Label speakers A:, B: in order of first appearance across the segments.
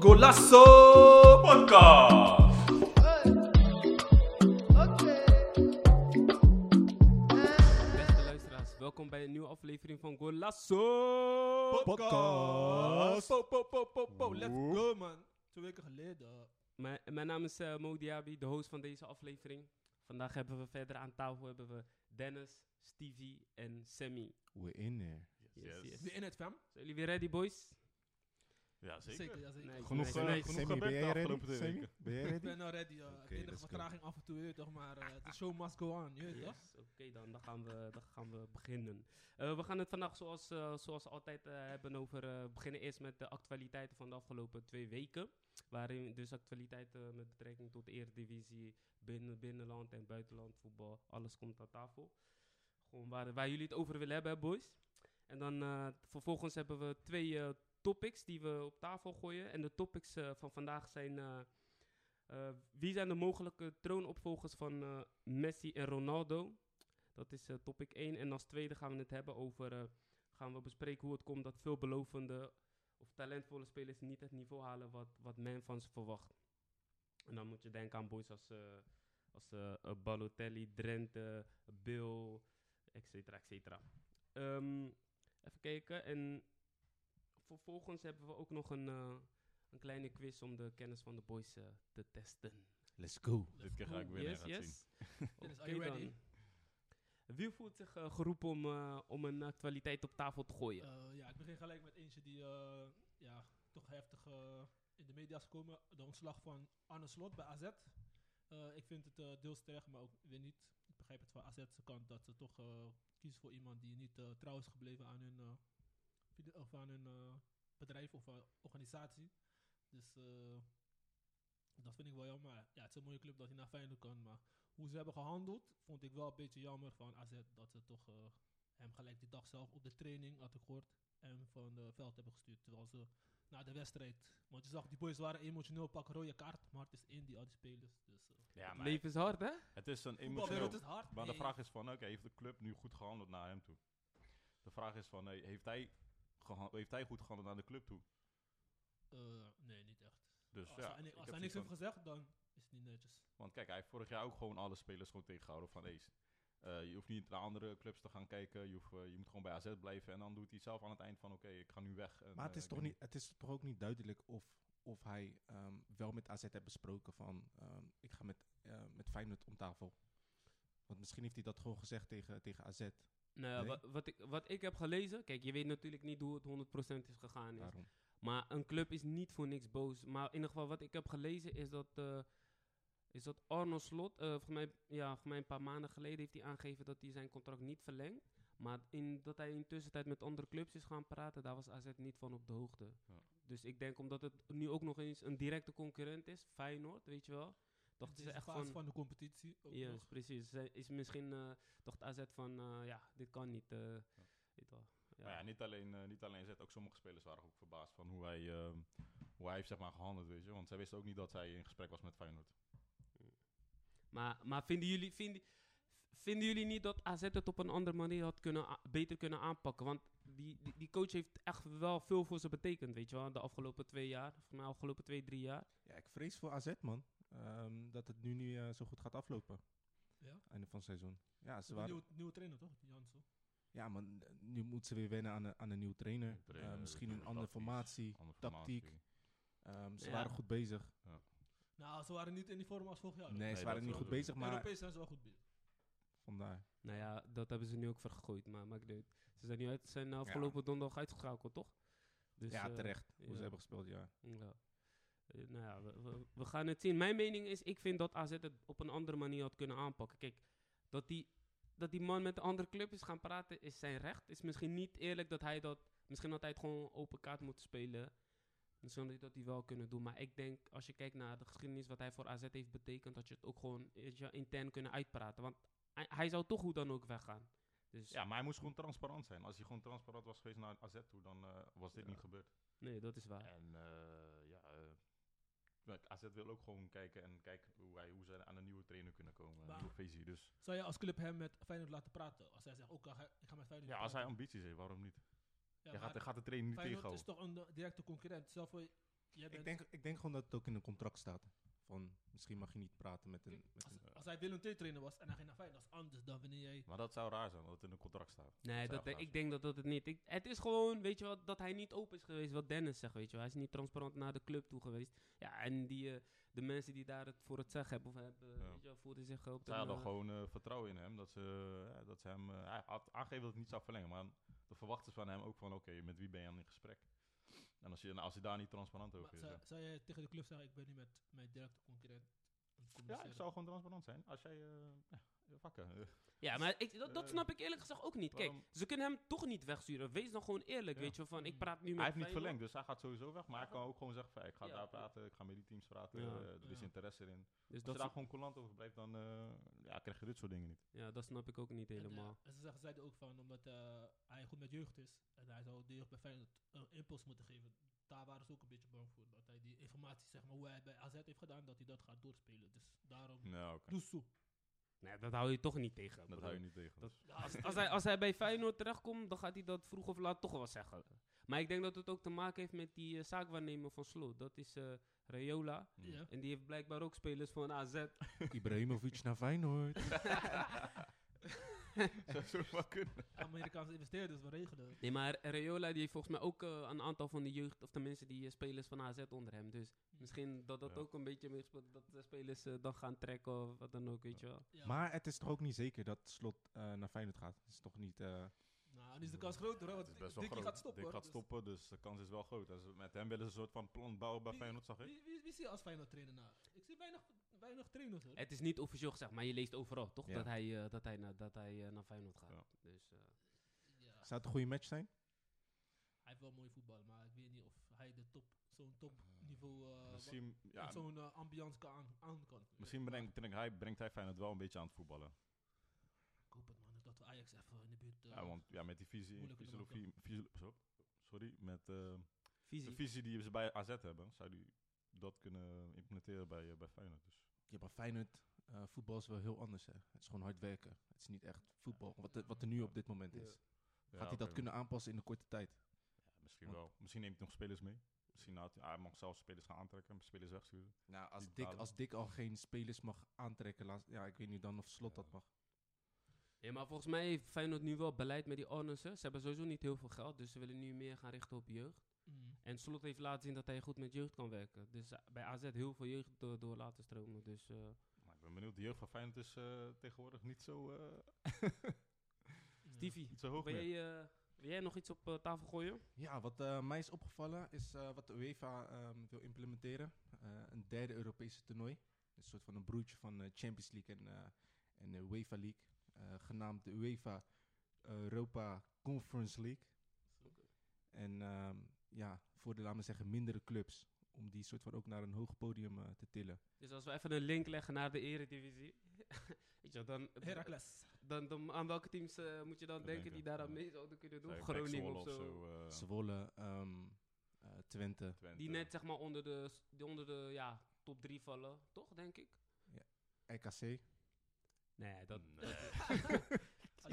A: Golasso Podcast.
B: Beste luisteraars, welkom bij een nieuwe aflevering van Golasso
A: Podcast. Po, po, po, po, po. Let's go, man. Twee weken geleden.
B: Mijn, mijn naam is eh Mo Diaby, de host van deze aflevering. Vandaag hebben we verder aan tafel hebben we Dennis, Stevie en Sammy.
C: We're in there.
B: Yes, yes.
A: Is in het, fam?
B: Zijn jullie weer ready, boys?
D: Ja, zeker.
A: Zeker, ja, zeker.
B: Nice,
D: Genoeg,
B: nice,
D: eh,
B: nice.
D: genoeg.
C: Sammy,
D: gebeurd
C: ben
D: de
C: jij ready?
D: afgelopen twee
C: Sammy,
D: weken.
C: ben jij
A: Ik
C: ready?
A: ben al ready. ja. Het
C: Oké,
A: enige
C: let's go.
A: vertraging af en toe, je weet toch, maar
B: Ah.
A: eh, de show must go on, je weet toch?
B: Yes, Oké, dan, dan, gaan we, dan gaan we beginnen. Eh, we gaan het vandaag zoals, eh, zoals altijd eh, hebben over... eh, We beginnen eerst met de actualiteiten van de afgelopen twee weken. Waarin dus actualiteiten met betrekking tot de Eredivisie, binnen, binnenland en buitenland, voetbal. Alles komt aan tafel. Gewoon waar, waar jullie het over willen hebben, hè, boys. En dan eh, vervolgens hebben we twee eh, topics die we op tafel gooien. En de topics eh, van vandaag zijn... eh, eh, wie zijn de mogelijke troonopvolgers van eh, Messi en Ronaldo? Dat is eh, topic 1. En als tweede gaan we het hebben over. eh, gaan we bespreken hoe het komt dat veelbelovende of talentvolle spelers niet het niveau halen wat, wat men van ze verwacht. En dan moet je denken aan boys als, eh, als eh, eh, Balotelli, Drenthe, Bill, et cetera, et cetera. Ehm, even kijken. En vervolgens hebben we ook nog een, eh, een kleine quiz om de kennis van de boys eh, te testen.
C: Let's go.
D: Dit keer ga ik winnen.
B: Yes,
D: gaat zien.
B: yes.
A: Dennis, are
B: Oké
A: you ready?
B: dan. Wie voelt zich eh, geroepen om, eh, om een actualiteit op tafel te gooien?
A: Eh, ja, ik begin gelijk met eentje die eh, ja, toch heftig eh, in de media is gekomen. De ontslag van Arne Slot bij AZ. Eh, ik vind het eh, deels terecht, maar ook weer niet. Ik begrijp het van AZ's kant dat ze toch eh, kiezen voor iemand die niet eh, trouw is gebleven aan hun, eh, vide- of aan hun eh, bedrijf of eh, organisatie. Dus eh, dat vind ik wel jammer. Ja, het is een mooie club dat hij naar Feyenoord kan, maar hoe ze hebben gehandeld, vond ik wel een beetje jammer van AZ dat ze toch... eh, hem gelijk die dag zelf op de training, had ik gehoord, en van het veld hebben gestuurd. Terwijl ze na de wedstrijd. Want je zag, die boys waren emotioneel, pakken rode kaart, maar het is één die al die spelers. Dus, eh,
D: Ja,
B: Het
D: maar
B: leven is hard, hè?
D: het is een
A: voetbal
D: emotioneel...
A: werkt het hard.
D: Maar de
A: nee.
D: vraag is van, oké, heeft de club nu goed gehandeld naar hem toe? De vraag is van, hey, heeft, hij gehan- heeft hij goed gehandeld naar de club toe?
A: Eh, nee, niet echt.
D: Dus
A: als
D: ja,
A: Oh, hij, ni-
D: ik
A: als
D: heb
A: hij niks
D: zoiets
A: heeft
D: van-
A: gezegd, dan is het niet netjes.
D: Want kijk, hij heeft vorig jaar ook gewoon alle spelers gewoon tegengehouden van deze. je hoeft niet naar andere clubs te gaan kijken. Je, hoeft, eh, je moet gewoon bij AZ blijven. En dan doet hij zelf aan het eind van, oké, ik ga nu weg. En,
C: Maar het
D: eh,
C: is,
D: ik
C: toch
D: weet
C: niet, het is toch ook niet duidelijk of, of hij ehm, wel met AZ heeft besproken van... ehm, ik ga met, eh, met Feyenoord om tafel. Want misschien heeft hij dat gewoon gezegd tegen, tegen AZ.
B: Nou, ja,
C: Nee?
B: wa- wat, ik, wat ik heb gelezen, kijk, je weet natuurlijk niet hoe het 100% is gegaan. Is.
C: Daarom.
B: Maar een club is niet voor niks boos. Maar in ieder geval, wat ik heb gelezen is dat, eh is dat Arno Slot, eh voor, mij, ja, voor mij een paar maanden geleden, heeft hij aangegeven dat hij zijn contract niet verlengt. Maar in, dat hij in tussentijd met andere clubs is gaan praten, daar was AZ niet van op de hoogte.
D: Ja.
B: Dus ik denk omdat het nu ook nog eens een directe concurrent is, Feyenoord, weet je wel. Dachten
A: Deze
B: ze echt
A: fase
B: van,
A: van de competitie. Ook
B: Yes,
A: nog.
B: precies. Zij is misschien eh, dacht AZ van, eh, ja, dit kan niet. eh, weet wel. Ja.
D: Maar ja, niet alleen, eh, niet alleen zet, ook sommige spelers waren ook verbaasd van hoe hij, ehm, hoe hij heeft zeg maar, gehandeld, weet je. Want zij wisten ook niet dat hij in gesprek was met Feyenoord.
B: Maar, maar vinden, jullie, vinden, vinden jullie niet dat AZ het op een andere manier had kunnen, a- beter kunnen aanpakken? Want die, die, die coach heeft echt wel veel voor ze betekend, weet je wel, de afgelopen twee jaar. Voor mij afgelopen twee, drie jaar.
C: Ja, ik vrees voor AZ, man. Ehm, dat het nu niet eh, zo goed gaat aflopen.
A: Ja?
C: Einde van het seizoen. Ja, ze
A: De
C: waren,
A: nieuwe, nieuwe trainer toch? Jansen.
C: ja, maar nu moet ze weer wennen aan, een- aan een nieuwe trainer.
D: Nieuwe trainer,
C: Eh, misschien een
D: andere
C: andere
D: tactisch,
C: formatie.
D: Andere
C: Tactiek.
D: formatie.
C: Ehm, ze
B: Ja.
C: waren goed bezig.
A: Nou, ze waren niet in die vorm als vorig jaar. hoor.
C: Nee,
D: dat
C: ze waren niet
D: sowieso.
C: goed bezig, maar
A: Europees zijn ze wel goed bezig.
C: vandaar.
B: Nou ja, dat hebben ze nu ook vergooid, maar maakt niet uit. Ze zijn nu uit, zijn afgelopen donderdag uitgeschakeld, toch? Dus,
C: ja,
B: eh,
C: terecht. Hoe
B: ja.
C: ze hebben gespeeld, ja.
B: Ja. Eh, nou ja, we, we, we gaan het zien. Mijn mening is, ik vind dat AZ het op een andere manier had kunnen aanpakken. Kijk, dat die, dat die man met de andere club is gaan praten, is zijn recht. Is misschien niet eerlijk dat hij dat... Misschien had hij het gewoon open kaart moeten spelen. Misschien had hij dat hij wel kunnen doen. Maar ik denk, als je kijkt naar de geschiedenis wat hij voor AZ heeft betekend... dat je het ook gewoon weet je, intern kunnen uitpraten. Want hij, hij zou toch hoe dan ook weggaan. Dus
D: Ja, maar hij moest gewoon transparant zijn. Als hij gewoon transparant was geweest naar AZ toe, dan eh, was dit
B: Ja.
D: niet gebeurd.
B: nee, dat is waar.
D: En eh, ja, eh, Maar AZ wil ook gewoon kijken en kijken hoe, hij, hoe ze aan een nieuwe trainer kunnen komen. Een
A: Maar-
D: nieuwe visie. Dus
A: Zou je als club hem met Feyenoord laten praten? Als hij zegt, ook ga ik ga met Feyenoord
D: ja, als hij
A: praten.
D: ambities heeft, waarom niet?
A: Ja,
D: je gaat,
A: maar
D: hij gaat de trainer niet
A: Feyenoord
D: tegenhouden.
A: is toch een eh, directe concurrent. Zelf voor, jij bent,
C: Ik denk, ik denk gewoon dat het ook in een contract staat. Van, misschien mag je niet praten met een... Met een
A: als, als hij Willem II trainer was en hij ging naar Feyenoord, dat is anders dan wanneer jij...
D: Maar dat zou raar zijn, dat het in een contract staat.
B: Nee,
D: zou
B: dat,
D: gaaf
B: ik
D: zijn.
B: denk dat dat het niet. Ik, het is gewoon, weet je wel, dat hij niet open is geweest, wat Dennis zegt, weet je wel. Hij is niet transparant naar de club toe geweest. Ja, en die, eh, de mensen die daar het voor het zeggen hebben, of hebben,
D: Ja.
B: weet je wel, voelden zich op
D: Zij hadden
B: eh,
D: gewoon eh, vertrouwen in hem. Dat ze, eh, dat ze hem, eh, hij had aangegeven dat het niet zou verlengen. Maar de verwachten van hem ook van, oké, met wie ben je aan in gesprek? En als, je, nou, als hij daar niet transparant
A: Maar
D: over is. eh.
A: zou,
D: ja.
A: zou jij tegen de club zeggen, ik ben nu met mijn directe concurrent aan het
D: Ja, ik
A: communiceren?
D: zou gewoon transparant zijn. Als jij... eh, ja, vakken. eh,
B: Ja, maar ik, dat, dat
D: Eh,
B: snap ik eerlijk gezegd ook niet. Kijk,
D: waarom-
B: ze kunnen hem toch niet wegsturen. Wees dan gewoon eerlijk,
D: Ja.
B: weet je wel, van ik
A: Mm.
B: praat nu met
D: hij heeft niet
B: Feyenoord.
D: verlengd, dus hij gaat sowieso weg. Maar hij kan ook gewoon zeggen, van, ik ga
B: Ja.
D: daar praten, ik ga met die teams praten.
B: Ja.
D: eh, er is
A: Ja.
D: interesse in. Als
B: Dus
D: je
B: dat,
D: daar gewoon coulant over blijft, dan eh, ja, krijg je dit soort dingen niet.
B: ja, dat snap ik ook niet
A: En, eh,
B: helemaal.
A: en ze zeggen- zeiden ook van, omdat eh, hij goed met jeugd is en hij zou de jeugd bij Feyenoord een impuls moeten geven. Daar waren ze ook een beetje bang voor. Dat hij die informatie, zeg maar, hoe hij bij AZ heeft gedaan, dat hij dat gaat doorspelen. Dus daarom...
D: Nou, oké.
A: Doe zo.
B: Nee, dat hou je toch niet tegen.
D: Dat
B: broer.
D: hou je niet tegen.
B: Dat-
D: dus.
B: Als, als, hij, als hij bij Feyenoord terechtkomt, dan gaat hij dat vroeg of laat toch wel zeggen. Maar ik denk dat het ook te maken heeft met die eh, zaakwaarnemer van Slot. Dat is eh Rayola.
D: Mm.
A: Ja.
B: En die heeft blijkbaar ook spelers van AZ.
C: Ibrahimovic naar Feyenoord.
D: Zou zo maar kunnen.
A: Amerikaanse investeerders, we regelen.
B: Nee, maar Rayola die heeft volgens mij ook eh, een aantal van de jeugd, of tenminste die eh, spelers van AZ onder hem. Dus misschien dat dat
D: Ja.
B: ook een beetje meegespeeld dat de spelers eh, dan gaan trekken of wat dan ook, weet je wel.
A: Ja.
C: Maar het is toch ook niet zeker dat Slot eh, naar Feyenoord gaat? Het is toch niet... eh,
A: Nou, nu is de kans groter, hè,
D: Het
A: want
D: is
A: Dick-
D: best wel
A: Dickie
D: groot.
A: gaat stoppen. hoor,
D: Dick gaat
A: dus
D: stoppen, dus de kans is wel groot. En ze- met hem willen ze een soort van plan bouwen bij
A: Wie-
D: Feyenoord, zag ik.
A: Wie, wie, wie zie je als Feyenoord trainer na? Ik zie weinig, weinig trainers, hoor.
B: Het is niet officieel gezegd, maar je leest overal toch
C: Ja.
B: dat hij, eh, dat hij, na- dat hij eh, naar Feyenoord gaat.
D: Ja.
B: Dus, eh,
A: Ja.
C: zou het een goede match zijn?
A: Hij heeft wel mooi voetbal, maar ik weet niet of hij de top, zo'n topniveau eh, wa-
D: Misschien, ja,
A: en zo'n eh, ambiance kan aan, aan kan.
D: misschien
A: Maar
D: brengt, brengt hij, brengt hij Feyenoord wel een beetje aan het voetballen.
A: Ik hoop het, man, dat we Ajax even in de buurt... eh,
D: Ja, want ja, met die visie,
A: moeilijker te
D: filosofie, fysio- zo, sorry, met eh, de
B: visie.
D: visie die ze bij AZ hebben, zou die dat kunnen implementeren bij, eh, bij Feyenoord. Dus.
C: Ja, maar Feyenoord, eh, voetbal is wel heel anders. Hè. Het is gewoon hard werken. Het is niet echt voetbal, wat, er- wat er nu op dit moment
B: Ja.
C: is.
D: Ja,
C: Gaat hij dat
D: oké,
C: kunnen aanpassen in de korte tijd?
D: ja, misschien
C: Want-
D: wel. Misschien neemt hij nog spelers mee. Misschien houdt hij, hij mag zelfs spelers gaan aantrekken, spelers wegsturen.
C: Nou, als
D: Die
C: Dick,
D: betalen.
C: als Dick al geen spelers mag aantrekken, laat, ja, ik weet niet dan of Slot dat mag.
B: Ja, maar volgens mij heeft Feyenoord nu wel beleid met die Arnissen. Ze hebben sowieso niet heel veel geld, dus ze willen nu meer gaan richten op jeugd.
A: mm.
B: En Slot heeft laten zien dat hij goed met jeugd kan werken. Dus eh, bij AZ heel veel jeugd door, door laten stromen. Dus eh,
D: Maar ik ben benieuwd, de jeugd van Feyenoord is eh, tegenwoordig niet zo, eh,
A: Ja.
B: Stevie,
D: niet zo hoog
B: wil jij,
D: meer.
B: eh, wil jij nog iets op eh, tafel gooien?
C: Ja, wat eh, mij is opgevallen is eh, wat de UEFA ehm, wil implementeren. Eh, een derde Europese toernooi. Een soort van een broertje van eh, Champions League en, eh, en de UEFA League. eh, genaamd de UEFA Europa Conference League. En ehm, ja, voor de, laten we zeggen, mindere clubs. Om die soort van ook naar een hoog podium eh, te tillen.
B: Dus als we even een link leggen naar de eredivisie. Weet je, wel, dan, eh,
A: Heracles.
B: dan, dan aan welke teams eh, moet je dan
D: We
B: denken,
D: denken,
B: die daar aan
D: ja.
B: mee zouden kunnen doen?
D: eh, Zij- Pek
B: Groningen
D: Zwolle
B: of zo.
D: eh,
C: Zwolle, ehm, eh, Twente.
D: Twente.
B: Die net zeg maar onder de, s- die onder de ja, top drie vallen, toch denk ik?
C: RKC.
B: Nee, dat...
D: Nee.
A: Alles kan,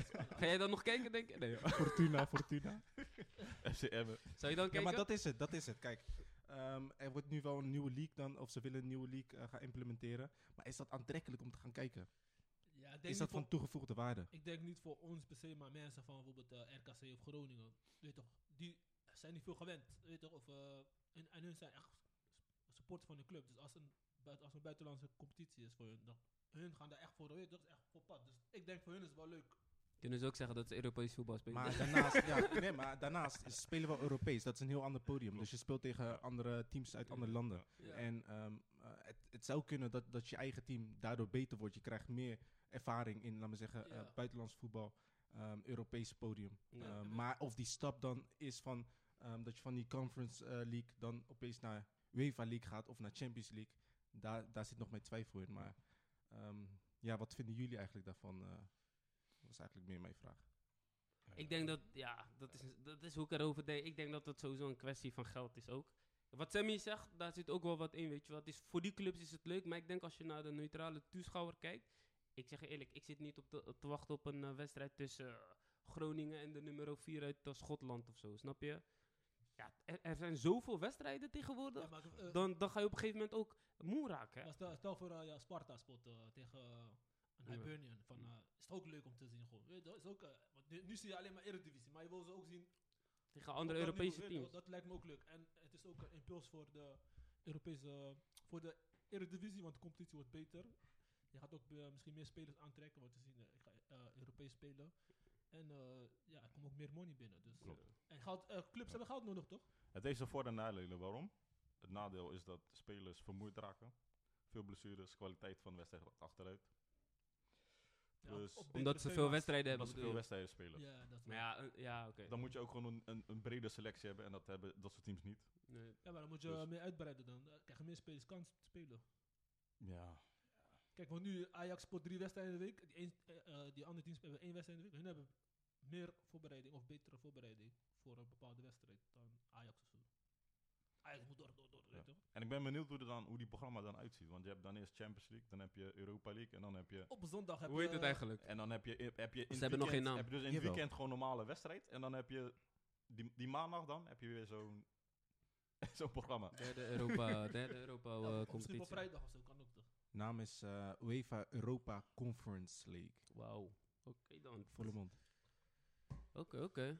B: Ga jij dan nog kijken, denk ik? Nee, joh.
C: Fortuna, Fortuna.
D: FC Emmen.
B: Zou je dan kijken?
C: Ja, maar dat is het, dat is het. Kijk, ehm, er wordt nu wel een nieuwe league dan, of ze willen een nieuwe league eh, gaan implementeren. Maar is dat aantrekkelijk om te gaan kijken?
A: Ja, ik denk
C: Is
A: niet
C: dat
A: voor-
C: van toegevoegde waarde?
A: Ik denk niet voor ons per se, maar mensen van bijvoorbeeld eh, RKC of Groningen. Weet toch, die zijn niet veel gewend. Weet toch, of, eh, en, en hun zijn echt supporters van de club. Dus als een, buit- als een buitenlandse competitie is voor hun, dan hun gaan daar echt voor. Weet je, dat is echt voor pad. Dus ik denk voor hun is het wel leuk.
B: Kunnen ze ook zeggen dat ze Europees voetbal spelen?
C: Maar daarnaast, ja, nee, maar daarnaast is- spelen we Europees. Dat is een heel ander podium. Dus je speelt tegen andere teams uit andere landen.
A: Ja.
C: En ehm, eh, het, het zou kunnen dat, dat je eigen team daardoor beter wordt. Je krijgt meer ervaring in, laten we zeggen, eh,
A: Ja.
C: buitenlands voetbal, ehm Europees podium.
B: Ja.
C: Ehm, maar of die stap dan is van ehm, dat je van die Conference eh, League dan opeens naar UEFA League gaat of naar Champions League, daar, daar zit nog mijn twijfel in. Maar ehm, ja, wat vinden jullie eigenlijk daarvan? eh? dat is eigenlijk meer mijn vraag.
B: Ik denk dat, ja, dat is, dat is hoe ik erover denk. Ik denk dat het sowieso een kwestie van geld is ook. Wat Sammy zegt, daar zit ook wel wat in, weet je wel. Het is, voor die clubs is het leuk, maar ik denk als je naar de neutrale toeschouwer kijkt... Ik zeg je eerlijk, ik zit niet op te, op te wachten op een eh, wedstrijd tussen eh, Groningen en de nummer 4 uit eh, Schotland of zo, snap je? Ja, er, er zijn zoveel wedstrijden tegenwoordig.
A: Ja, maar, eh,
B: dan, dan ga je op een gegeven moment ook moe raken. hè.
A: maar stel, stel voor eh, ja, Sparta spot eh, tegen eh, een
B: Ja.
A: Hibernian. Van,
B: Mm.
A: eh, is het ook leuk om te zien gewoon. Weet je, Dat is ook, eh, want nu, nu zie je alleen maar Eredivisie, maar je wil ze ook zien
B: Tegen andere
A: Op dat
B: Europese
A: niveau, weet je
B: teams.
A: wel, Dat lijkt me ook leuk. En het is ook een impuls voor de Europese, voor de Eredivisie, want de competitie wordt beter. Je gaat ook eh, misschien meer spelers aantrekken, want we zien, eh, ik ga eh, Europees spelen. En eh, ja, er komt ook meer money binnen. Dus,
D: Klopt.
A: eh, en goud, eh, clubs hebben goud nodig, toch?
D: Het heeft zijn voor- en nadelen. Waarom? Het nadeel is dat spelers vermoeid raken. Veel blessures, kwaliteit van de wedstrijd gaat achteruit.
A: Ja,
D: Dus-
A: op- op
B: Omdat ze
A: betere
B: veel
A: thema's.
B: wedstrijden hebben.
D: Omdat ze veel
B: bedoel je.
D: wedstrijden spelen.
A: Ja, dat is
B: Maar
A: waar.
B: ja, eh, ja oké.
D: Dan moet je ook gewoon een, een, een brede selectie hebben. En dat hebben dat soort teams niet.
B: Nee.
A: ja, maar dan moet je
D: Dus-
A: eh, meer uitbreiden dan. Dan krijgen meer spelers kans te spelen.
D: Ja.
A: Kijk, want nu Ajax sport drie wedstrijden in de week. Die, een, eh, eh, die andere teams hebben één wedstrijd in de week. Hun hebben meer voorbereiding of betere voorbereiding voor een bepaalde wedstrijd dan Ajax of zo. Ajax moet door, door, door. weet je wel.
D: En ik ben benieuwd hoe, er dan, hoe die programma dan uitziet. Want je hebt dan eerst Champions League, dan heb je Europa League en dan heb je...
A: Op zondag heb
B: Hoe
A: je...
B: heet het eigenlijk?
D: En dan heb je, heb je in het
B: hebben nog geen naam.
D: Heb je dus in het
C: Jawel.
D: weekend gewoon normale wedstrijd. En dan heb je... Die, die maandag dan heb je weer zo'n... zo'n programma.
B: Derde Europa, derde Europa
A: Ja,
B: eh,
A: of misschien op
B: competitie.
A: vrijdag of zo, kan ook toch.
C: Naam is eh, UEFA Europa Conference League.
B: Wauw. Oké dan.
C: Volle mond.
B: Oké, oké.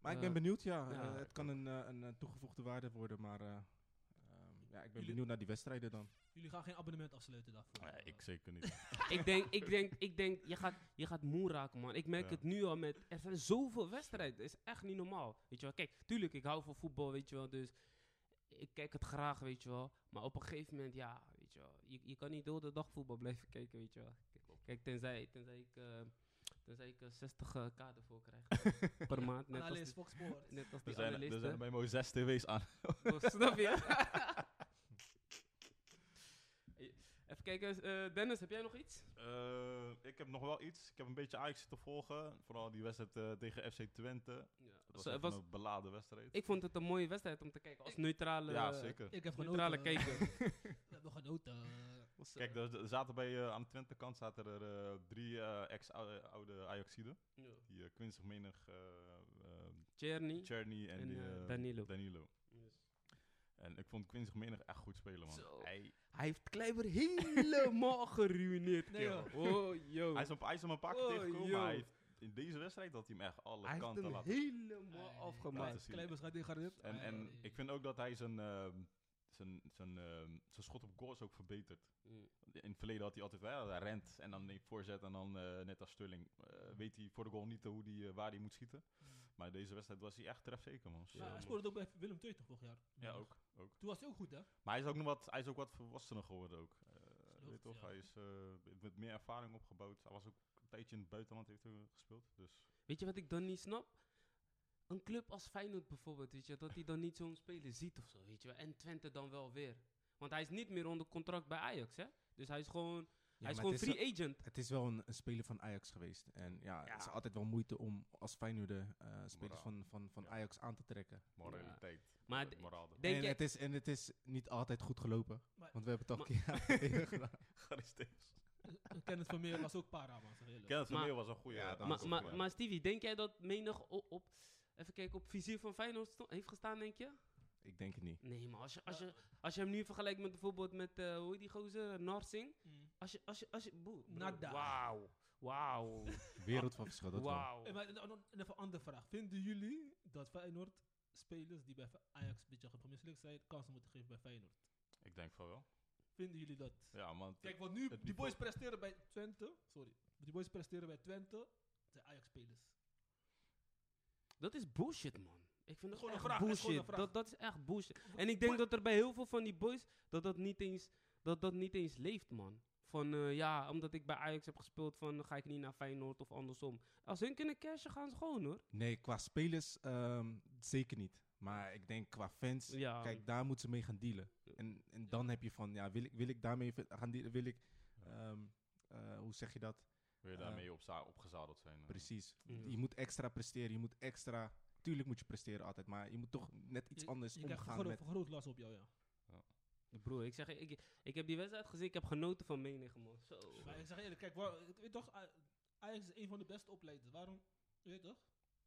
C: Maar ik
B: Eh,
C: ben benieuwd, ja.
B: ja,
C: Eh,
B: ik
C: het kan een, eh, een eh, toegevoegde waarde worden, maar eh, ehm, ja, ik ben
A: Jullie-
C: benieuwd naar die wedstrijden dan.
A: Jullie gaan geen abonnement afsluiten daarvoor.
D: Nee,
A: Eh,
D: ik zeker niet.
B: ik denk, ik denk, ik denk, je gaat, je gaat moe raken, man. Ik merk
D: Ja.
B: het nu al met, er zijn zoveel wedstrijden. Het is echt niet normaal, weet je wel. Kijk, tuurlijk, ik hou van voetbal, weet je wel, dus ik kijk het graag, weet je wel. Maar op een gegeven moment, ja, weet je wel, je, je kan niet de hele dag voetbal blijven kijken, weet je wel. Kijk, tenzij, tenzij ik, eh, tenzij ik eh, 60 eh, kaarten voor krijg per maand, net als
A: Analyst,
B: die,
A: Fox Sports.
B: net als
D: Er
B: die
D: zijn, er zijn
B: analisten.
D: bij mij zes tv's aan.
B: Oh, snap je? Even kijken, eh, Dennis, heb jij nog iets?
D: Eh, ik heb nog wel iets. Ik heb een beetje Ajax te volgen. Vooral die wedstrijd eh, tegen FC Twente. Dat was,
B: Zo, het
D: even een beladen wedstrijd.
B: Ik eh, vond het een mooie wedstrijd om te kijken. Als neutrale,
D: ja, zeker.
A: Ik heb
B: neutrale
A: genoten. Eh,
B: kijker.
A: We hebben genoten.
B: Was, eh,
D: Kijk, er er zaten bij, eh, aan de Twente kant zaten er eh, drie eh, ex-oude Ajaxiden.
B: ja.
D: Die eh, Quincy Menig, eh eh,
B: Tierney.
D: Czerny en,
B: En,
D: die,
B: eh,
D: eh,
B: Danilo.
D: En ik vond Quincy Menig echt goed spelen, man.
B: Zo.
D: Hij,
B: Hij heeft Kleiber helemaal geruineerd.
A: Nee,
B: kerel. Oh, yo.
D: hij, is op, hij is hem een paar keer
B: Oh,
D: tegengekomen.
B: joh.
D: maar hij heeft- in deze wedstrijd had hij hem echt alle
B: Hij heeft
D: kanten
B: hem
D: laten
B: helemaal
A: Nee,
B: afgemaakt.
D: is-
A: Kleibers gaat degradeerd.
D: En, en
A: Eh,
D: ik vind ook dat hij zijn, ehm, zijn, zijn, ehm, zijn schot op goals ook verbetert.
B: Mm.
D: In het verleden had hij altijd, wel, hij rent en dan neemt voorzet en dan eh, net als Sterling. eh, weet hij voor de goal niet hoe die, eh, waar hij moet schieten. Maar deze wedstrijd was hij echt trefzeker, man. Zo,
A: Maar hij
D: man.
A: scoorde ook bij Willem II toch vorig jaar?
D: Ja, ook, ook.
A: Toen was hij ook goed, hè?
D: Maar hij is ook, nog wat, hij is ook wat volwassener geworden ook. Eh,
A: geloof
D: weet
A: het,
D: toch,
A: ja.
D: hij is eh, met meer ervaring opgebouwd. Hij was ook een tijdje in het buitenland heeft hij gespeeld. Dus
B: Weet je wat ik dan niet snap? Een club als Feyenoord bijvoorbeeld, weet je, dat hij dan niet zo'n speler ziet of zo, weet je. wel. En Twente dan wel weer. Want hij is niet meer onder contract bij Ajax, hè? Dus hij is gewoon, hij is
C: maar
B: gewoon
C: het, is wel,
B: free agent.
C: het is wel een, een speler van Ajax geweest. En ja, het is
B: Ja.
C: altijd wel moeite om als Feyenoorder eh spelers
D: Moraal.
C: van, van, van
D: Ja.
C: Ajax aan te trekken.
D: moraliteit.
B: Maar
D: eh,
B: d-
D: moraal.
B: Denk
C: en,
B: jij-
C: het is, en het is niet altijd goed gelopen.
A: Maar-
C: want we hebben het al
B: Maar-
C: een keer eerder gedaan.
D: Gearresteerd.
A: Kenneth Vermeer was ook para, man. zeg eerlijk.
D: Kenneth van
B: Maar-
D: Leeuwen was een goede.
C: Ja, dat
D: eh,
B: Maar,
D: aankoop,
B: maar,
D: ja.
B: maar Stevie, denk jij dat menig o- op, even kijken, op vizier van Feyenoord sto- heeft gestaan, denk je?
C: Ik denk het niet.
B: Nee, maar als je, als je, als je hem nu vergelijkt met bijvoorbeeld met, eh, hoe heet die gozer, Narsing?
A: Mm.
B: Als je, als je, als je, boe, bro,
A: Nada.
B: Wauw, wauw,
C: Wereld van verschil, dat wel.
B: wauw.
A: Eh, maar dan- dan even een andere vraag. Vinden jullie dat Feyenoord spelers die bij Ajax een beetje gepromisseerd zijn, kansen moeten geven bij Feyenoord?
D: Ik denk van wel.
A: Vinden jullie dat?
D: Ja, want
A: Kijk, want nu,
D: het
A: die boys
D: niveau-
A: presteren bij Twente, sorry, die boys presteren bij Twente, het zijn Ajax-spelers.
B: Dat is bullshit, man. Ik vind dat
A: Gewoon een
B: gewoon echt
A: vraag, het is
B: bullshit.
A: gewoon een vraag.
B: Dat, dat is echt bullshit. En ik denk dat er bij heel veel van die boys dat dat niet eens, dat dat niet eens leeft, man. Van eh, ja, omdat ik bij Ajax heb gespeeld, van ga ik niet naar Feyenoord of andersom. Als hun kunnen cashen, gaan ze gewoon hoor.
C: Nee, qua spelers ehm, zeker niet. Maar ik denk qua fans,
B: Ja,
C: kijk, daar moeten ze mee gaan dealen.
B: Ja.
C: En, en dan heb je van, ja, wil ik, wil ik daarmee ve- gaan dealen? Wil ik, ehm, eh, hoe zeg je dat?
D: Wil je
C: Eh,
D: daarmee op opgezadeld zijn? eh.
C: Precies.
B: Ja.
C: Je moet extra presteren, je moet extra tuurlijk moet je presteren altijd, maar je moet toch net iets anders
A: je krijgt
C: omgaan
A: groot,
C: met...
A: groot last op jou, ja.
B: Broer, ik zeg, je, ik, ik heb die wedstrijd gezien, ik heb genoten van menige man. Zo.
A: Maar ik zeg eerlijk, kijk, waar, ik weet toch, A- Ajax is een van de beste opleiders. Waarom? Je weet toch?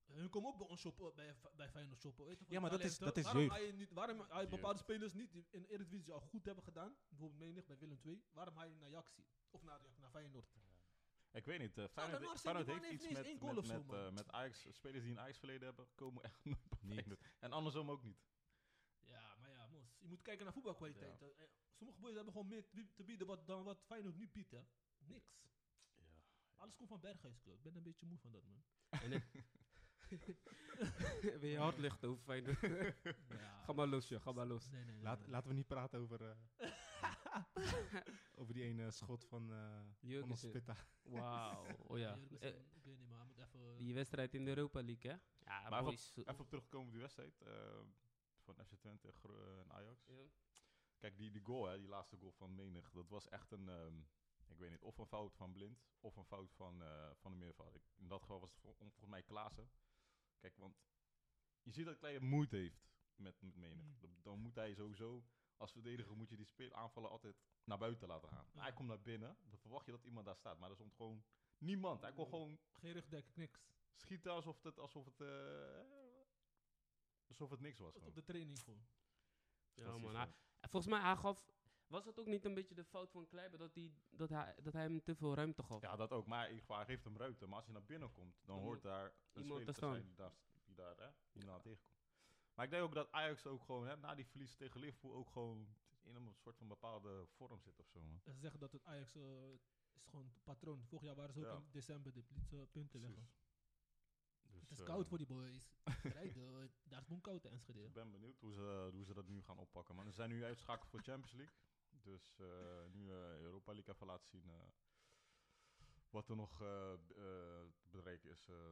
A: Hun komen ook bij ons shoppen, bij, bij Feyenoord shoppen. Weet je toch,
C: Ja,
A: voor
C: maar dat is-
A: talenten.
C: dat is
A: waarom
C: jeugd.
A: Hij niet, waarom hij
D: Jeugd.
A: bepaalde spelers niet die in de Eredivisie al goed hebben gedaan, bijvoorbeeld menig bij Willem II, waarom hij naar Ajax ziet? Of naar, naar Feyenoord?
D: Ik weet niet. eh,
A: dan
D: Feyenoord,
A: Marcel, nou die man
D: Feyenoord heeft
A: heeft
D: iets
A: niet
D: met,
A: eens één goal
D: met,
A: of zo,
D: met, eh,
A: man.
D: met Ajax. Spelers die een Ajax verleden hebben, komen echt nooit bij
C: Niet.
D: Feyenoord. En andersom ook niet.
A: Ja, maar ja, mos. Je moet kijken naar voetbalkwaliteit. Eh, eh, Sommige boys hebben gewoon meer te bied- te bieden wat, dan wat Feyenoord nu biedt, hè. Niks. Alles komt van Berghuis, bro. Ik ben een beetje moe van dat, man.
B: Ben je hard lucht over Feyenoord?
A: Ja.
B: ga maar los, joh, ga maar los.
A: Nee, nee, nee.
C: Laat,
A: nee.
C: laten we niet praten over, eh, over die ene schot van, eh van
B: Jurgensen.
C: onze Pitta.
B: Wauw, oh ja.
A: Jurgensen,
B: Eh,
A: Ik weet niet, maar hij moet even...
B: die wedstrijd in de Europa League, hè? Ja,
D: Maar
B: boys.
D: Even op terugkomen op die wedstrijd eh, van FC Twente Gro- eh, en Ajax.
B: Ja.
D: Kijk, die, die goal, hè, die laatste goal van Menig, dat was echt een, ehm, ik weet niet, of een fout van Blind, of een fout van, eh, van de meervoud. Ik- In dat geval was het vol- om- volgens mij Klaassen. Kijk, want je ziet dat Klein moeite heeft met, met Menig.
A: Mm.
D: Dan, dan moet hij sowieso, als verdediger moet je die speel aanvallen altijd naar buiten laten gaan. Maar hij
A: Ja.
D: komt naar binnen, dan verwacht je dat iemand daar staat. Maar er stond gewoon niemand. Hij kon
A: Hmm.
D: gewoon
A: Geen rugdek, niks.
D: schieten alsof het, alsof het, eh, alsof het niks was.
A: Tot
D: gewoon.
A: op de training gewoon.
B: Ja,
D: Dus dat is
B: man,
D: iets,
B: hij-
D: eh,
B: En Volgens mij, hij gaf... Was het ook niet een beetje de fout van Kleiber dat hij, dat hij, dat hij hem te veel ruimte gaf?
D: Ja, dat ook. Maar in ieder geval, hij geeft hem ruimte. Maar als hij naar binnen komt, dan
B: Dan
D: hoort
B: moet
D: daar een
B: iemand
D: speler
B: te
D: te zijn
B: staan.
D: die daar, die daar hè, die daar tegenkomt. Maar ik denk ook dat Ajax ook gewoon, hè, na die verlies tegen Liverpool, ook gewoon in een soort van bepaalde vorm zit of zo. man.
A: En Ze zeggen dat het Ajax eh, is gewoon het patroon. Vorig jaar waren ze ook
D: Ja.
A: in december de liet ze punten leggen.
D: Dus,
A: Het is
D: eh,
A: koud voor die boys. Rijden, eh, daar is gewoon koud in Enschede.
D: Ik ben benieuwd hoe ze, hoe ze dat nu gaan oppakken. Maar ze zijn nu uitschakeld voor Champions League. Dus eh, nu eh, Europa League even laten zien eh, wat er nog eh, b- eh, te bereiken is eh, eh,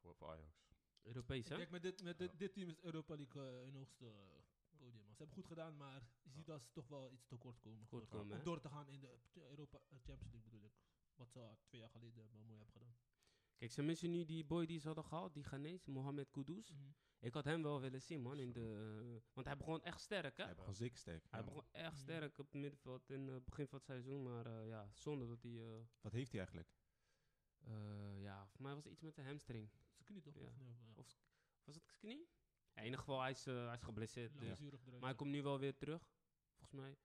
D: voor, voor Ajax.
B: Europees,
A: Ik
B: hè?
A: denk met dit, met dit, dit team is Europa League eh, hun hoogste eh, podium. Ze hebben goed gedaan, maar je ziet dat ze toch wel iets tekort komen.
B: Tekort
A: Om-
B: komen,
A: om
B: hè?
A: door te gaan in de Europa eh, Champions League bedoel ik. Wat ze al twee jaar geleden eh, mooi hebben gedaan.
B: Kijk, ze missen nu die boy die ze hadden gehaald, die Ghanese, Mohamed Kudus. Ik had hem wel willen zien, man. In
D: Zo.
B: de, want hij begon echt sterk, hè?
C: Hij begon zeker sterk.
B: Hij
C: ja.
B: begon echt
A: Mhm.
B: sterk op het middenveld in het begin van het seizoen. Maar eh, ja, zonde dat hij... eh,
C: Wat heeft hij eigenlijk?
B: eh, ja, voor mij was het iets met de hamstring.
A: Ze kunnen toch? eh,
B: Ja.
A: Of, nee, ja.
B: Of was het knie? Ja, in ieder geval, hij is, eh, hij is geblesseerd.
A: Lange
B: dus.
A: zuurig eruit.
B: Maar hij komt nu wel weer terug, volgens mij.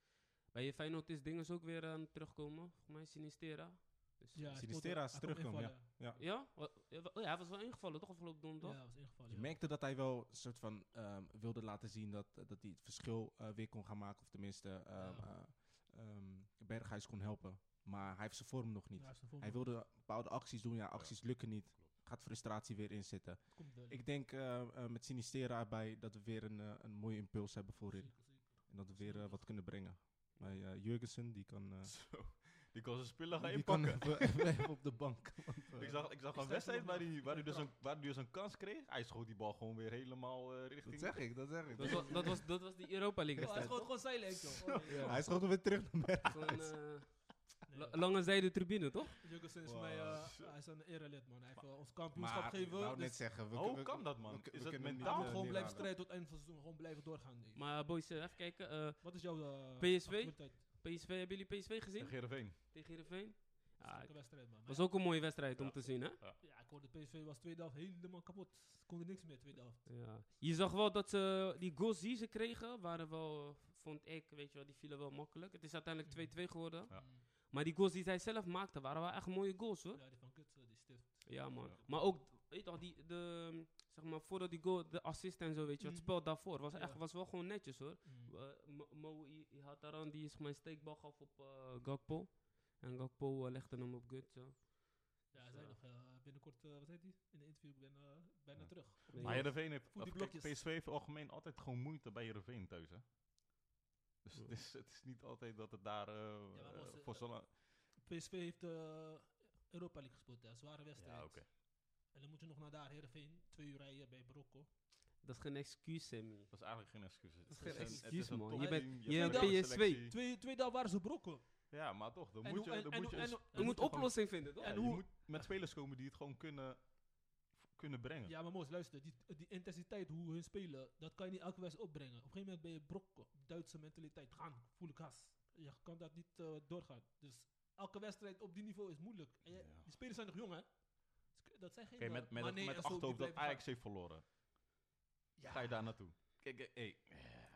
B: Bij je Feyenoord is Dinges ook weer aan het terugkomen. Volgens mij Sinistera. Dus,
A: Ja, hij komt-
C: Sinistera is
A: hij komt
C: teruggekomen, ja.
A: invallen.
B: Ja? Wa- ja, wa- oh ja, hij was wel ingevallen, toch? Afgelopen donderdag?
A: Ja, was ingevallen.
C: Je
A: ja.
C: merkte dat hij wel een soort van ehm, wilde laten zien dat, dat hij het verschil eh, weer kon gaan maken. Of tenminste, ehm,
A: Ja.
C: eh, ehm, Berghuis kon helpen. Maar hij heeft zijn vorm nog niet.
A: Ja, is de volgende.
C: Hij wilde bepaalde acties doen. Ja, acties lukken niet. Gaat frustratie weer inzitten.
A: Komt wel.
C: Ik denk eh, eh, met Sinistera erbij dat we weer een, eh, een mooie impuls hebben voorin.
A: Zeker, zeker.
C: En dat we weer eh, wat kunnen brengen. Maar eh, Jurgensen, die kan... eh,
D: Zo, die kan zijn spullen gaan
C: die kan
D: inpakken.
C: even, even op de bank. Want, eh,
D: Ik zag, ik zag
A: Is
D: een
A: dat
D: wedstrijd
A: nog
D: waar
A: wel-
D: hij, waar, hij dus
A: wel
D: een, waar hij dus een kans kreeg. Hij schoot die bal gewoon weer helemaal eh, richting...
C: dat zeg ik, dat zeg ik.
B: Dat, was, dat, was, dat was die Europa League
A: Oh, hij
B: wedstrijd.
A: schoot gewoon silent, joh. Oh, nee,
B: Ja.
A: joh.
C: Hij is gewoon weer terug naar Berghuis.
B: Gewoon, eh,
A: Nee,
B: la-
A: joh.
B: lange zijde tribune, toch?
A: Jurgensen is voor
C: Wow.
A: mij, eh, hij is een erelid, man. Hij heeft eh, ons kampioenschap
C: ik wou
A: gegeven.
C: net
A: Dus
C: zeggen... We,
D: Oh, Hoe
C: we-
D: kan dat, man?
C: k-
D: Is dat
C: kunnen hem niet,
A: hij
D: mentaal?
A: moet
C: eh,
A: gewoon blijven
C: neerhalen.
A: strijden tot het eind van het seizoen. Gewoon blijven doorgaan. nee.
B: Maar boys, eh, even kijken. eh,
A: Wat is jouw eh,
B: PSV?
A: actualiteit?
B: PSV, hebben jullie PSV gezien?
D: Tegen Heerenveen.
B: Tegen Heerenveen? Ja,
A: Sterke wedstrijd, man. Maar
B: was
A: ja,
B: ook een mooie wedstrijd om
D: Ja.
B: te zien, hè?
A: Ja, ik hoorde PSV was tweede helft helemaal kapot. Ze konden niks meer tweede helft.
B: Ja. Je zag wel dat ze, die goals die ze kregen, waren wel, eh, vond ik, weet je wel, die vielen wel makkelijk. Het is uiteindelijk 2-2 geworden.
D: Ja.
A: Mm.
B: Maar die goals die zij zelf maakte, waren wel echt mooie goals, hoor.
A: Ja, die van Kut, eh, die stift.
B: Ja, man.
D: Ja.
B: Maar ook, weet je toch, die, de, zeg maar, voordat die goal, de assist en zo, weet je, wat
A: Mhm.
B: spel daarvoor was, echt,
A: Ja.
B: was wel gewoon netjes, hoor.
A: Mm.
B: Eh, Mo- Mo I- I- had daar aan die zeg maar, een steekbal gaf op eh, Gakpo. En Gakpo eh, legde hem op gut, zo.
A: Ja, hij zei nog eh, binnenkort, eh, wat heet die? In de interview, ik ben eh, bijna
D: Ja.
A: terug.
B: Maar
D: Maar Heerenveen heeft...
A: Voet die
D: of kijk,
A: blokjes.
D: PSV heeft algemeen altijd gewoon moeite bij Heerenveen thuis, hè? Dus
B: Ja.
D: het is, het is niet altijd dat het daar eh,
A: maar
D: eh,
A: als, eh,
D: voor zo'n... Ja,
A: PSV heeft eh Europa League gespeeld, ja. Zware wedstrijd.
D: oké.
A: En dan moet je nog naar daar, Heerenveen. Twee uur rijden bij Marokko.
B: Dat is geen excuus, Sammy.
D: Dat is eigenlijk geen excuus. Het
B: is geen
D: een- het
B: excuus,
D: een
B: man.
D: topteam,
B: Je bent-
D: hebt
B: je
D: een
A: bent
D: goede
B: PSV.
D: selectie.
A: Twee, twee dagen waren ze brokken.
D: Ja, maar toch. Dan
A: En
D: moet
A: hoe-
D: je,
A: en-
D: dan
A: en
D: moet je
A: hoe-
D: een
A: en hoe-
B: Je moet
A: toch
B: oplossing vinden, toch?
D: Ja,
A: En
D: je
A: hoe-
D: moet met spelers komen die het gewoon kunnen kunnen brengen.
A: Ja, maar Moos, luister, die, die intensiteit, hoe hun spelen, dat kan je niet elke wedstrijd opbrengen. Op een gegeven moment ben je brokken, Duitse mentaliteit, gaan, voel ik gas. Je kan dat niet eh, doorgaan. Dus elke wedstrijd op die niveau is moeilijk. En je-
D: Ja.
A: Die spelers zijn nog jong, hè? Dus k- Dat zijn geen...
D: Oké, met,
A: eh,
D: met,
A: Mané en
D: met het
A: zo, die
D: achterhoofd dat
A: blijven
D: Ajax heeft verloren.
A: gaan.
D: Ga je
A: Ja.
D: daar naartoe? Kijk, eh, hey,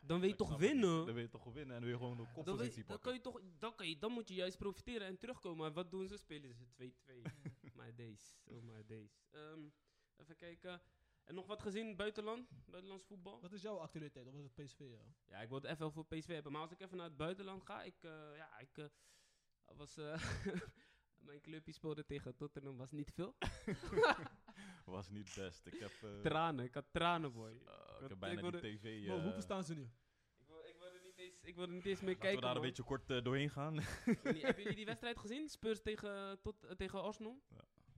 B: Dan wil je
D: ik
B: toch
D: snap het niet.
B: winnen?
D: Dan wil je toch winnen en dan wil je gewoon de
B: Dan, wil je-
D: koppositie
B: dan,
D: pakken.
B: kan je toch, dan, kan je, dan moet je juist profiteren en terugkomen. Maar wat doen ze? Spelen ze 2-2. my days. Oh my days. Ehm, even kijken. En nog wat gezien buitenland? Buitenlands voetbal?
A: Wat is jouw actualiteit? Of was het PSV? eh?
B: Ja, ik wil het even wel voor PSV hebben. Maar als ik even naar het buitenland ga, ik, eh, ja, ik eh, was, eh, mijn clubje speelde tegen Tottenham, was niet veel.
D: Was niet best. Ik heb, eh,
B: Tranen, ik had tranen, boy.
D: eh, ik
B: Ik
D: heb bijna
B: wilde-
D: die tv...
A: Mo,
D: eh,
A: hoeveel staan ze nu?
B: Ik wil, ik wil er niet eens, ik wil er niet eens mee
D: Laten
B: kijken,
D: we daar een
B: man.
D: beetje kort eh, doorheen gaan.
B: Jullie- Hebben jullie die wedstrijd gezien? Spurs tegen, tot, eh, tegen Arsenal.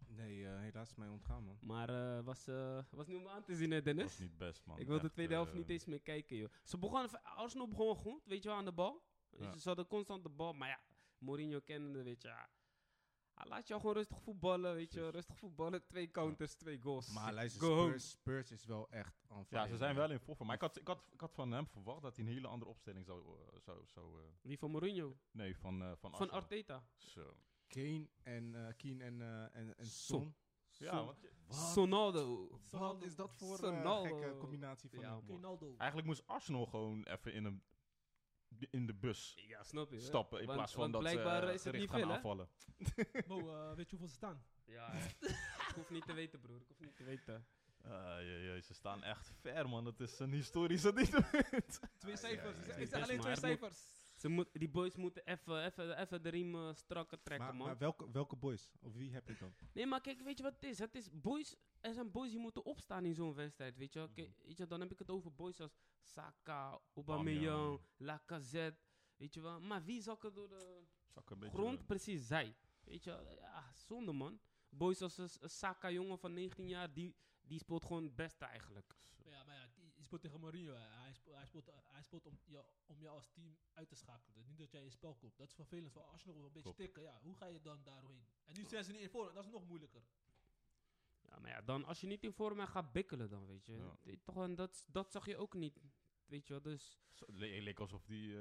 C: Nee, eh, helaas mij ontgaan, man.
B: Maar eh was, eh, was niet om aan te zien, hè, Dennis?
D: was niet best, man.
B: ik wil de
D: Echt,
B: tweede helft niet
D: eh,
B: eens meer kijken, joh. Ze begonnen, v- Arsenal begon goed, weet je wel, aan de bal.
D: Ja.
B: Dus ze hadden constant de bal, maar ja, Mourinho kennende, weet je, ja. Hij laat jou gewoon rustig voetballen, weet je, wel,
D: Precies.
B: rustig voetballen, twee counters, twee goals.
C: Maar luister,
B: Go home.
C: Spurs, Spurs is wel echt on
D: Ja,
C: fire,
D: ze zijn
C: man.
D: wel in vorm. Maar ik had, ik, had, ik had van hem verwacht dat hij een hele andere opstelling zou... eh, zou, zou eh,
B: Wie van Mourinho?
D: nee, van, eh van
B: Van
D: Arsenal.
B: Arteta.
D: Zo.
C: Kane en eh Keen en, eh, en, en
B: Son.
C: Son.
D: Ja,
B: Son-
D: want
B: Sonaldo.
C: Wat is dat voor een
B: Sonaldo.
C: gekke combinatie van...
B: Ja,
C: hem?
B: man.
A: Ronaldo.
D: Eigenlijk moest Arsenal gewoon even in, een, in de bus
B: Ja, snap je. hè?
D: stappen. In
B: Want-
D: plaats van
B: want
D: dat ze
B: blijkbaar
D: eh,
B: is het
D: gericht
B: niet
D: gaan
B: veel, hè?
D: aanvallen.
A: Mo, eh, weet je hoeveel ze staan?
B: Ja, hè. ik hoef niet te weten, broer. Ik hoef niet te weten.
D: Ah, jee, jee, ze staan echt ver, man. Het is een historische ding.
A: Twee
C: Ah, ja,
A: cijfers. Ik
C: ja, ja.
A: zeg- Ik
B: Best,
A: zeg alleen
B: maar
A: twee
B: het moet-
A: cijfers.
B: Ze moet, die boys moeten even- even even de riem eh, strakker trekken,
C: Maar,
B: man.
C: maar welke, welke boys? Of wie heb je dan?
B: Nee, maar kijk, weet je wat het is? Het is boys, er zijn boys die moeten opstaan in zo'n wedstrijd, weet je wel. Kijk, weet je wel, Dan heb ik het over boys als Saka, Aubameyang,
D: Aubameyang.
B: Lacazette, weet je wel. Maar wie zakken door de
D: Zak een beetje.
B: grond? Precies, zij. Weet je wel, ja, zonde man. Boys als een S- een Saka, jongen van 19 jaar, die, die speelt gewoon het beste eigenlijk.
A: Ja, maar ja, je speelt tegen Mourinho. hè. Hij speelt, hij speelt, hij speelt om, jou, om jou als team uit te schakelen. Dus niet dat jij in spel komt. Dat is vervelend. Voor Arsenal wil een beetje
D: Klopt.
A: tikken. Ja, hoe ga je dan daarheen? En nu zijn ze niet in vorm. Dat is nog moeilijker.
B: Ja, maar ja, dan als je niet in vorm bent, gaat bikkelen dan, weet je.
D: Ja.
B: Dit- Toch, en dat, dat zag je ook niet, weet je wel. Dus
D: Zo, Het le- leek alsof die eh,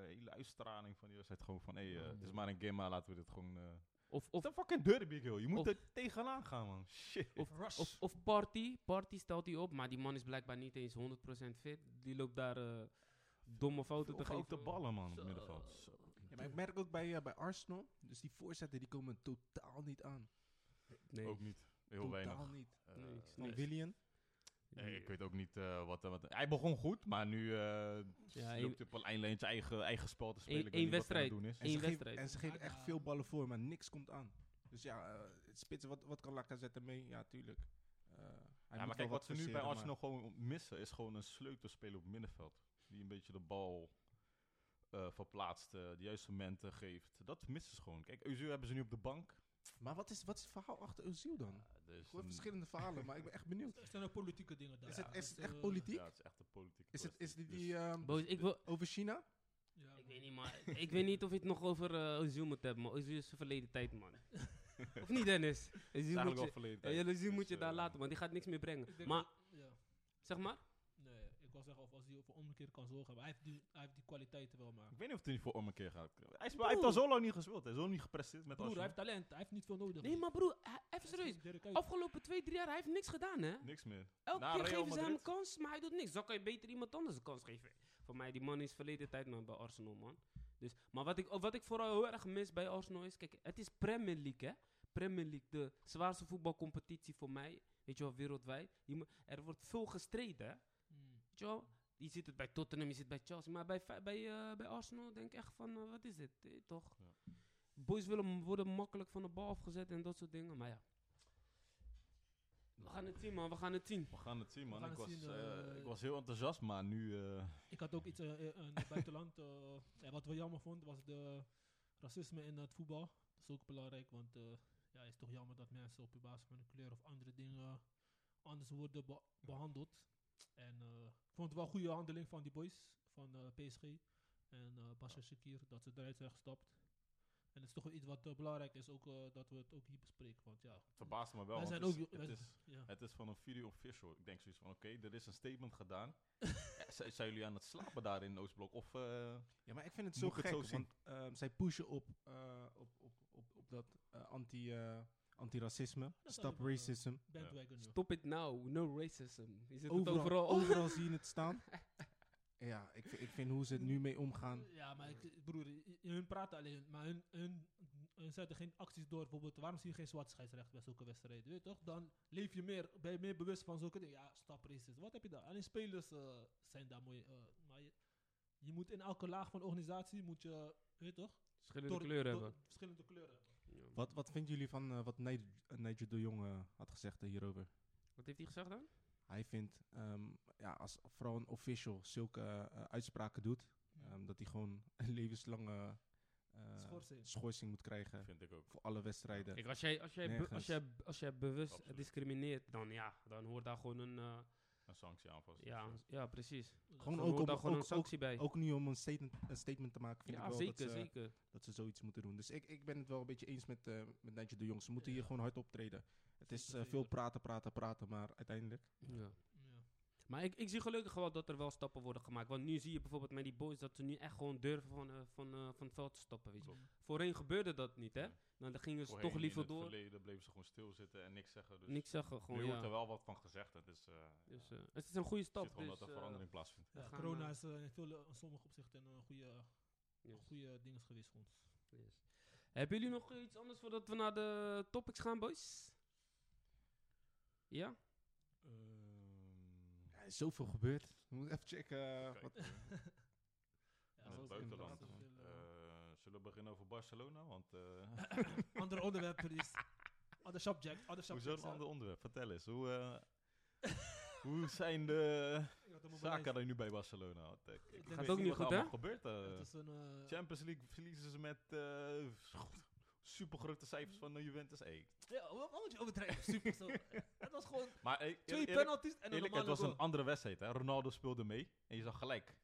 D: hele uitstraling van die wedstrijd gewoon van... Hé, eh, het is maar een game, maar laten we dit gewoon... eh
B: Oh, of,
D: Het
B: of,
D: is een fucking derby, joh. Je moet
B: of-
D: er tegenaan gaan, man. Shit.
B: Of-
A: Rush.
B: Of, of Party. Party stelt hij op, maar die man is blijkbaar niet eens 100% fit. Die loopt daar eh, domme fouten te
D: Of ook de
B: geven.
D: ballen, man, op
A: Zo.
D: het middenveld. Zo.
C: Ja, maar ik merk ook bij, eh, bij Arsenal, dus die voorzetten die komen totaal niet aan.
B: Nee.
D: Ook niet. Heel
C: totaal
D: weinig.
C: niet.
D: Eh,
B: Nee, ik snap
C: Van
B: Nee.
C: Willian.
D: eh, ik weet ook niet eh, wat, eh, wat... Hij begon goed, maar nu eh
B: Ja,
D: loopt hij op een eind zijn eigen, eigen spel te spelen.
B: Eén-
D: Ik
B: één
D: weet niet wat hij aan
B: wedstrijd.
D: het doen is.
C: En ze,
B: Eén
C: geven,
B: wedstrijd.
C: en ze geven echt
A: Ja.
C: veel ballen voor, maar niks komt aan. Dus ja, eh, het spitsen, wat, wat kan Lacazette mee? Ja, tuurlijk. Eh, hij moet
D: Ja,
C: wel
D: maar kijk, wat ze nu bij
C: forceren, maar-
D: Arsenal gewoon missen, is gewoon een sleutelspeler op het middenveld. Die een beetje de bal eh, verplaatst, eh, de juiste momenten geeft. Dat missen ze gewoon. Kijk, Uzu hebben ze nu op de bank.
C: Maar wat is, wat is het verhaal achter Özil dan?
D: Ja, er is
C: Ik hoor
D: een-
C: verschillende verhalen, maar ik ben echt benieuwd.
A: Er zijn ook politieke dingen daar.
C: Is het, is het
A: Dus,
C: echt
A: eh,
C: politiek?
D: Ja, het is echt een politieke
C: Is het,
D: kwestie.
C: is dit
D: Dus-
C: die ehm,
B: Boys, ik, wil,
C: over China?
A: ja,
B: ik weet niet, maar ik weet niet of je het nog over eh Ozil moet hebben. Maar Ozil is een verleden tijd, man. of niet, Dennis?
D: Het is
B: Ozil moet
D: eigenlijk al
B: je,
D: verleden
B: ja,
D: tijd.
B: Ozil
D: Dus,
B: moet je
D: eh,
B: daar laten, man. Die gaat niks meer
A: Ik
B: brengen.
A: denk
B: Maar,
A: dat- ja.
B: zeg maar.
A: Nee, ik wil zeggen of als hij voor omkeer kan zorgen. Maar hij heeft die, hij heeft die kwaliteiten wel, maar...
D: Ik weet niet of hij voor om een keer gaat. Hij, is, hij heeft al zo lang niet gespeeld. Hij is zo niet gepresteerd met
A: Broer, hij
D: Arsenal.
A: heeft talent. Hij heeft niet veel nodig.
B: Nee, maar broer, hij- even
A: Hij is
B: serieus.
A: niet Dirk Kuyt.
B: Afgelopen twee, drie jaar, hij heeft niks gedaan, hè?
D: Niks meer.
B: Elke
D: Na
B: keer
D: Real
B: geven ze hem een
D: Madrid?
B: kans, maar hij doet niks. Dan kan je beter iemand anders een kans geven. Voor mij, die man is verleden tijd man bij Arsenal, man. Dus, maar wat ik, oh, wat ik vooral heel erg mis bij Arsenal is... Kijk, het is Premier League, hè. Premier League, de zwaarste voetbalcompetitie voor mij. Weet je wel, wereldwijd. Je moet- er wordt veel gestreden, hè.
A: Hmm.
B: Weet je wel? Je ziet het bij Tottenham, je ziet het bij Chelsea. Maar bij, Fe- bij, eh, bij Arsenal denk ik echt van, eh, wat is dit? Eh, toch?
D: Ja.
B: Boys willen m- worden makkelijk van de bal afgezet en dat soort dingen. Maar ja. We gaan het zien, man. We gaan het zien.
D: We gaan het zien, man.
A: gaan
D: Ik
A: het
D: was,
A: zien,
D: eh,
A: eh,
D: ik was heel enthousiast, maar nu... eh,
A: Ik had ook iets eh, eh, in het buitenland. eh, en wat we jammer vonden was de racisme in het voetbal. Dat is ook belangrijk, want eh, ja, het is toch jammer dat mensen op basis van hun kleur of andere dingen anders worden be- behandeld. En eh, ik vond het wel een goede handeling van die boys van eh, PSG en eh Basha Shakir dat ze eruit zijn gestapt. En dat is toch wel iets wat eh, belangrijk is, ook, eh, dat we het ook hier bespreken. Want ja,
D: Het verbaast me wel.
A: wij
D: want
A: zijn
D: het
A: ook...
D: is-
A: wij
D: het
A: zijn-
D: is-
A: ja.
D: Het is van een video official. Ik denk zoiets van, oké, er is een statement gedaan. Ja, zijn, zijn jullie aan het slapen daar in Oostblok? Of, eh,
C: Ja, maar ik vind het zo
D: Moet ik het
C: gek,
D: zo zien?
C: want ehm, zij pushen op, eh, op, op, op, op dat eh, anti, eh, antiracisme,
A: Dat is
C: stop
A: wel, eh,
C: racism.
A: Bandwagon nu.
B: Stop it now, no racism. Je zit het
C: Overal,
B: overal. Oh,
C: overal. zie je het staan. Ja, ik, vind- ik vind hoe ze het nu mee omgaan.
A: Ja, maar ik, broer, i- hun praten alleen, maar hun, hun, hun zetten geen acties door. Bijvoorbeeld, waarom zie je geen zwart scheidsrecht bij zulke wedstrijden? Weet je toch? Dan leef je meer, ben je meer bewust van zulke dingen. Ja, stap racisme. Wat heb je daar? Alleen spelers eh, zijn daar mooi. eh, maar je, je moet in elke laag van de organisatie, moet je, weet je toch?
B: Verschillende
A: Door-
B: kleuren
A: door-
B: hebben.
A: Verschillende kleuren.
B: Ja.
C: Wat, wat vinden jullie van eh, wat Nij- eh, Nigel de Jong eh, had gezegd eh, hierover?
B: Wat heeft hij gezegd dan?
C: Hij vindt, ehm, ja, als vooral een official zulke eh, eh, uitspraken doet, ehm, dat hij gewoon een levenslange eh,
A: Schorsing.
C: schorsing moet krijgen
D: vind ik ook.
C: voor alle wedstrijden.
B: Kijk, als jij, als jij, be- als
C: Nergens.
B: jij, als jij bewust
D: Absoluut.
B: discrimineert, dan ja, dan hoort daar gewoon een... eh,
D: Een sanctie aan vast.
B: ja,
D: Dus,
B: ja, precies.
C: Gewoon
B: Dan
C: ook
B: hoort
C: om-
B: daar gewoon
C: ook-
B: een sanctie bij.
C: Ook nu om een statement, een statement te maken, vind
B: ja,
C: ik wel dat,
B: zeker,
D: eh,
C: ze,
B: zeker.
C: dat ze zoiets moeten doen. Dus ik, ik ben het wel een beetje eens met, eh met Nigel de Jong. Ze moeten
A: Ja.
C: hier gewoon hard optreden. Het is
A: Zeker,
C: eh, veel
A: zeker.
C: praten, praten, praten, maar uiteindelijk...
B: Ja.
A: Ja.
B: Maar ik, ik zie gelukkig wel dat er wel stappen worden gemaakt. Want nu zie je bijvoorbeeld met die boys dat ze nu echt gewoon durven van, eh, van, eh, van het veld te stappen. Weet je.
D: Klopt.
B: Voorheen gebeurde dat niet, hè?
D: Nee.
B: Nou, dan gingen ze
D: Voorheen
B: toch liever
D: in het
B: door.
D: verleden bleven ze gewoon stilzitten en niks zeggen. Dus
B: Niks zeggen,
D: nu
B: gewoon.
D: wordt
B: Ja.
D: er wel wat van gezegd. Het is, eh,
B: Dus,
D: ja,
B: eh, het is een goede
D: je
B: stap.
D: ziet gewoon
B: dus,
D: dat er
B: eh,
D: verandering plaatsvindt.
B: we
A: Ja,
B: gaan,
A: corona
B: eh,
A: is eh, in, veel, in sommige opzichten een goede,
B: yes,
A: goede ding geweest voor ons.
B: yes. Hebben jullie nog iets anders voordat we naar de topics gaan, boys? Ja? Ehm,
D: Ehm,
C: Ja, er is zoveel gebeurd. We moeten even checken. eh,
D: Kijk,
C: wat-
D: eh,
A: Ja,
D: in
A: zo
D: het
A: is het
D: buitenland.
A: inderdaad een veel, eh,
D: eh, zullen we beginnen over Barcelona? Want, eh
A: Andere onderwerp, please. Other subject, other eh.
D: hoezo
A: subject.
D: een ander onderwerp? Vertel eens. Hoe, eh, hoe zijn de zaken er nu bij Barcelona? Want, eh, ik- ik
A: Gaat
D: weet
A: ook
B: niet
D: wat er
B: goed,
D: allemaal
B: hè?
D: gebeurt. eh.
A: Het is een... eh,
D: Champions League verliezen ze met super grote cijfers van de Juventus. Hey.
A: Ja, wat wat moet je overdrijven? Super, zo. Het was gewoon
D: Maar hey, eer-
A: twee
D: eerlijk,
A: penalties en een
D: eerlijk,
A: normale
D: het was
A: goal.
D: een andere wedstrijd. Hè? Ronaldo speelde mee en je zag gelijk.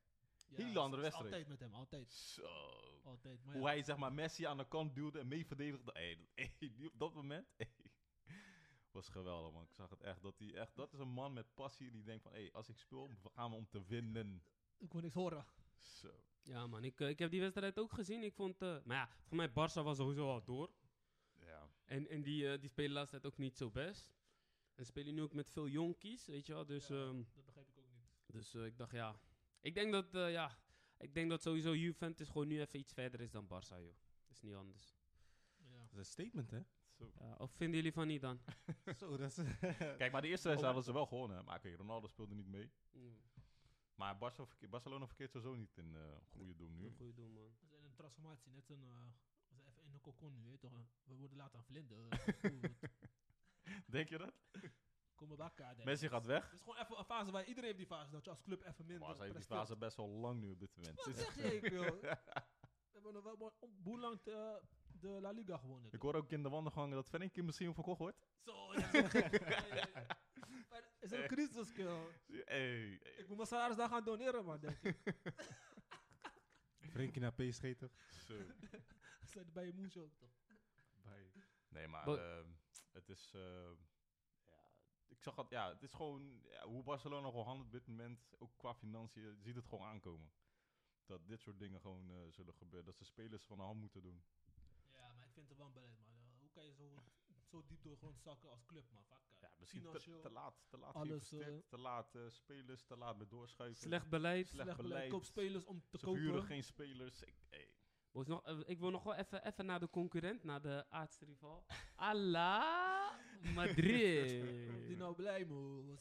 A: Ja,
D: hele
A: het
D: andere
A: is
D: wedstrijd.
A: Altijd met hem, altijd.
D: Zo.
A: Altijd. Maar ja,
D: Hoe hij zeg maar, Messi aan de kant duwde en mee verdedigde. Hey, dat- hey, die op dat moment hey, was geweldig man. Ik zag het echt dat, hij echt. dat is een man met passie die denkt van hey, als ik speel gaan we om te winnen.
A: ik kon niks horen.
D: Zo.
B: Ja, man. Ik, eh, ik heb die wedstrijd ook gezien. Ik vond. eh, maar ja, voor mij Barça was sowieso al door.
D: Ja.
B: En, en die, eh, die spelen laatst tijd ook niet zo best. En spelen nu ook met veel jonkies, weet je wel. Dus,
A: Ja,
B: ehm,
A: dat begrijp ik ook niet.
B: dus eh, ik dacht, ja. Ik denk dat, eh, ja. Ik denk dat sowieso Juventus gewoon nu even iets verder is dan Barça, joh. Dat is niet anders.
A: Ja.
C: Dat is een statement, hè?
D: Zo.
B: Ja, of vinden jullie van niet dan?
C: Zo, dat is...
D: Eh, Kijk, maar de eerste
A: Oh,
D: wedstrijd hadden ze wel gewonnen. hè. Maar oké, Ronaldo speelde niet mee.
B: Mm,
D: Maar Barca verke- Barcelona verkeert sowieso niet in eh goede doen nu.
B: Een goede doel, man.
A: Dat is een transformatie, net een... eh, we zijn even in een cocon nu, weet je toch? eh, We worden later aan vlinder. eh, gevoel, we
D: Denk je dat?
A: Komen bij elkaar. denk
D: Messi
A: ik.
D: gaat weg.
A: Het is gewoon even een fase waar iedereen heeft die fase. Dat je als club even minder
D: Maar ze heeft die
A: presteert.
D: fase best wel lang nu op dit moment.
A: Wat zeg je, ik wil? We hebben nog wel maar om- hoe lang de, de La Liga gewonnen.
D: Ik hoor ook in de wandelgangen dat Frenkie misschien verkocht wordt.
A: Zo, ja, zo gek. Nee, maar is een crisis, kill.
D: Hey, hey.
A: Ik moet mijn salaris daar gaan doneren, man, denk ik.
C: Frenkie naar PSG, toch?
D: Zo.
A: Zet bij je moesje ook, toch?
D: Nee, maar
B: Wat-
D: ehm, het is... ehm, ja, ik zag dat, ja, het is gewoon ja, hoe Barcelona gewoon handelt op dit moment. Ook qua financiën, je ziet het gewoon aankomen. Dat dit soort dingen gewoon eh, zullen gebeuren. Dat ze spelers van de hand moeten doen.
A: Ja, maar ik vind het wel beleid, man. Eh, hoe kan je zo, zo diep door grond zakken als club, man? Fuck, eh.
D: Ja, misschien te,
A: Financieel.
D: te laat, te laat
A: Alles,
D: geïnvesteerd,
A: eh,
D: te laat eh, spelers, te laat met doorschuiven.
B: Slecht beleid.
D: slecht beleid.
A: Koop spelers om te
D: Ze huren
A: kopen.
D: geen spelers. Ik, hey.
B: Boys, nog, eh, ik wil nog wel even, even naar de concurrent, naar de aartsrival. Ala Madrid.
A: Die nou blij, man.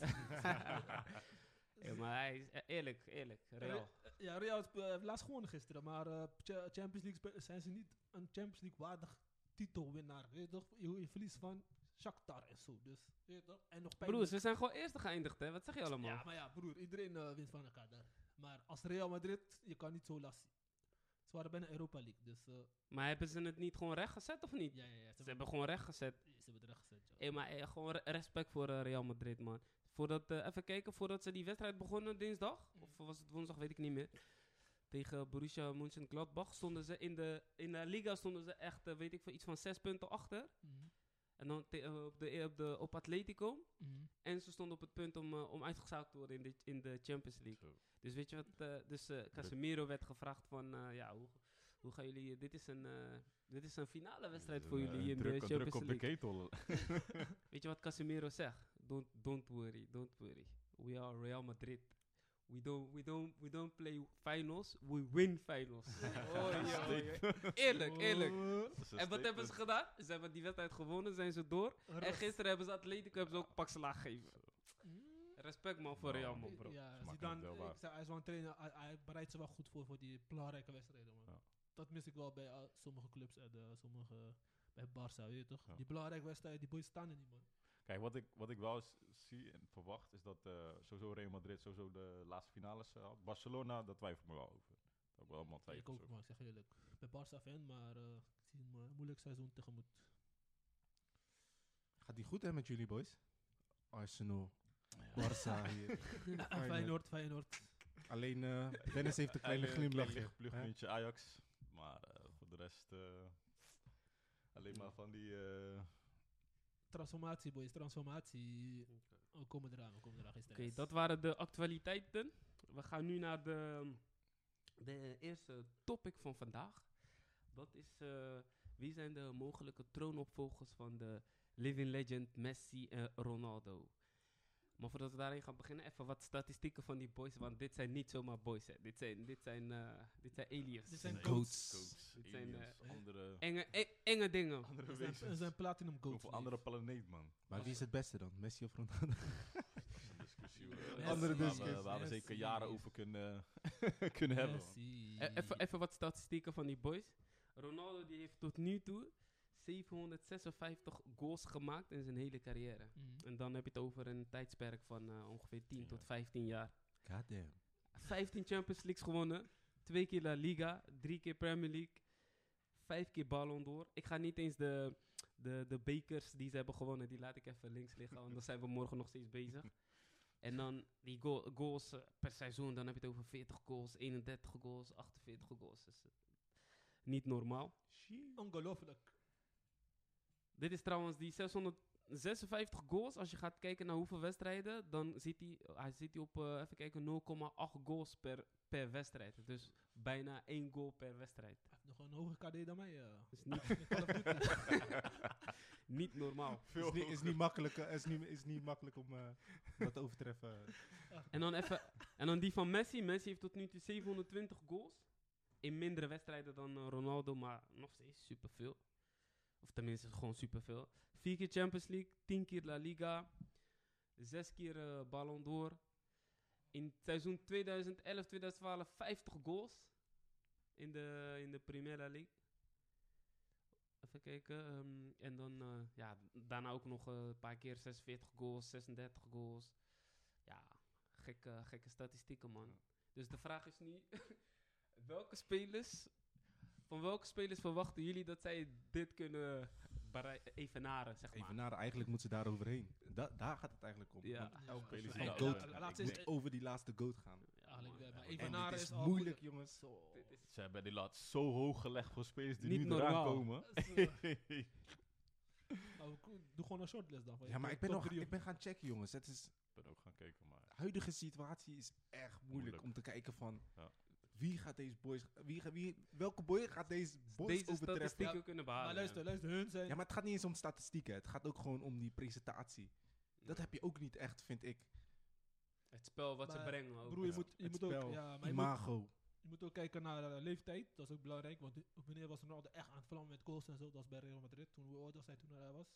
B: Ja, maar hij is, eh, eerlijk, eerlijk. Real.
A: Ja, Real heeft, eh, heeft laatst gewonnen gisteren, maar eh, Cha- Champions League spe- zijn ze niet een Champions League waardig titelwinnaar. Weet je toch? Je, je verliest van Shakhtar en zo, dus weet je toch? En nog
B: Broer,
A: pijnlijk.
B: ze zijn gewoon eerste geëindigd, hè? Wat zeg je allemaal?
A: Ja, maar ja, broer, iedereen eh, wint van elkaar daar. Maar als Real Madrid, je kan niet zo last. Ze waren bijna Europa League, dus eh,
B: Maar hebben ze het niet gewoon recht gezet of niet?
A: ja, ja, ja.
B: Ze hebben gewoon recht gezet.
A: ze hebben het recht gezet, ja.
B: Hey, maar eh, gewoon re- respect voor eh, Real Madrid, man. Voordat, eh, even kijken, voordat ze die wedstrijd begonnen dinsdag, of was het woensdag, weet ik niet meer. Tegen Borussia Mönchengladbach stonden ze in de, in de Liga stonden ze echt, eh, weet ik veel, iets van zes punten achter.
A: Mhm.
B: En dan te- eh, op, de, op, de, op Atletico.
A: Mhm.
B: En ze stonden op het punt om, eh, om uitgezaakt te worden in de, in de Champions League.
D: Zo.
B: Dus weet je wat, eh, dus eh, Casemiro werd gevraagd van, eh, ja, hoe, hoe gaan jullie, dit is een, eh, dit is een finale wedstrijd
D: Dus
B: voor
D: een, eh,
B: jullie in
D: druk,
B: de
D: druk
B: Champions
D: op
B: League.
D: de ketel.
B: Weet je wat Casemiro zegt? Don't, don't worry, don't worry. We are Real Madrid. We don't, we don't, we don't play finals, we win finals. oh, joh, joh. Eerlijk,
A: Oh.
B: eerlijk. En wat hebben ze gedaan? Ze hebben die wedstrijd gewonnen, zijn ze door. En gisteren hebben ze Atletico hebben ze ook een pak slaag gegeven.
A: Mm.
B: Respect man voor
D: Nou,
B: Real man bro.
A: Ja,
D: makkelijk
A: Zidane, eh,
D: deelbaar.
A: ik zei, hij is wel een trainer, hij, hij bereidt ze wel goed voor voor die belangrijke wedstrijden. Man.
D: Ja.
A: Dat mis ik wel bij eh, sommige clubs en eh, sommige bij Barça, weet je toch?
D: Ja.
A: Die belangrijke wedstrijden, die boys staan er niet, man.
D: Kijk, wat ik, wat ik wel s- zie en verwacht is dat eh, sowieso Real Madrid sowieso de laatste finales eh, had. Barcelona, daar twijfel ik me wel over. Daar heb ik wel allemaal
A: ik
D: twijfels
A: ook,
D: over.
A: man, ik zeg eerlijk. Ik ben Barça fan, maar eh, ik zie een eh, moeilijk seizoen tegemoet.
C: Gaat die goed hè met jullie boys? Arsenal, Barca hier. Feyenoord.
A: Feyenoord, Feyenoord.
C: Alleen eh, Dennis heeft een kleine
D: Eindelijk een klein
C: glimlachje. hè?
D: lichtpluchtmuntje Ajax. Maar eh, voor de rest eh, alleen maar van die... eh,
A: Transformatie, boys, transformatie. Oh, komen eraan, we komen eraan
B: Oké,
A: gisteren.
B: dat waren de actualiteiten. We gaan nu naar de, de eerste topic van vandaag. Dat is eh, wie zijn de mogelijke troonopvolgers van de Living Legend Messi en Ronaldo. Maar voordat we daarin gaan beginnen, even wat statistieken van die boys. Want dit zijn niet zomaar boys. Hè. Dit zijn, dit zijn, eh, dit zijn aliens.
A: Dit zijn
D: nee,
C: goats.
D: goats,
B: Dit zijn,
D: aliens,
A: eh,
D: andere,
B: Enge, e- enge dingen.
D: andere
A: We zijn, we
D: wezens.
A: zijn platinum goals.
D: Op een andere planeet, man.
C: Maar wie is het beste dan? Messi of Ronaldo?
D: Dat is een discussie. hoor.
A: Messi,
D: Waar we-
A: discussie.
D: Waar we zeker jaren
A: Messi.
D: over kunnen, kunnen hebben. man.
A: Messi.
B: Eh, Even, even wat statistieken van die boys. Ronaldo die heeft tot nu toe 756 goals gemaakt in zijn hele carrière.
A: Mm.
B: En dan heb je het over een tijdsperk van eh, ongeveer 10
D: Tien
B: tot
D: jaar.
B: 15 jaar.
C: Goddamn.
B: 15 Champions Leagues gewonnen, twee keer La Liga, drie keer Premier League, vijf keer Ballon d'Or. Ik ga niet eens de, de, de bekers die ze hebben gewonnen, die laat ik even links liggen, want dan zijn we morgen nog steeds bezig. En dan die goal- goals eh, per seizoen, dan heb je het over 40 goals, 31 goals, 48 goals. Dus, eh, niet normaal.
A: Ongelooflijk.
B: Dit is trouwens die 656 goals. Als je gaat kijken naar hoeveel wedstrijden, dan zit hij, hij zit hij op eh, even kijken, 0,8 goals per, per wedstrijd. Dus bijna 1 goal per wedstrijd.
A: Hij heeft nog een hoger KD dan mij. eh.
B: Dus niet,
A: Met Call of Duty.
B: niet normaal.
C: Is niet, is niet makkelijk, eh, is niet, is niet makkelijk om eh, dat te eh, overtreffen.
B: En dan, even, en dan die van Messi. Messi heeft tot nu toe 720 goals. In mindere wedstrijden dan eh, Ronaldo, maar nog steeds superveel. Of tenminste, gewoon superveel. Vier keer Champions League, tien keer La Liga, zes keer eh, Ballon d'Or. In het seizoen 2011-2012 50 goals in de, in de Primera League. Even kijken. ehm, en dan eh, ja, daarna ook nog eh, een paar keer 46 goals, 36 goals. Ja, gekke, gekke statistieken, man. Dus de vraag is nu: welke spelers, van welke spelers verwachten jullie dat zij dit kunnen berei- evenaren, zeg maar?
C: Evenaren, eigenlijk moeten ze daar overheen. Da- daar gaat het eigenlijk om.
B: Ja.
C: Want
A: Ja,
D: elke
A: ja,
D: speler
A: ja,
C: die
A: ja,
C: goat.
A: ja,
D: Ik
A: Laat
C: ze
A: eens
C: moet over die laatste goat gaan.
A: Eigenlijk
B: man.
A: wel, maar
B: Ja,
A: even
B: man.
A: na-
C: En
A: Evenaren
C: dit is
A: Nou, is al
C: moeilijk, jongens.
D: eh,
B: Dit is-
D: Ze hebben die lat zo hoog gelegd voor spelers die
B: Niet
D: nu eraan
B: normaal.
D: komen.
A: Zo. Nou, we ko- Doe gewoon een shortlist dan. van je
C: Ja, maar
A: top-
C: ik ben,
A: top
C: nog,
A: drie.
C: ik ben gaan checken, jongens. Het is,
D: ik ben ook gaan kijken, maar...
C: de huidige situatie is echt moeilijk,
D: Moeilijk.
C: om te kijken van...
D: Ja.
C: Wie gaat deze boys... Wie, ga- wie, welke boy gaat deze boys
B: deze
C: overtreffen?
B: statistieken kunnen behalen.
A: Maar luister, luister, hun zijn...
C: Ja, maar het gaat niet eens om statistieken. Het gaat ook gewoon om die presentatie. Dat heb je ook niet echt, vind ik.
B: Het spel wat ze
A: Maar,
B: brengen. Ook.
A: Broer, je
C: Ja,
A: moet, je
C: het
A: moet ook...
C: spel,
A: Ja, maar je moet,
C: Imago.
A: je moet ook kijken naar eh, leeftijd. Dat is ook belangrijk. Want wanneer was Ronaldo echt aan het vlammen met goals en zo? Dat was bij Real Madrid. Toen, hoe oud was hij toen hij daar was?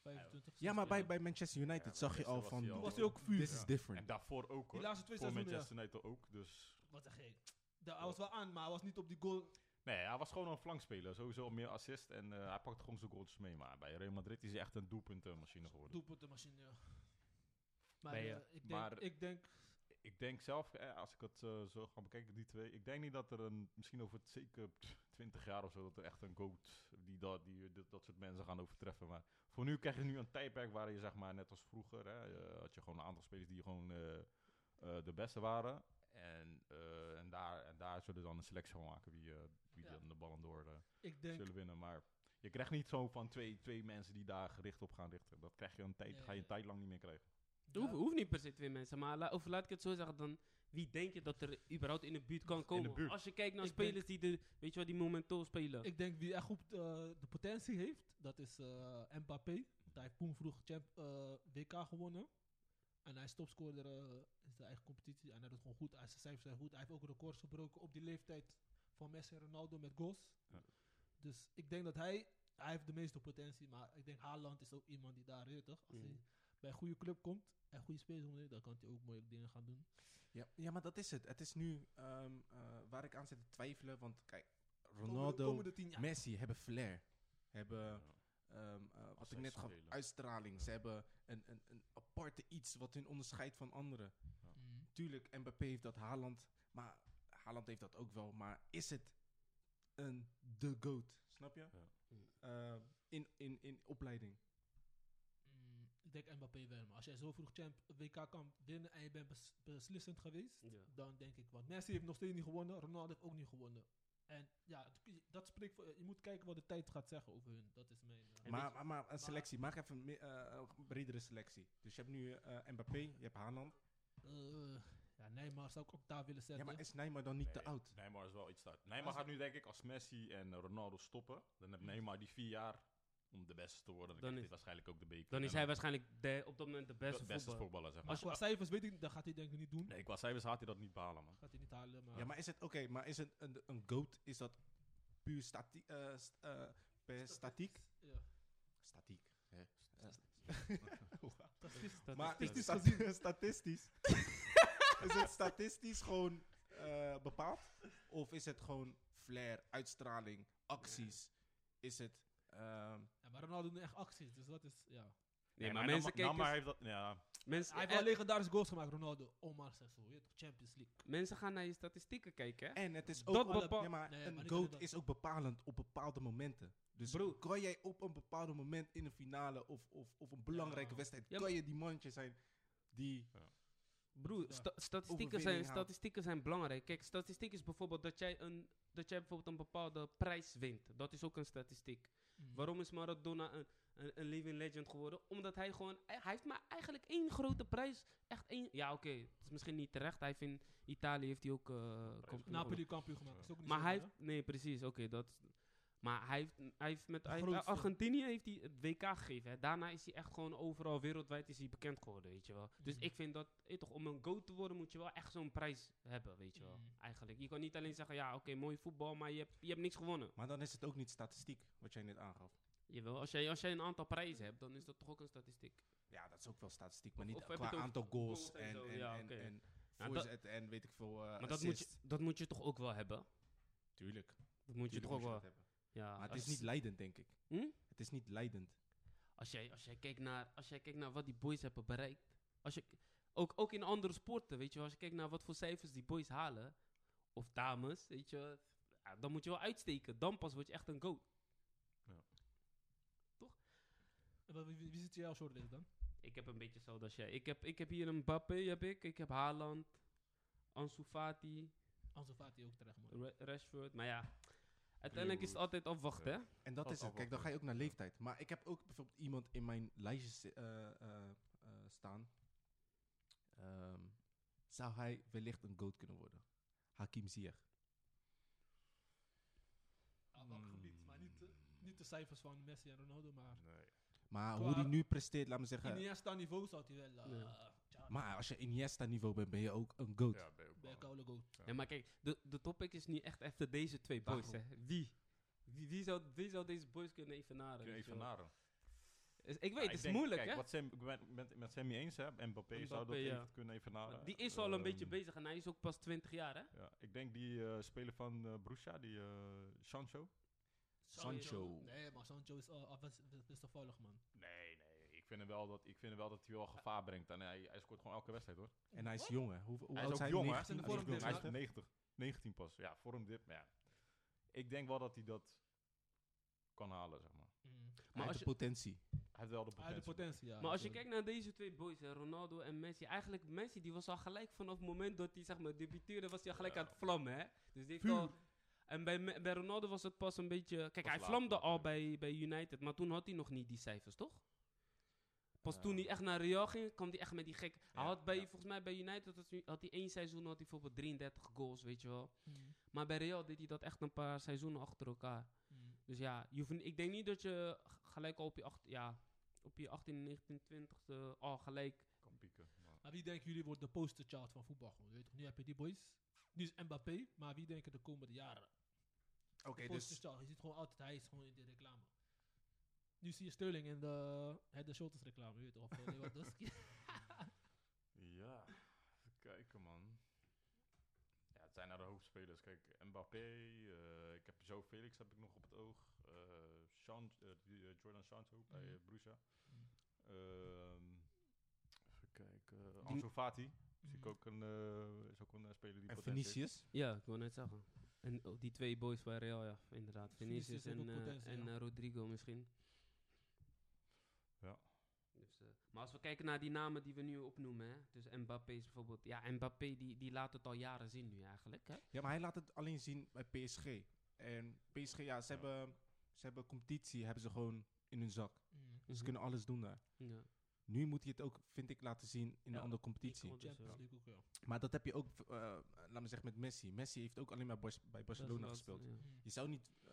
A: 25,
C: Ja, maar bij,
A: 16.
C: bij Manchester United
D: Ja,
C: zag je
D: Manchester
C: al
D: was
C: van...
D: hij al-
A: Toen was hij ook vuur.
C: This is different.
D: En daarvoor ook,
A: Die
D: hoor.
A: laatste twee
D: Voor
A: seizoenen, ja.
D: Manchester United ook, dus...
A: Wat zeg je? Da- Hij was wel aan, maar hij was niet op die goal.
D: Nee, hij was gewoon een flankspeler. Sowieso meer assist en eh, hij pakte gewoon zijn goals mee. Maar bij Real Madrid is hij echt een doelpuntenmachine geworden.
A: Doelpuntenmachine, ja. Maar,
B: Ben je-
A: eh, ik, denk,
D: maar-
A: ik denk
D: ik denk zelf, eh, als ik het eh, zo ga bekijken, die twee... Ik denk niet dat er een... Misschien over het, zeker t- 20 jaar of zo, dat er echt een goat... Die, dat die dat, dat soort mensen gaan overtreffen. Maar voor nu krijg je nu een tijdperk waar je, zeg maar, net als vroeger... Hè, eh, had je gewoon een aantal spelers die gewoon eh, eh, de beste waren. En, eh, en, daar, en daar zullen we dan een selectie van maken wie, eh, wie
A: Ja.
D: dan de Ballon d'Or eh,
A: Ik denk,
D: zullen winnen. Maar je krijgt niet zo van twee, twee mensen die daar gericht op gaan richten. Dat krijg je een tijd,
A: Nee,
D: ga je een
A: nee.
D: tijd lang niet meer krijgen.
A: ja,
B: Hoeft, hoeft niet per se twee mensen, maar la- of laat ik het zo zeggen, dan wie denk je dat er überhaupt in de buurt kan komen?
D: buurt.
B: Als je kijkt naar
A: Ik
B: spelers die, de, weet je wel, die momenteel spelen.
A: ik denk wie echt goed eh, de potentie heeft, dat is eh Mbappé. Typhoon vroeg champ, eh, WK gewonnen. En hij is topscorer eh, in zijn eigen competitie. En dat is gewoon goed. Hij- Zijn cijfers zijn goed. Hij heeft ook records gebroken op die leeftijd van Messi en Ronaldo met goals.
D: Ja.
A: Dus ik denk dat hij, hij heeft de meeste potentie. Maar ik denk Haaland is ook iemand die daar weet toch? Als
B: Mm.
A: hij bij een goede club komt en goede spelers om zich, dan kan hij ook mooie dingen gaan doen.
C: Ja, ja, maar dat is het. Het is nu ehm, eh, waar ik aan zit te twijfelen. Want kijk, Ronaldo,
A: komende tien jaar.
C: Messi hebben flair. Hebben,
D: Ja.
C: ehm, eh, wat
D: zij
C: ik net gaf,
D: spelen.
C: uitstraling.
D: Ja.
C: Ze hebben een, een, een aparte iets wat hun onderscheidt van anderen.
A: Mm.
C: Tuurlijk, Mbappé heeft dat, Haaland. Maar Haaland heeft dat ook wel. Maar is het een de goat? Snap je?
D: Ja.
C: Ehm, in, in, in opleiding.
A: Mm, ik denk Mbappé wel, maar als jij zo vroeg champ WK kan winnen en je bent bes- beslissend geweest,
B: Ja.
A: dan denk ik, want Messi heeft nog steeds niet gewonnen, Ronaldo heeft ook niet gewonnen. En ja, het- dat spreekt voor, je moet kijken wat de tijd gaat zeggen over hun, dat is mijn... eh,
B: En
C: Maar,
B: dit-
C: maar, maar een selectie. Maak even een me- eh, een bredere selectie. Dus je hebt nu eh, Mbappé, je hebt Haaland.
A: eh, ja, Neymar zou ik ook daar willen
C: Ja,
A: zetten.
C: maar is Neymar dan niet te
D: Nee,
C: oud?
D: Neymar is wel iets uit. Neymar gaat nu denk ik als Messi en eh, Ronaldo stoppen. Dan heeft Neymar die vier jaar om de beste te worden.
B: Dan
D: Dan, krijgt
B: is-
D: hij waarschijnlijk ook de beker.
B: dan is
D: En
B: hij waarschijnlijk de, op dat moment de
D: de
B: beste,
D: beste
B: voetballer.
D: voetballer, zeg maar.
A: als qua cijfers weet ik, dat gaat hij denk ik niet doen.
D: Nee, qua cijfers gaat hij dat niet behalen, man.
A: Gaat hij niet halen, maar...
C: Ja, maar is het oké, maar is het een, een goat? Is dat puur stati eh, st- eh, per statiek?
A: Ja.
C: Statiek. Hè?
A: Statistisch-
B: Dat
C: maar
B: is-
C: is
A: statistisch
C: statistisch? is het statistisch gewoon eh, bepaald? Of is het gewoon flair, uitstraling, acties? Is het. ehm,
A: Ja, maar Ronaldo doet echt acties, dus dat is, ja.
B: nee,
D: Nee,
B: maar mensen
D: Nam-
B: kijken...
D: Neymar heeft dat... Ja,
B: Mensen,
A: Hij heeft
B: eh,
A: wel legendarische goals gemaakt, Ronaldo, Omar en zo, weet je toch, Champions League.
B: mensen gaan naar je statistieken kijken, hè?
C: en het is
B: Dat
C: ook.
A: alle-
B: bepaalt...
C: Ja, maar
A: Nee, maar
C: een
A: niet
C: goat
A: alleen
C: is ook bepalend op bepaalde momenten. Dus
B: Bro.
C: kan jij op een bepaald moment in een finale of, of, of een belangrijke
A: Ja.
C: wedstrijd,
B: Ja,
C: kan je die mannetje zijn die
B: Broer,
A: Ja.
B: sta- statistieken,
C: Overwinning
B: zijn,
C: haalt.
B: statistieken zijn belangrijk. Kijk, statistiek is bijvoorbeeld dat jij, een, dat jij bijvoorbeeld een bepaalde prijs wint. Dat is ook een statistiek.
A: Mm.
B: Waarom is Maradona een, een, een living legend geworden? Omdat hij gewoon... Hij hij heeft maar eigenlijk één grote prijs. Echt één... Ja, oké. het is misschien niet terecht. Hij heeft in Italië heeft hij ook... eh, kampioen
A: Napoli kampioen gemaakt.
D: Ja.
A: Is ook niet
B: maar
A: zo,
B: hij
A: hè?
B: heeft, nee, precies, oké, dat. Maar hij heeft, hij heeft met
A: De
B: hij-
A: grootste.
B: Argentinië heeft hij het WK gegeven. Hè. Daarna is hij echt gewoon overal wereldwijd is hij bekend geworden, weet je wel. Dus
A: Mhm.
B: ik vind dat, eh, toch, om een goat te worden moet je wel echt zo'n prijs hebben, weet je wel.
A: Mhm.
B: Eigenlijk. Je kan niet alleen zeggen, ja, oké, mooi voetbal, maar je hebt, je hebt niks gewonnen.
C: Maar dan is het ook niet statistiek, wat jij net aangaf.
B: Jawel, als jij, als jij een aantal prijzen hebt, dan is dat toch ook een statistiek.
C: Ja, dat is ook wel statistiek, maar
B: Of-
C: niet
B: of heb je
C: qua
B: het over
C: aantal goals,
B: goals en
C: en,
B: zo,
C: en,
B: ja,
C: en,
B: oké.
C: en
B: Ja, dat-
C: voorzet en weet ik veel eh
B: Maar dat moet, je,
C: assist.
B: dat moet je toch ook wel hebben?
C: Tuurlijk.
B: Dat moet je
C: tuurlijk
B: toch ook
C: moet je
B: wel...
C: dat hebben.
B: Ja,
C: Maar het
B: als-
C: is niet leidend, denk ik.
B: Hm?
C: Het is niet leidend.
B: Als jij, als jij, kijkt, naar, als jij kijkt naar wat die boys hebben bereikt. Als je, ook, ook in andere sporten, weet je wel. Als je kijkt naar wat voor cijfers die boys halen. Of dames, weet je wel, ja, Dan moet je wel uitsteken. Dan pas word je echt een goat.
A: En wat- Wie, wie, wie zit jij als shortlist dan?
B: Ik heb een beetje hetzelfde als jij. Ik heb, ik heb hier een Mbappé, heb ik. Ik heb Haaland. Ansu Fati.
A: Ansu Fati ook terecht, man.
B: Ra- Rashford. Maar ja, uiteindelijk is het altijd afwachten, hè.
C: En dat
D: Dat
C: is het. Kijk, dan ga je ook naar leeftijd. Maar ik heb ook bijvoorbeeld iemand in mijn lijstje zi- eh, eh, eh, staan. Ehm, zou hij wellicht een goat kunnen worden? Hakim Ziyech.
A: Op welk gebied, maar niet, eh, niet de cijfers van Messi en Ronaldo, maar...
D: nee.
C: Maar
A: Qua-
C: hoe hij nu presteert, laat me zeggen.
A: Iniesta niveau zou hij wel... eh,
B: Ja.
A: tja,
C: Maar als je Iniesta-niveau bent, ben je ook een goat.
D: Ja, ben je ook
A: Bij
D: wel.
A: koude goat.
B: Ja, maar kijk, de, de topic is nu echt even deze twee boys, hè. Wie? Wie, wie, zou, wie zou deze boys kunnen evenaren?
D: Kun je
B: weet je
D: Even
B: wel?
D: naren.
B: Is- ik weet,
D: Ja,
B: het is
D: denk,
B: moeilijk,
D: kijk,
B: hè.
D: Wat Sam, ik ben het met, met Sammy eens, hè. Mbappé, zou dat
B: Mbappé, ja.
D: even kunnen even
B: Maar
D: naren.
B: die is al een beetje
D: Ehm,
B: bezig en hij is ook pas 20 jaar, hè?
D: Ja, ik denk die eh, speler van eh Borussia, die eh, Sancho.
C: Sancho.
A: Nee, maar Sancho is uh, afwisselvallig, man.
D: Nee, nee. Ik vind hem wel dat, ik vind hem wel dat hij wel gevaar brengt. En hij, hij scoort gewoon elke wedstrijd, hoor.
C: En hij is
A: Wat?
C: jong, hè? Hoe, hoe
D: Hij
C: oud
D: is ook
C: hij?
D: jong, hè.
C: 19?
A: Hij is
D: Hij
A: in
D: is
A: de vorm,
D: hij is
A: hè?
D: 90, 19 pas. Ja, voor een dip. Maar ja. Ik denk wel dat hij dat kan halen, zeg maar.
A: Mm.
C: Maar
B: als
C: als
B: je-
C: de potentie.
D: Hij heeft wel de
A: Hij heeft de
D: potentie.
A: potentie, ja.
B: Maar als je kijkt naar deze twee boys, hè, Ronaldo en Messi, eigenlijk Messi die was al gelijk vanaf het moment dat hij zeg maar debuteerde, was hij al gelijk
D: Ja.
B: aan het vlammen, hè? Dus die heeft
A: Vuur.
B: al, en bij, Me- bij Ronaldo was het pas een beetje, kijk,
D: Pas
B: hij
D: later
B: vlamde al
D: natuurlijk.
B: bij, bij United, maar toen had hij nog niet die cijfers, toch? Pas
D: Eh,
B: toen hij echt naar Real ging, kwam hij echt met die gek. Hij
D: Ja,
B: had bij,
D: ja.
B: volgens mij bij United had hij, had hij één seizoen had hij bijvoorbeeld 33 goals, weet je wel.
A: Mm,
B: Maar bij Real deed hij dat echt een paar seizoenen achter elkaar.
A: mm.
B: Dus ja, je hoeft, ik denk niet dat je g- gelijk al op je, acht, ja, op je 18, 19, 20 al gelijk.
D: Kan pieken. maar-
A: Maar wie denken jullie wordt de posterchild van voetbal? gewoon, Weet je, nu heb je die boys. Nu is Mbappé, maar wie denken de komende jaren?
C: Oké, dus
A: posterchild, je ziet gewoon altijd, hij is gewoon in de reclame. Nu zie je Sterling in de Head and Shoulders reclame, weet je, of eh, Lewandowski.
D: Ja, even kijken man. Ja, het zijn naar de hoofdspelers. Kijk, Mbappé, eh, ik heb Joe Felix heb ik nog op het oog. eh, San- eh, die, eh, Jordan Sancho bij
A: Mhm.
D: eh, Borussia.
A: Mhm.
D: Ehm, even kijken. eh, Ansu Fati, zie
A: Mhm.
D: ik ook een, eh, is ook een eh, speler die
C: en
D: potentie heeft.
C: Vinicius.
B: Ja, ik wil net zeggen. En oh, die twee boys van Real, ja, inderdaad.
A: Vinicius
B: Vinicius
A: heeft
B: en,
A: ook
B: eh,
A: potentie,
B: en
A: ja.
B: eh, Rodrigo misschien.
D: Ja.
B: Dus, eh, maar als we kijken naar die namen die we nu opnoemen, hè, dus Mbappé is bijvoorbeeld. Ja, Mbappé die, die laat het al jaren zien nu eigenlijk. Hè?
C: Ja, maar hij laat het alleen zien bij PSG. En PSG, ja, ze,
D: Ja.
C: Hebben, ze hebben competitie, hebben ze gewoon in hun zak.
A: Mm.
B: Mhm.
C: Ze kunnen alles doen daar.
B: Ja.
C: Nu moet hij het ook, vind ik, laten zien in
B: Ja,
C: een andere
B: ik
C: competitie.
B: hoor-
A: Champions League ook, ja.
C: Maar dat heb je ook, eh laat me zeggen, met Messi. Messi heeft ook alleen maar Bas- bij Barcelona
B: Dat is wel-
C: gespeeld.
B: ja.
A: Mm.
C: Je zou niet, eh,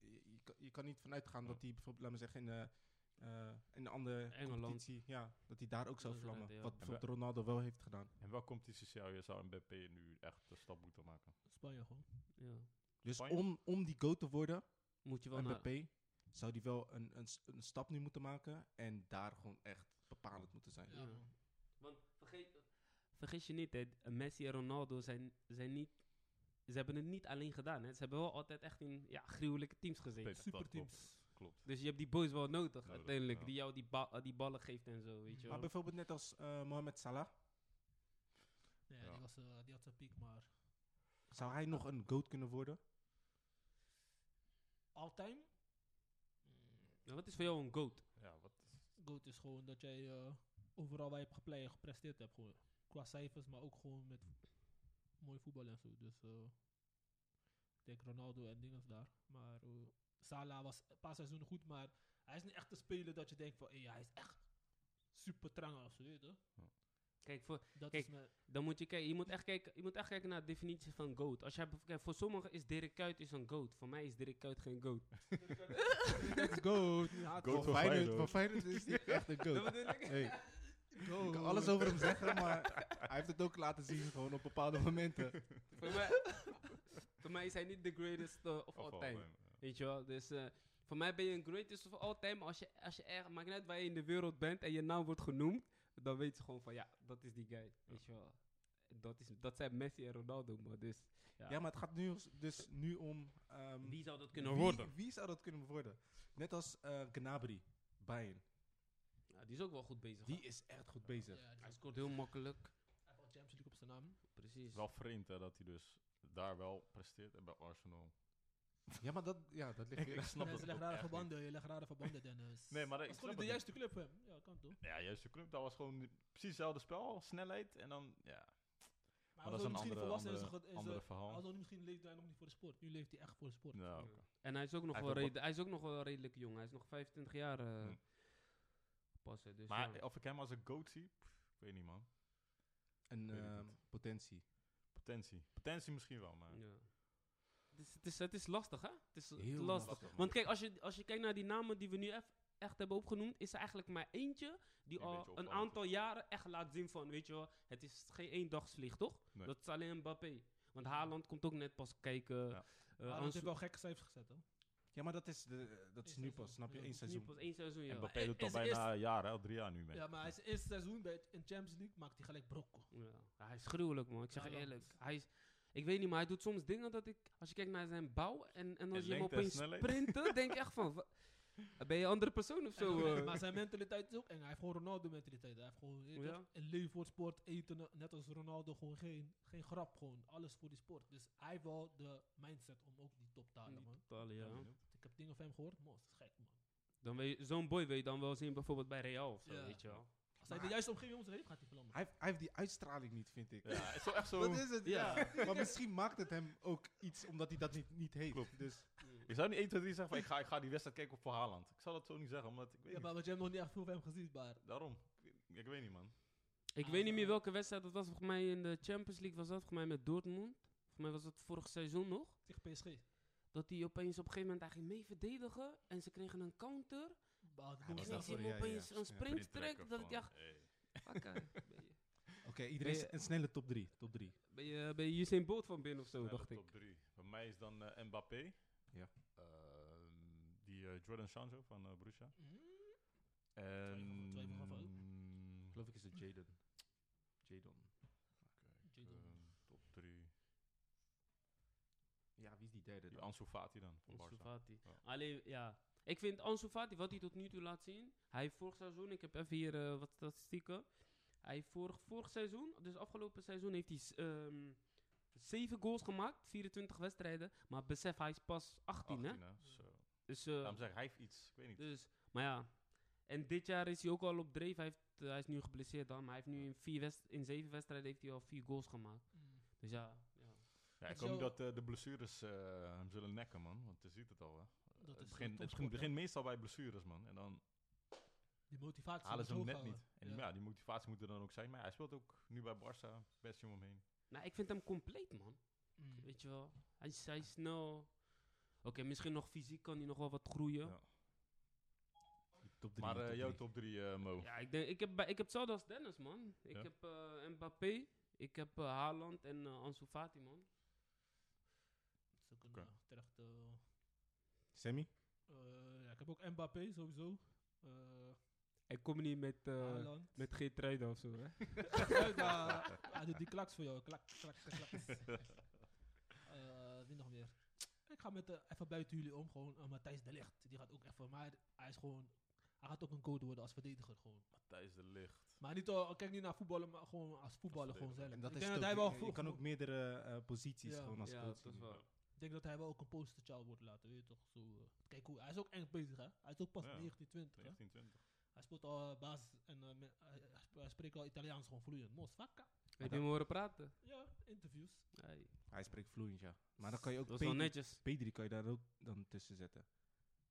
C: je, je kan, je kan niet vanuit gaan
D: Ja.
C: dat hij bijvoorbeeld, laat me zeggen, in, eh, eh, in een andere
B: Engeland.
C: competitie, ja, dat hij daar ook zou
B: Dat is
C: vlammen.
B: inderdaad,
C: Wat
B: ja.
C: bijvoorbeeld Ronaldo wel heeft gedaan.
D: En welke competitie zou je zou Mbappé nu echt de stap moeten maken?
A: Spanje gewoon.
B: Ja.
C: Dus
D: Spanje?
C: om, om die go te worden,
B: Moet je wel naar.
C: Mbappé, zou die wel een, een, s- een stap nu moeten maken en daar gewoon echt bepalend moeten zijn.
A: Ja,
B: Ja.
A: man.
B: Want vergeet, vergis je niet, hè, Messi en Ronaldo zijn, zijn niet. Ze hebben het niet alleen gedaan. Hè. Ze hebben wel altijd echt in ja, gruwelijke teams gezeten.
D: Peter, dat klopt.
A: Superteams.
D: Klopt.
B: Dus je hebt die boys wel nodig,
D: Nodig,
B: uiteindelijk.
D: ja.
B: Die jou die, ba- eh, die ballen geeft en zo, weet je
C: Maar
B: wel.
C: bijvoorbeeld net als eh, Mohamed Salah,
A: Nee,
D: Ja.
A: die, was, eh, die had zijn piek, maar...
C: zou hij nog een goat kunnen worden?
A: All-time? Mm,
B: Ja, Nou, wat is voor jou een goat?
D: Ja, wat is
A: Goed is gewoon dat jij eh, overal waar je hebt geplay, gepresteerd hebt. Gewoon. Qua cijfers, maar ook gewoon met mooi voetbal en zo. Dus eh, ik denk Ronaldo en dinges daar. Maar eh, Salah was een paar seizoenen goed, maar hij is niet echt te spelen dat je denkt van hey, hij is echt super trang of zo. Weet je?
B: Kijk, voor,
A: Dat
B: Kijk,
A: is me,
B: dan moet je, kijken, je, moet echt kijken, je moet echt kijken naar de definitie van goat. Als jij, bijvoorbeeld- kijk, voor sommigen is Dirk Kuyt is een goat. Voor mij is Dirk Kuyt geen goat.
C: Let's go!
D: Goat van Feyenoord.
C: Van Feyenoord is hij echt een
B: Dat
C: goat.
B: bedoel ik.
C: Hey, ik kan alles over hem zeggen, maar hij heeft het ook laten zien gewoon op bepaalde momenten.
B: voor, mij, voor mij is hij niet de greatest eh, of all
D: of
B: time.
D: all time,
B: Weet je wel, dus eh, voor mij ben je een greatest of all time. maar Als je, als je erg, maakt niet uit waar je in de wereld bent en je naam wordt genoemd, dan weet je gewoon van ja, dat is die guy. Weet je wel. Dat, is, dat zijn Messi en Ronaldo, maar dus. Ja.
C: Ja, maar het gaat nu als- dus nu om... ehm,
B: Wie zou dat kunnen
C: wie-
B: worden?
C: Wie zou dat kunnen worden? Net als eh Gnabry, Bayern.
B: Ja, die is ook wel goed bezig.
C: Die
B: hoor.
C: is echt goed
A: ja,
C: bezig.
A: die was-
B: Hij scoort heel makkelijk.
A: hij heeft al Champions League op zijn naam.
B: Precies.
D: Wel vreemd hè, dat hij dus daar wel presteert en bij Arsenal.
C: Ja, maar dat, ja, dat ligt
D: Ik-
C: weer...
D: ik snap
A: Nee,
D: dat
A: ze
D: ook
A: leggen rare
D: echt
A: verbanden, je legt rare verbanden, Dennis.
D: Nee, maar
A: dat
D: ik
A: is
D: snap
A: gewoon niet de
D: het
A: juiste club voor hem. Ja, kan toch.
D: Ja, juist de club. Dat was gewoon precies hetzelfde spel, snelheid en dan, ja.
A: Maar,
D: Maar
A: hij was
D: dat is een
A: nog misschien
D: andere,
A: volwassen en
D: andere,
A: zo- en zo-
D: andere
A: hij was
D: verhaal.
A: nog niet- misschien leefde hij nog niet voor de sport. Nu leeft hij echt voor de sport.
D: Nou,
B: Ja. En hij is, ook nog
D: Hij
B: wel
D: heeft ook
B: rede- hij is ook nog wel redelijk jong. Hij is nog 25 jaar eh,
D: Hmm.
B: pas. hè, Dus
D: Maar oh,
B: ja.
D: of ik hem als een goat zie, pff, ik weet niet man.
C: Een
D: Weet ik
C: ehm,
D: niet.
C: potentie.
D: Potentie. Potentie misschien wel, maar...
B: Ja. Het, is, het, is, het is lastig, hè? Het is
C: Heel
B: lastig.
D: lastig, man.
B: Want kijk, als je, als je kijkt naar die namen die we nu eff- echt hebben opgenoemd, is er eigenlijk maar eentje die
D: Die een beetje
B: al een
D: opvallend
B: aantal jaren echt laat zien van, weet je wel, het is geen eendagsvlieg, toch?
D: Nee.
B: Dat is alleen Mbappé. Want Haaland komt ook net pas kijken.
D: Ja.
B: Eh,
A: Hij heeft
B: Ansu-
A: wel gekke cijfers gezet, hoor.
C: Ja, maar dat is, de, dat is
A: Eén
C: nu
A: seizoen.
C: pas, snap je?
A: Ja.
C: Eén
A: Nu
B: nu
C: seizoen.
B: pas één seizoen, ja.
D: En Mbappé doet al
B: Is- is-
D: bijna een jaar, hè, al drie jaar nu mee.
A: Ja, maar hij is eerste seizoen bij het, in Champions League maakt hij gelijk brok.
B: Ja, hij is gruwelijk, man. Ik zeg je
A: Haaland.
B: eerlijk. Hij is, ik weet niet, maar hij doet soms dingen dat ik... Als je kijkt naar zijn bouw en, en als je hem
D: lengte en
B: opeens
D: snelheid.
B: sprinten, denk ik echt van... wa- Ben je een andere persoon of zo? eh?
A: maar zijn mentaliteit is ook eng. Hij heeft gewoon Ronaldo-mentaliteit. Hij heeft gewoon weet je
B: Ja.
A: toch, een leven voor sport, eten. eh, Net als Ronaldo, gewoon geen, geen grap. Gewoon alles voor die sport. Dus hij heeft wel de mindset om ook die top te halen, man.
B: Italië.
D: Ja, benieuwd.
A: Ik heb dingen van hem gehoord. Man, dat is gek, man.
B: Dan weet je- zo'n boy wil je dan wel zien bijvoorbeeld bij Real of zo,
A: Ja.
B: weet je wel.
A: Als hij de juiste omgeving om zich heen gaat, hij verlammen.
C: Hij, heeft- hij heeft die uitstraling niet, vind ik.
D: Ja, het is wel echt zo...
C: Dat is het, ja.
B: Ja.
C: maar misschien maakt het hem ook iets omdat hij dat niet, niet heeft. Dus
D: Ik zou niet 1, 2, 3 zeggen van ik ga, ik ga die wedstrijd kijken op voor Haaland. Ik zou dat zo niet zeggen, omdat ik weet
A: Ja, maar wat jij hebt nog niet echt veel van hem gezien, maar...
D: niet. Daarom. Ik, weet- ik weet niet, man.
B: Ik
A: Ah,
B: weet niet
A: zo.
B: meer welke wedstrijd dat was. Volgens mij in de Champions League was dat. Volgens mij met Dortmund. Volgens mij was dat vorig seizoen nog.
A: Tegen PSG.
B: Dat hij opeens op een gegeven moment daar ging mee verdedigen. En ze kregen een counter.
A: Maar Ah, dat
C: was
A: is
C: dat
B: en dan
A: wel
C: voor
B: zie
A: voor
B: je
C: ja,
B: hem
C: ja,
B: opeens
C: ja.
B: een sprint
D: Printrekker
B: trekken. Dat ik
D: van,
B: dacht, eh,
D: hey.
B: fucker, ben je,
C: Oké, iedereen
B: Ben je-
C: s- een snelle top 3. Top 3.
B: ben je, ben je Usain Bolt van binnen of zo,
D: Ja,
B: dacht
D: de
B: ik.
D: top 3. Bij mij is dan eh, Mbappé.
C: Ja.
D: Ehm, die eh, Jordan Sancho van eh, Borussia.
A: Hmm? Twijfel-
D: En...
A: twijfel gaf ook.
D: mm,
C: Geloof ik is het Jaden. Jaden.
D: ehm, top 3.
C: Ja, wie is die derde
D: Die
C: dan?
D: Ansu Fati dan. Van
B: Ansu
D: Barca.
B: Fati.
D: Ja.
B: Alleen, ja. Ik vind Ansu Fati, wat hij tot nu toe laat zien. Hij heeft vorig seizoen, ik heb even hier eh, wat statistieken. Hij heeft vorig, vorig seizoen, dus afgelopen seizoen, heeft hij s- ehm 7 goals gemaakt. 24 wedstrijden. Maar besef, hij is pas 18, hè?
D: 18, hè? Zo.
B: Dus, eh,
D: Daarom zeg ik, hij heeft iets. Ik weet niet.
B: dus, maar ja. En dit jaar is hij ook al op dreef. Hij, heeft, eh, hij is nu geblesseerd dan. Maar hij heeft nu in, vier wedst- in zeven wedstrijden heeft hij al vier goals gemaakt.
A: Hmm.
B: Dus ja. ja.
D: Ja, ik
A: Het
B: Dus
A: is
D: hoop niet
A: wel-
D: dat eh, de blessures eh, hem zullen nekken, man. Want je ziet het al, hè.
A: Dat
D: het
A: is
D: begint,
A: een
D: het
A: topsport,
D: begint, begint meestal bij blessures, man. En dan
A: Die motivatie.
D: halen ze hem
A: moet
D: net
A: hoog
D: niet.
A: houden.
D: En ja. die motivatie moet er dan ook zijn. Maar hij speelt ook nu bij Barça best jong omheen.
B: Nou, ik vind hem compleet, man.
A: Mm.
B: Weet je wel, hij is, hij is snel. Oké, misschien nog fysiek kan hij nog wel wat groeien. Ja,
D: Ja.
C: Top 3.
D: Maar eh, jouw top 3, Mo.
B: ik, denk, ik, heb, bij- ik heb hetzelfde als Dennis, man. Ik
D: Ja?
B: heb eh, Mbappé, ik heb eh, Haaland en eh, Ansu Fati, man.
A: Dat is ook een
D: Oké.
A: eh, terechte...
C: Sammy?
A: eh, ja, ik heb ook Mbappé, sowieso. Eh
B: Ik kom niet met, eh,
A: Haaland.
B: met Geertruiden of zo, hè?
A: Geert, eh, hij doet die klaks voor jou. Klak, klak, klak, klaks. Eh, wie nog meer? Ik ga met, eh, even buiten jullie om. Gewoon eh, Matthijs de Ligt. Die gaat ook echt voor mij. Hij is gewoon... Hij gaat ook een code worden als verdediger gewoon.
D: Matthijs de Licht.
A: Maar niet, al- kijk niet naar voetballen, maar gewoon als voetballer gewoon zelf.
D: verdediger.
C: En dat
A: ik
C: is
A: denk dat hij
C: top drie.
A: wel
C: Je
A: goed-
C: kan ook meerdere eh, posities
A: Ja.
C: gewoon als
B: ja,
C: coach
B: dat is
C: doen.
B: wel.
A: Ik denk dat hij wel ook een poster child wordt laten, weet je toch? Zo, eh, kijk hoe, hij is ook echt bezig, hè? Hij is ook pas
D: Ja.
A: 19, 20, hè?
D: 1920.
A: Hij speelt al eh, basis en eh, me- hij, hij sp- hij spreekt al Italiaans gewoon vloeiend. Mos, vaca.
B: Heb je hem horen praten?
A: Ja, interviews.
B: Hey.
C: Hij spreekt vloeiend, ja. Maar dan kan je
B: Dat
C: ook
B: was wel
C: Pedri,
B: netjes.
C: Pedri kan je daar ook dan tussen zetten.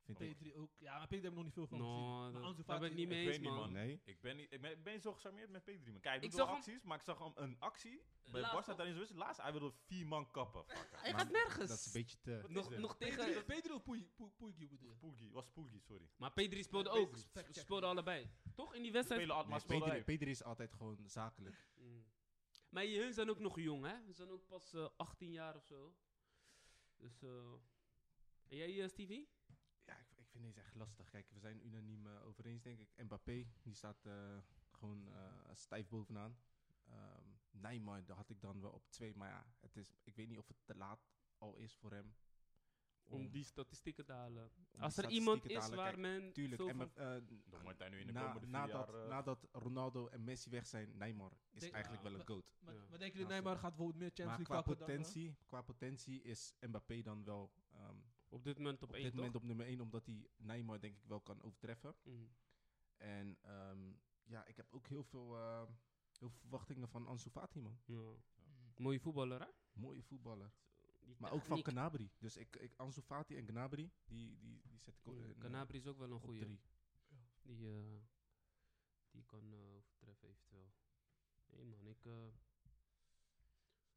C: Vind ik.
A: P3 ook. Ja, maar P3 heb ik nog niet veel van gezien.
B: No,
A: Maar Ansu
B: Nou, dat- daar
A: Fati-
B: ben ik niet
A: ik
B: mee
D: weet
B: eens,
D: niet,
B: man.
D: man.
C: Nee?
D: Ik ben, niet, ik, ben, ik ben zo gecharmeerd met P3. Man. Kijk, hij
B: Ik
D: doet
B: zag
D: wel
B: hem-
D: acties, maar ik zag hem een actie bij
B: Laatst
D: Barça
B: nog.
D: tijdens de wedstrijd. Laatst, hij wilde vier man kappen. Fuck,
B: Hij
D: hè.
C: Maar
B: gaat nergens.
C: Dat is een beetje te...
D: Wat is
B: Nog,
D: dit?
B: nog tegen...
A: Pedri- Pedri of Poei- Poe- Poegie bedoel je?
D: Pulgi, was Pulgi, sorry.
B: Maar Pedri speelde
A: Pedri,
B: ook.
A: fact-check.
B: Speelde allebei. Toch? In die wedstrijd
D: Spelen al-
C: Nee,
D: maar speelde
C: Pedri,
D: hij.
C: Pedri is altijd gewoon zakelijk.
B: Mm. Maar je- hun zijn ook nog jong, hè? Ze zijn ook pas eh, 18 jaar of zo. Dus, eh en jij, eh, Stevie?
C: Ja, ik, ik vind deze echt lastig. Kijk, we zijn unaniem eh, over eens, denk ik. Mbappé, die staat eh, gewoon eh, stijf bovenaan. Ehm Neymar, daar had ik dan wel op twee. Maar ja, het is, ik weet niet of het te laat al is voor hem.
B: Om die statistieken te halen.
C: Mm. om
B: Als
C: die
B: er iemand
C: statistieken te
B: is
C: halen.
B: waar
C: Kijk,
B: men.
C: Tuurlijk,
B: veel
C: en
B: van-
C: eh,
D: Dan wordt hij nu in de
C: na-
D: komende vier
C: nadat,
D: jaar... eh,
C: nadat Ronaldo en Messi weg zijn, Neymar is
A: Denk-
C: eigenlijk
B: ah,
A: Ja.
C: wel een goat.
A: Maar,
B: Ja.
A: maar denken jullie,
C: Ja,
A: Neymar gaat bijvoorbeeld meer Champions
C: Maar
A: League
C: qua
A: pakken dan, eh?
C: potentie, qua potentie is Mbappé dan wel ehm,
B: op dit moment op
C: op
B: 1
C: dit
B: toch?
C: moment op nummer 1, omdat hij Neymar denk ik wel kan overtreffen.
B: Mhm.
C: En ehm, ja, ik heb ook heel veel, eh, heel veel verwachtingen van Ansu Fati, man.
B: Ja.
A: Mm.
B: Mooie voetballer, hè?
C: Mooie voetballer.
B: Die
C: Maar ook van
B: techniek.
C: Gnabry. Dus ik, ik, Ansu Fati en Gnabry, die, die, die zet ik o-
B: Ja,
C: in, eh,
B: Canabri is ook wel een
C: op
B: goede.
C: drie.
B: Die, eh, die kan eh, overtreffen, eventueel. Nee, man, ik. eh,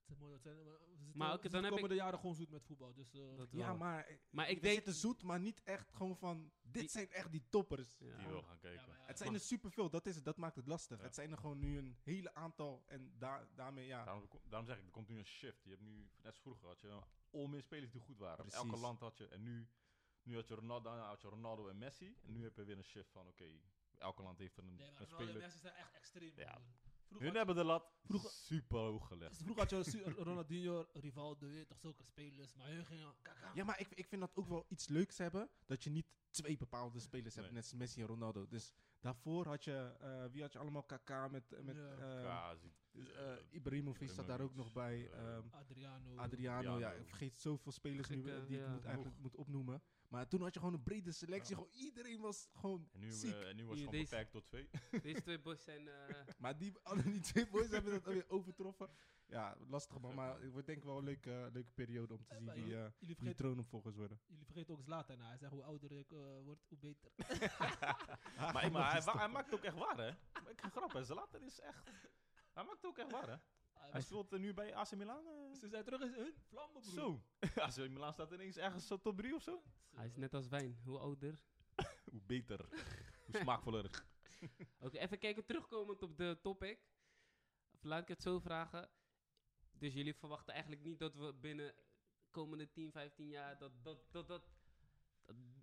A: Het is mooi dat zijn, maar we zitten-
B: Maar
A: we
B: oké,
A: zitten
B: dan
A: de
B: heb
A: komende jaren gewoon zoet met voetbal. Dus, eh,
B: dat
C: Ja,
B: wel.
C: maar eh,
B: Maar ik
C: we
B: denk.
C: zitten zoet, maar niet echt gewoon van, dit
B: Die-
C: zijn echt die toppers.
B: Ja.
D: Die wil gaan kijken.
A: ja, maar ja,
C: Het zijn er superveel, dat is het, dat maakt het lastig.
D: Ja.
C: Het zijn er gewoon nu een hele aantal en daar daarmee, ja.
D: Daarom, daarom zeg ik, er komt nu een shift. Je hebt nu, net als vroeger had je al meer spelers die goed waren. Op
C: Precies.
D: Elke land had je, en nu, nu had je Ronaldo, daarna had je Ronaldo en Messi. En nu heb je weer een shift van, oké, elke land heeft een,
A: Nee, maar
D: een
A: Ronaldo en
D: speler.
A: Messi zijn echt extreem.
D: Ja.
A: man. Vroeger
D: Hun
A: had-
D: hebben de lat
A: Vroeger-
D: super hoog gelegd.
A: Vroeger had je Su- Ronaldinho, Rivaldo, je weet toch zulke spelers, maar hun gingen... Kaka.
C: Ja, maar ik, ik vind dat ook wel iets leuks hebben. Dat je niet twee bepaalde spelers hebt,
D: Nee.
C: net als Messi en Ronaldo. Dus daarvoor had je, eh, wie had je allemaal? KK met, met
A: Ja.
C: eh,
D: Quasi.
C: dus, eh,
D: eh,
C: Ibrahimovic zat daar ook nog bij.
D: eh,
C: ehm,
A: Adriano.
C: Adriano, ja,
D: Adriano.
C: ik vergeet zoveel spelers nu,
B: Gekke,
C: eh, die ik
B: ja.
C: moet, eigenlijk moet opnoemen. Maar toen had je gewoon een brede selectie. Gewoon iedereen was gewoon
D: En nu,
C: ziek.
D: eh, en nu was
B: Hier,
D: het gewoon
B: deze-
D: beperkt tot twee.
B: Deze twee boys zijn... eh,
C: Maar die, alle die twee boys hebben dat alweer overtroffen. Ja, lastig man. Maar het wordt denk ik wel een leuke, leuke periode om te
A: Eh,
C: zien
A: maar
C: wie,
A: jullie-
C: eh
A: jullie,
C: wie
A: vergeten,
C: troonopvolgers worden.
A: jullie vergeten ook Zlatan. hè. Hij zegt hoe ouder ik eh, word, hoe beter.
D: maar maar hij, wa- hij maakt het ook echt waar, hè? Maar Ik ga grappen, Zlatan is echt... Hij maakt het ook echt waar, hè? Hij speelt eh, nu bij AC Milan. eh,
A: Ze zijn terug in hun vlammen, broer.
D: Zo. AC Milan staat ineens ergens zo top 3 of zo.
B: hij is net als wijn. Hoe ouder?
D: Hoe beter. Hoe smaakvoller.
B: Oké, even kijken. Terugkomend op de topic. Of Laat ik het zo vragen. Dus jullie verwachten eigenlijk niet dat we binnen komende 10, 15 jaar... Dat, dat, dat, dat, dat,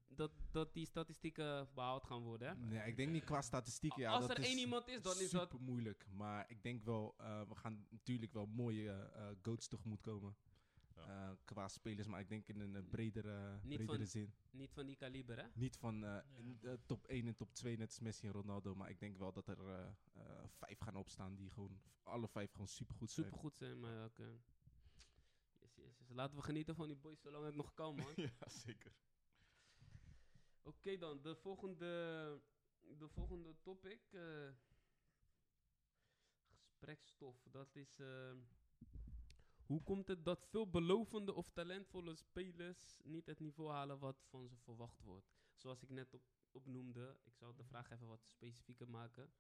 B: dat, dat die statistieken behaald gaan worden, hè?
C: Nee, ik denk niet qua statistieken. Ja,
B: Als
C: dat
B: er
C: is
B: één iemand is, dan is dat...
C: super moeilijk. Maar ik denk wel, eh, we gaan natuurlijk wel mooie eh eh, goats tegemoet komen.
D: Ja.
C: Eh, qua spelers, maar ik denk in een eh, bredere,
B: Niet
C: bredere
B: van-
C: zin.
B: Niet van die kaliber, hè?
C: Niet van eh, in, eh, top 1 en top 2, net als Messi en Ronaldo. Maar ik denk wel dat er eh, eh, vijf gaan opstaan die gewoon, alle vijf gewoon supergoed zijn.
B: Supergoed zijn, maar ja, oké. Yes, yes, yes. Laten we genieten van die boys zolang het nog kan, man.
D: ja, zeker.
B: Oké dan, de volgende, de volgende topic. eh gesprekstof, dat is... eh, hoe komt het dat veel belovende of talentvolle spelers niet het niveau halen wat van ze verwacht wordt? Zoals ik net op, opnoemde, ik zal de vraag even wat specifieker maken.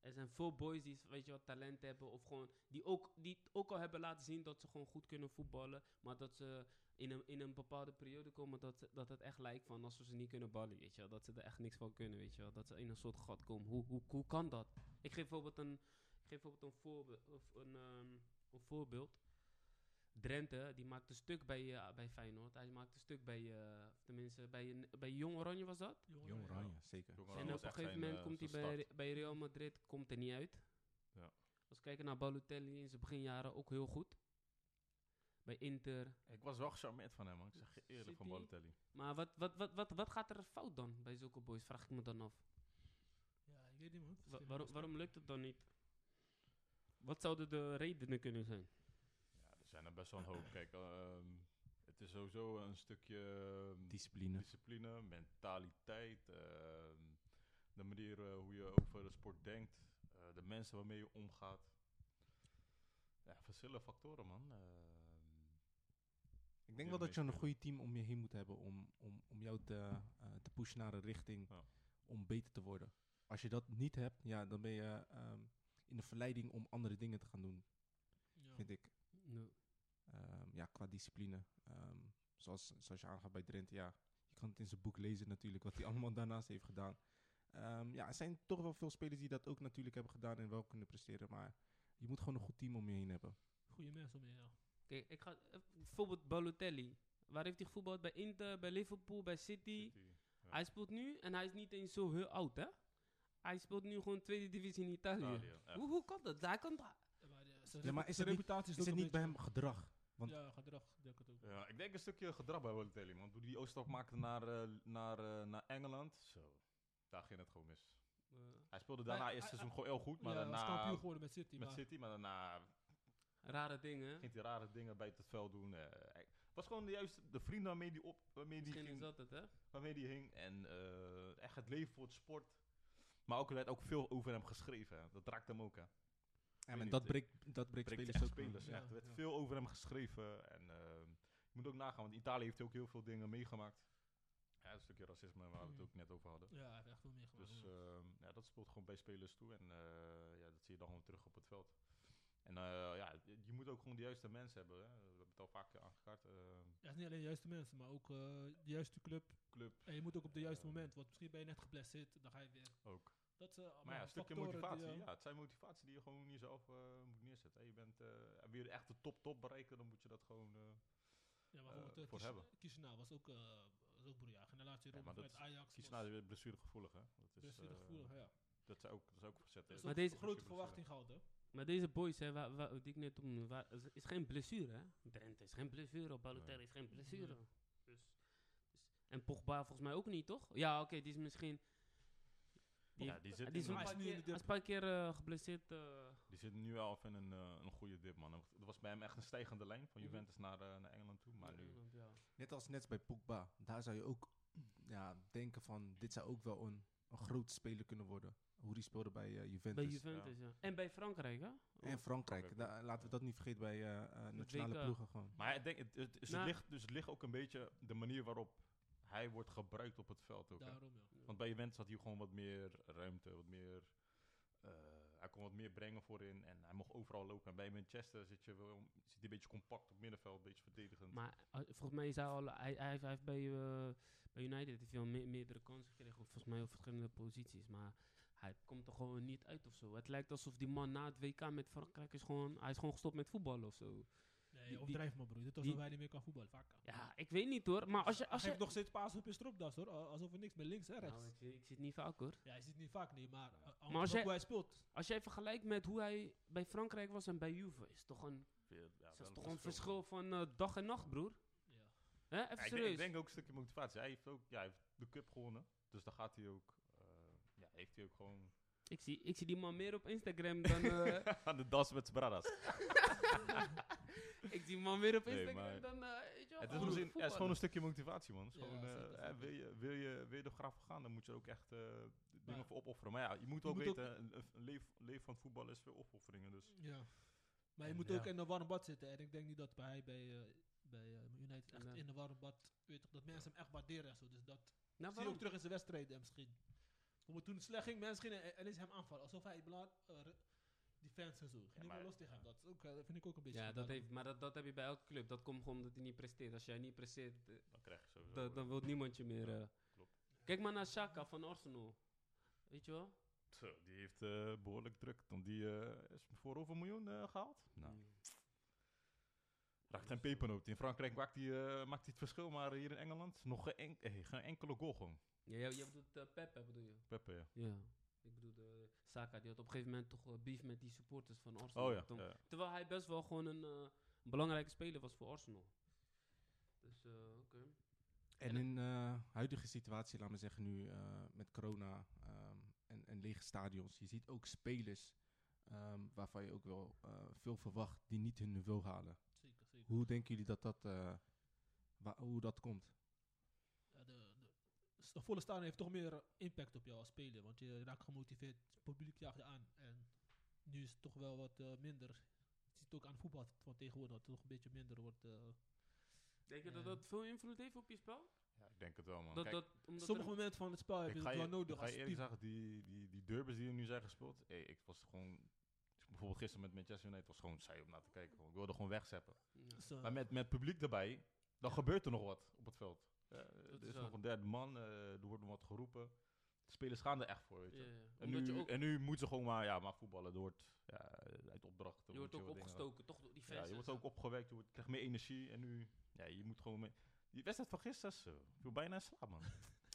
B: Er zijn veel boys die weet je, wat talent hebben of gewoon die ook, die het ook al hebben laten zien dat ze gewoon goed kunnen voetballen, maar dat ze in een, in een bepaalde periode komen dat, ze- dat het echt lijkt van als we ze niet kunnen ballen, weet je wel. Dat ze er echt niks van kunnen, weet je wel. Dat ze in een soort gat komen. Hoe, hoe, hoe kan dat? Ik geef bijvoorbeeld een, ik geef bijvoorbeeld een, voorbe of een, ehm, een voorbeeld. Drenthe, die maakte stuk bij, eh, bij Feyenoord. Hij maakte stuk bij, eh, tenminste, bij, een, bij Jong Oranje was dat.
A: Jongen,
C: Jong
A: ja.
C: Oranje, zeker.
D: Jong Oranje
B: en
D: was
B: op een
D: echt
B: gegeven
D: zijn,
B: moment
D: eh,
B: komt hij
D: zijn
B: bij,
D: start.
B: Re- bij Real Madrid komt er niet uit.
D: Ja.
B: Als we kijken naar Balotelli in zijn beginjaren, ook heel goed. Bij Inter,
D: Ik was wel gecharmeerd van hem, man. Ik zeg je eerlijk van
B: City.
D: Balotelli.
B: Maar wat, wat, wat, wat, wat gaat er fout dan bij zulke boys? Vraag ik me dan af.
A: Ja, ik weet niet, man.
B: Wa- waarom, waarom lukt het dan niet? Wat zouden de redenen kunnen zijn?
D: Ja, er zijn er best wel een hoop. Kijk, ehm, het is sowieso een stukje ehm,
C: Discipline.
D: discipline, mentaliteit, ehm, de manier eh, hoe je over de sport denkt, eh, de mensen waarmee je omgaat. Ja, verschillende factoren, man. Ehm,
C: Ik
D: die
C: denk wel dat je
D: ermee
C: een
D: spelen.
C: goed team om je heen moet hebben om, om, om jou te, eh, te pushen naar een richting
D: Ja.
C: om beter te worden. Als je dat niet hebt, ja, dan ben je ehm, in de verleiding om andere dingen te gaan doen, vind ik.
B: No.
C: Ehm, ja, qua discipline. Ehm, zoals, zoals je aangaat bij Drenthe, ja, je kan het in zijn boek lezen natuurlijk, wat hij allemaal daarnaast heeft gedaan. Ehm, ja, er zijn toch wel veel spelers die dat ook natuurlijk hebben gedaan en wel kunnen presteren, maar je moet gewoon een goed team om je heen hebben.
A: Goeie mensen om je, ja.
B: Kijk, ik ga, eh, bijvoorbeeld Balotelli. Waar heeft hij gevoetbald? Bij Inter, bij Liverpool, bij City.
D: City.
B: Hij speelt nu, en hij is niet eens zo heel oud, hè? Hij speelt nu gewoon tweede divisie in Italië.
D: Italië, echt.
B: Hoe, hoe kan dat? Hij kan da-
A: Maar, de- zijn
C: Ja, maar
A: repu-
C: is
A: zijn
C: het niet-
A: reputatie
C: Is
A: ook
C: het
A: een
C: niet bij hem gedrag? Want-
A: beetje- Ja, gedrag, denk ik het ook.
D: Ja, ik denk een stukje gedrag bij Balotelli, man. Toen die overstap maakte naar, eh, naar, eh, naar Engeland, zo, daar ging het gewoon mis.
B: Eh,
D: Hij speelde daarna
A: hij-
D: eerst
A: hij-
D: seizoen gewoon heel goed, maar
A: ja, hij was
D: daarna
A: kampioen geworden met City.
D: met
A: maar-
D: City, maar daarna
B: rare dingen. hè?
D: ging hij rare dingen bij het veld doen. eh, hij- het was gewoon de juiste de vrienden waarmee die op, waarmee die
B: Misschien is
D: ging,
B: dat het, hè?
D: waarmee die hing en eh, echt het leven voor het sport. Maar ook er werd ook veel over hem geschreven. hè. Dat raakte hem ook. Hè.
C: Ja,
D: weet
C: maar
D: niet,
C: dat
D: ik-
C: breekt, dat breekt
D: Breekt
C: spelers
D: echt
C: dus ook.
D: spelers.
A: Ja,
D: echt. Er werd
A: ja.
D: veel over hem geschreven en eh, je moet ook nagaan, want Italië heeft ook heel veel dingen meegemaakt. Ja, een stukje racisme waar we het
A: Mhm.
D: ook net over hadden.
A: Ja, hij heeft echt veel meegemaakt.
D: Dus
A: ja.
D: ehm, ja, dat speelt gewoon bij spelers toe. En eh, ja, dat zie je dan gewoon terug op het veld. En eh, ja, je je moet ook gewoon de juiste mensen hebben. Hè. We hebben het al vaak aangekaart. eh,
A: Ja, het is niet alleen de juiste mensen, maar ook eh, de juiste club.
D: club
A: En je moet ook op de juiste
D: Ja.
A: moment, want misschien ben je net geblesseerd, dan ga je weer.
D: ook.
A: Dat zijn allemaal
D: Maar ja, een stukje
A: factoren die,
D: motivatie.
A: eh,
D: ja, het zijn motivatie die je gewoon in jezelf eh, moet neerzetten. hè. Je bent, eh, en wil je echt de top-top bereiken, dan moet je dat gewoon... eh,
A: ja, maar
D: eh,
A: bijvoorbeeld, eh,
D: voor
A: Kies-
D: hebben.
A: Kiesenaar was ook, eh was ook broerjaar. Generatie
D: Ja,
A: rond
D: maar
A: met
D: dat-
A: Ajax.
D: kies
A: was
D: naar weer blessuregevoelig, hè. Dat is,
A: blessuregevoelig,
D: eh,
A: ja.
D: Dat zou ook, dat zou ook verzet
A: Er is
D: tegen-
B: deze-
A: ook grote
D: tegen
A: verwachting gehouden.
B: Maar deze boys, hè, waar, waar, die ik net om, waar, is, is geen blessure, hè? Drenthe is geen blessure, Balotelli
D: Nee.
B: is geen blessure. Dus, dus- en Pogba volgens mij ook niet, toch? Ja, oké, die is misschien... Die,
D: Ja, die zit,
B: die is
D: in
A: hij
B: een
D: een,
A: is nu
B: paar
A: in
B: keer,
A: de
B: hij is een paar keer eh, geblesseerd. eh,
D: die zit nu al in een, eh, een goede dip, man. Het was bij hem echt een stijgende lijn van
B: Mhm.
D: Juventus naar, eh, naar Engeland toe. Maar
B: in
D: nu,
B: Engeland, ja.
C: Net als net bij Pogba. Daar zou je ook ja, denken van, dit zou ook wel een, een groot speler kunnen worden. Hoe die speelde bij eh, Juventus.
B: Bij Oh, Juventus, ja. En bij Frankrijk, hè?
C: en Frankrijk.
D: Frankrijk ook.
C: Da- laten we dat niet vergeten bij eh, eh, nationale
B: WK.
C: ploegen gewoon.
D: Maar ik denk, het, het, is- het
B: Nou.
D: ligt, dus het ligt ook een beetje de manier waarop hij wordt gebruikt op het veld. Ook, hè.
A: Daarom, ja.
D: Want bij Juventus had hij gewoon wat meer ruimte, wat meer... eh, hij kon wat meer brengen voorin en hij mocht overal lopen. En bij Manchester zit je wel zit hij een beetje compact op middenveld, een beetje verdedigend.
B: Maar eh, volgens mij is hij al... Hij, hij heeft, hij heeft bij, eh, bij United heeft hij veel me- meerdere kansen gekregen. Volgens mij op verschillende posities. Maar hij komt er gewoon niet uit of zo. Het lijkt alsof die man na het WK met Frankrijk is gewoon... Hij is gewoon gestopt met voetballen of zo.
A: Nee,
B: die-
A: overdrijf maar broer. Dit was
B: die-
A: alsof hij niet meer kan voetballen. Vaak.
B: Ja, ik weet niet hoor. Maar als je... Als
A: Hij
B: je
A: geeft nog steeds paas op je stropdas hoor. Al- Alsof er niks meer links en rechts.
B: Nou, ik, zie- ik zie het niet vaak hoor.
A: Ja, hij ziet niet vaak niet, maar... eh, anders
B: als
A: ook
B: jij-
A: hoe hij speelt.
B: Als jij vergelijkt met hoe hij bij Frankrijk was en bij Juve... Is toch een,
D: Ja, wel
B: is toch een verschil van eh, dag en nacht, broer?
A: Ja.
B: Hè? Even
D: Ja, ik, denk,
B: serieus.
D: ik denk ook een stukje motivatie. Hij heeft ook ja, hij heeft de cup gewonnen. Dus dan gaat hij ook. eh, ja, heeft hij ook gewoon.
B: Ik zie, ik zie die man meer op Instagram dan. eh,
D: Aan de das met Bradas.
B: ik zie die man meer op
D: Nee,
B: Instagram
D: maar-
B: dan. eh, weet je wel,
D: het, is
B: gewoon
D: misschien- ja, het is gewoon
B: voetballen.
D: een stukje motivatie, man. Het is
A: Ja,
D: gewoon, eh,
A: zeker,
D: hè,
A: zeker.
D: wil, je, wil, je, wil je er graag voor gaan, dan moet je er ook echt eh, dingen
A: Maar-
D: voor opofferen. Maar ja, je moet
A: Je
D: ook
A: moet ook-
D: weten, een, een leef, leven van het voetbal is veel opofferingen. Dus.
A: Ja. Maar je
D: En
A: moet
D: ja.
A: ook in een warm bad zitten. En ik denk niet dat hij bij, eh, bij eh, United echt
B: Nee.
A: in een warm bad... Weet toch, dat mensen hem echt waarderen en zo. Dus dat
B: Nou,
A: zie je
B: waarom?
A: ook terug in zijn wedstrijden en misschien. Omdat toen het slecht ging, mensen gingen en is hem aanvallen. Alsof hij belangrijk... eh, re- die fans en zo. Ging helemaal
D: maar-
A: los tegen hem. Dat is ook, eh, vind ik ook een beetje...
B: Ja, dat
A: daarom.
B: heeft, maar dat, dat heb je bij elke club. Dat komt gewoon omdat hij niet presteert. Als jij niet presteert, eh,
D: Dan krijg je sowieso.
B: dan, dan wil niemand je meer.
D: Ja,
B: eh.
D: klopt.
B: Kijk maar naar Shaka van Arsenal. Weet je wel?
D: Zo, die heeft eh, behoorlijk druk. Want die eh, is voor over een miljoen eh, gehaald. Nou, raakt geen pepernoot. In Frankrijk maakt hij eh, maakt hij het verschil, maar hier in Engeland nog geen, enk- eh, geen enkele goal gewoon.
B: Ja, jij, jij bedoelt eh, Pepe, bedoel je?
D: Pepe, ja.
B: Ja. Ik bedoel, eh Saka die had op een gegeven moment toch eh, beef met die supporters van Arsenal.
D: Oh ja,
B: Toen-
D: ja.
B: Terwijl hij best wel gewoon een eh, belangrijke speler was voor Arsenal. Dus, eh, oké.
C: En in eh huidige situatie, laten we zeggen nu eh, met corona ehm, en, en lege stadions, je ziet ook spelers ehm, waarvan je ook wel eh, veel verwacht die niet hun niveau halen.
A: Zeker, zeker.
C: Hoe denken jullie dat dat, eh, wa- hoe dat komt?
A: Ja, de, de, s- een volle staan heeft toch meer eh, impact op jou als speler. Want je raakt gemotiveerd, het publiek jaagt je aan. En nu is het toch wel wat eh, minder. Je ziet het ook aan voetbal van tegenwoordig dat het toch een beetje minder wordt. eh.
B: Denk je dat
A: Ja.
B: dat veel invloed heeft op je spel?
D: Ja, ik denk het wel, man.
B: Dat,
D: Oh, Kijk,
B: dat, omdat
A: Sommige
B: er-
A: momenten van het spel heb je
D: ik
A: het
D: ga je,
A: wel nodig
D: ik ga
A: als
D: je eerlijk
A: team.
D: zeggen, die, die, die derbys die er nu zijn gespeeld, eh, ik was gewoon... Bijvoorbeeld gisteren met Manchester United was gewoon saai om naar te kijken. gewoon. Ik wilde gewoon wegzeppen.
B: Ja.
A: Dus, eh,
D: Maar met, met publiek erbij, dan gebeurt er nog wat op het veld. Ja, eh,
B: Dat
D: er
B: is
D: is
B: waar.
D: nog een derde man, eh, er wordt nog wat geroepen. De spelers gaan er echt voor, weet je.
B: Ja, ja.
D: En,
B: Omdat
D: nu,
B: je ook,
D: en nu moeten ze gewoon maar, ja, maar voetballen. Er wordt ja, uit opdrachten...
B: je wordt
D: wat
B: ook
D: dingen-
B: opgestoken, toch door die fans.
D: Ja, je
B: en
D: wordt
B: zo.
D: ook opgewekt, je wordt- krijgt meer energie. En nu, ja, je moet gewoon... Mee. Die wedstrijd van gisteren, zo, ik viel bijna in slaap, man.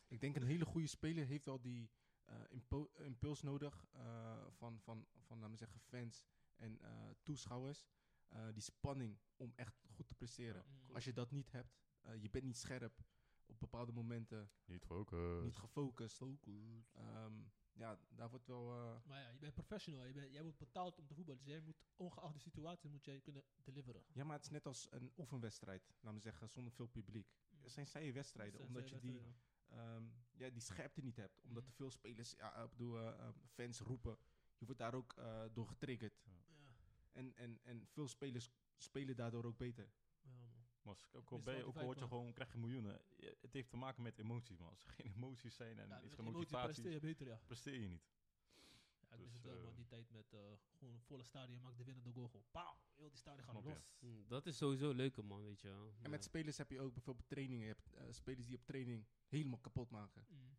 C: Ik denk een hele goede speler heeft wel die eh, impo- impuls nodig eh, van, van, van laten we zeggen, fans en eh, toeschouwers. Eh, die spanning om echt goed te presteren.
A: mm,
C: Als je dat niet hebt, eh, je bent niet scherp op bepaalde momenten,
D: Niet focussen.
C: niet gefocust. Ehm, ja, daar wordt wel. eh,
A: maar ja, je bent professional. Je bent, jij wordt betaald om te voetballen. Dus jij moet, ongeacht de situatie, moet jij kunnen deliveren.
C: ja, maar het is net als een oefenwedstrijd, laten we zeggen, zonder veel publiek. Het zijn saaie wedstrijden,
A: Dus, eh,
C: omdat je die,
A: wedstrijden.
C: ehm, ja, die scherpte niet hebt. Omdat
A: Mhm.
C: er veel spelers, ja, ik bedoel, eh, ehm, fans roepen. Je wordt daar ook eh, door getriggerd.
A: Ja,
C: En, en, en veel spelers spelen daardoor ook beter.
A: ja, man.
D: Mas, ook al,
A: Mis
D: ben je,
A: wat
D: ook
A: je
D: al word je
A: kwijt
D: gewoon, krijg je miljoenen. Je- Het heeft te maken met emoties, man. Als er geen emoties zijn en
A: Ja,
D: is
A: met
D: geen
A: emotie presteer
D: motivatie,
A: je beter, ja.
D: presteer je niet.
A: Ja, ik
D: Dus,
A: mis het wel,
D: eh,
A: man, die tijd met eh, gewoon een volle stadion maakt de winnende goal gewoon. Pauw, heel die stadion gaat
D: Klopt, ja.
A: los.
B: Hm, Dat is sowieso leuker, man, weet je wel. Ja.
C: En met spelers heb je ook bijvoorbeeld trainingen. Je hebt eh, spelers die op training helemaal kapot maken.
A: Mm.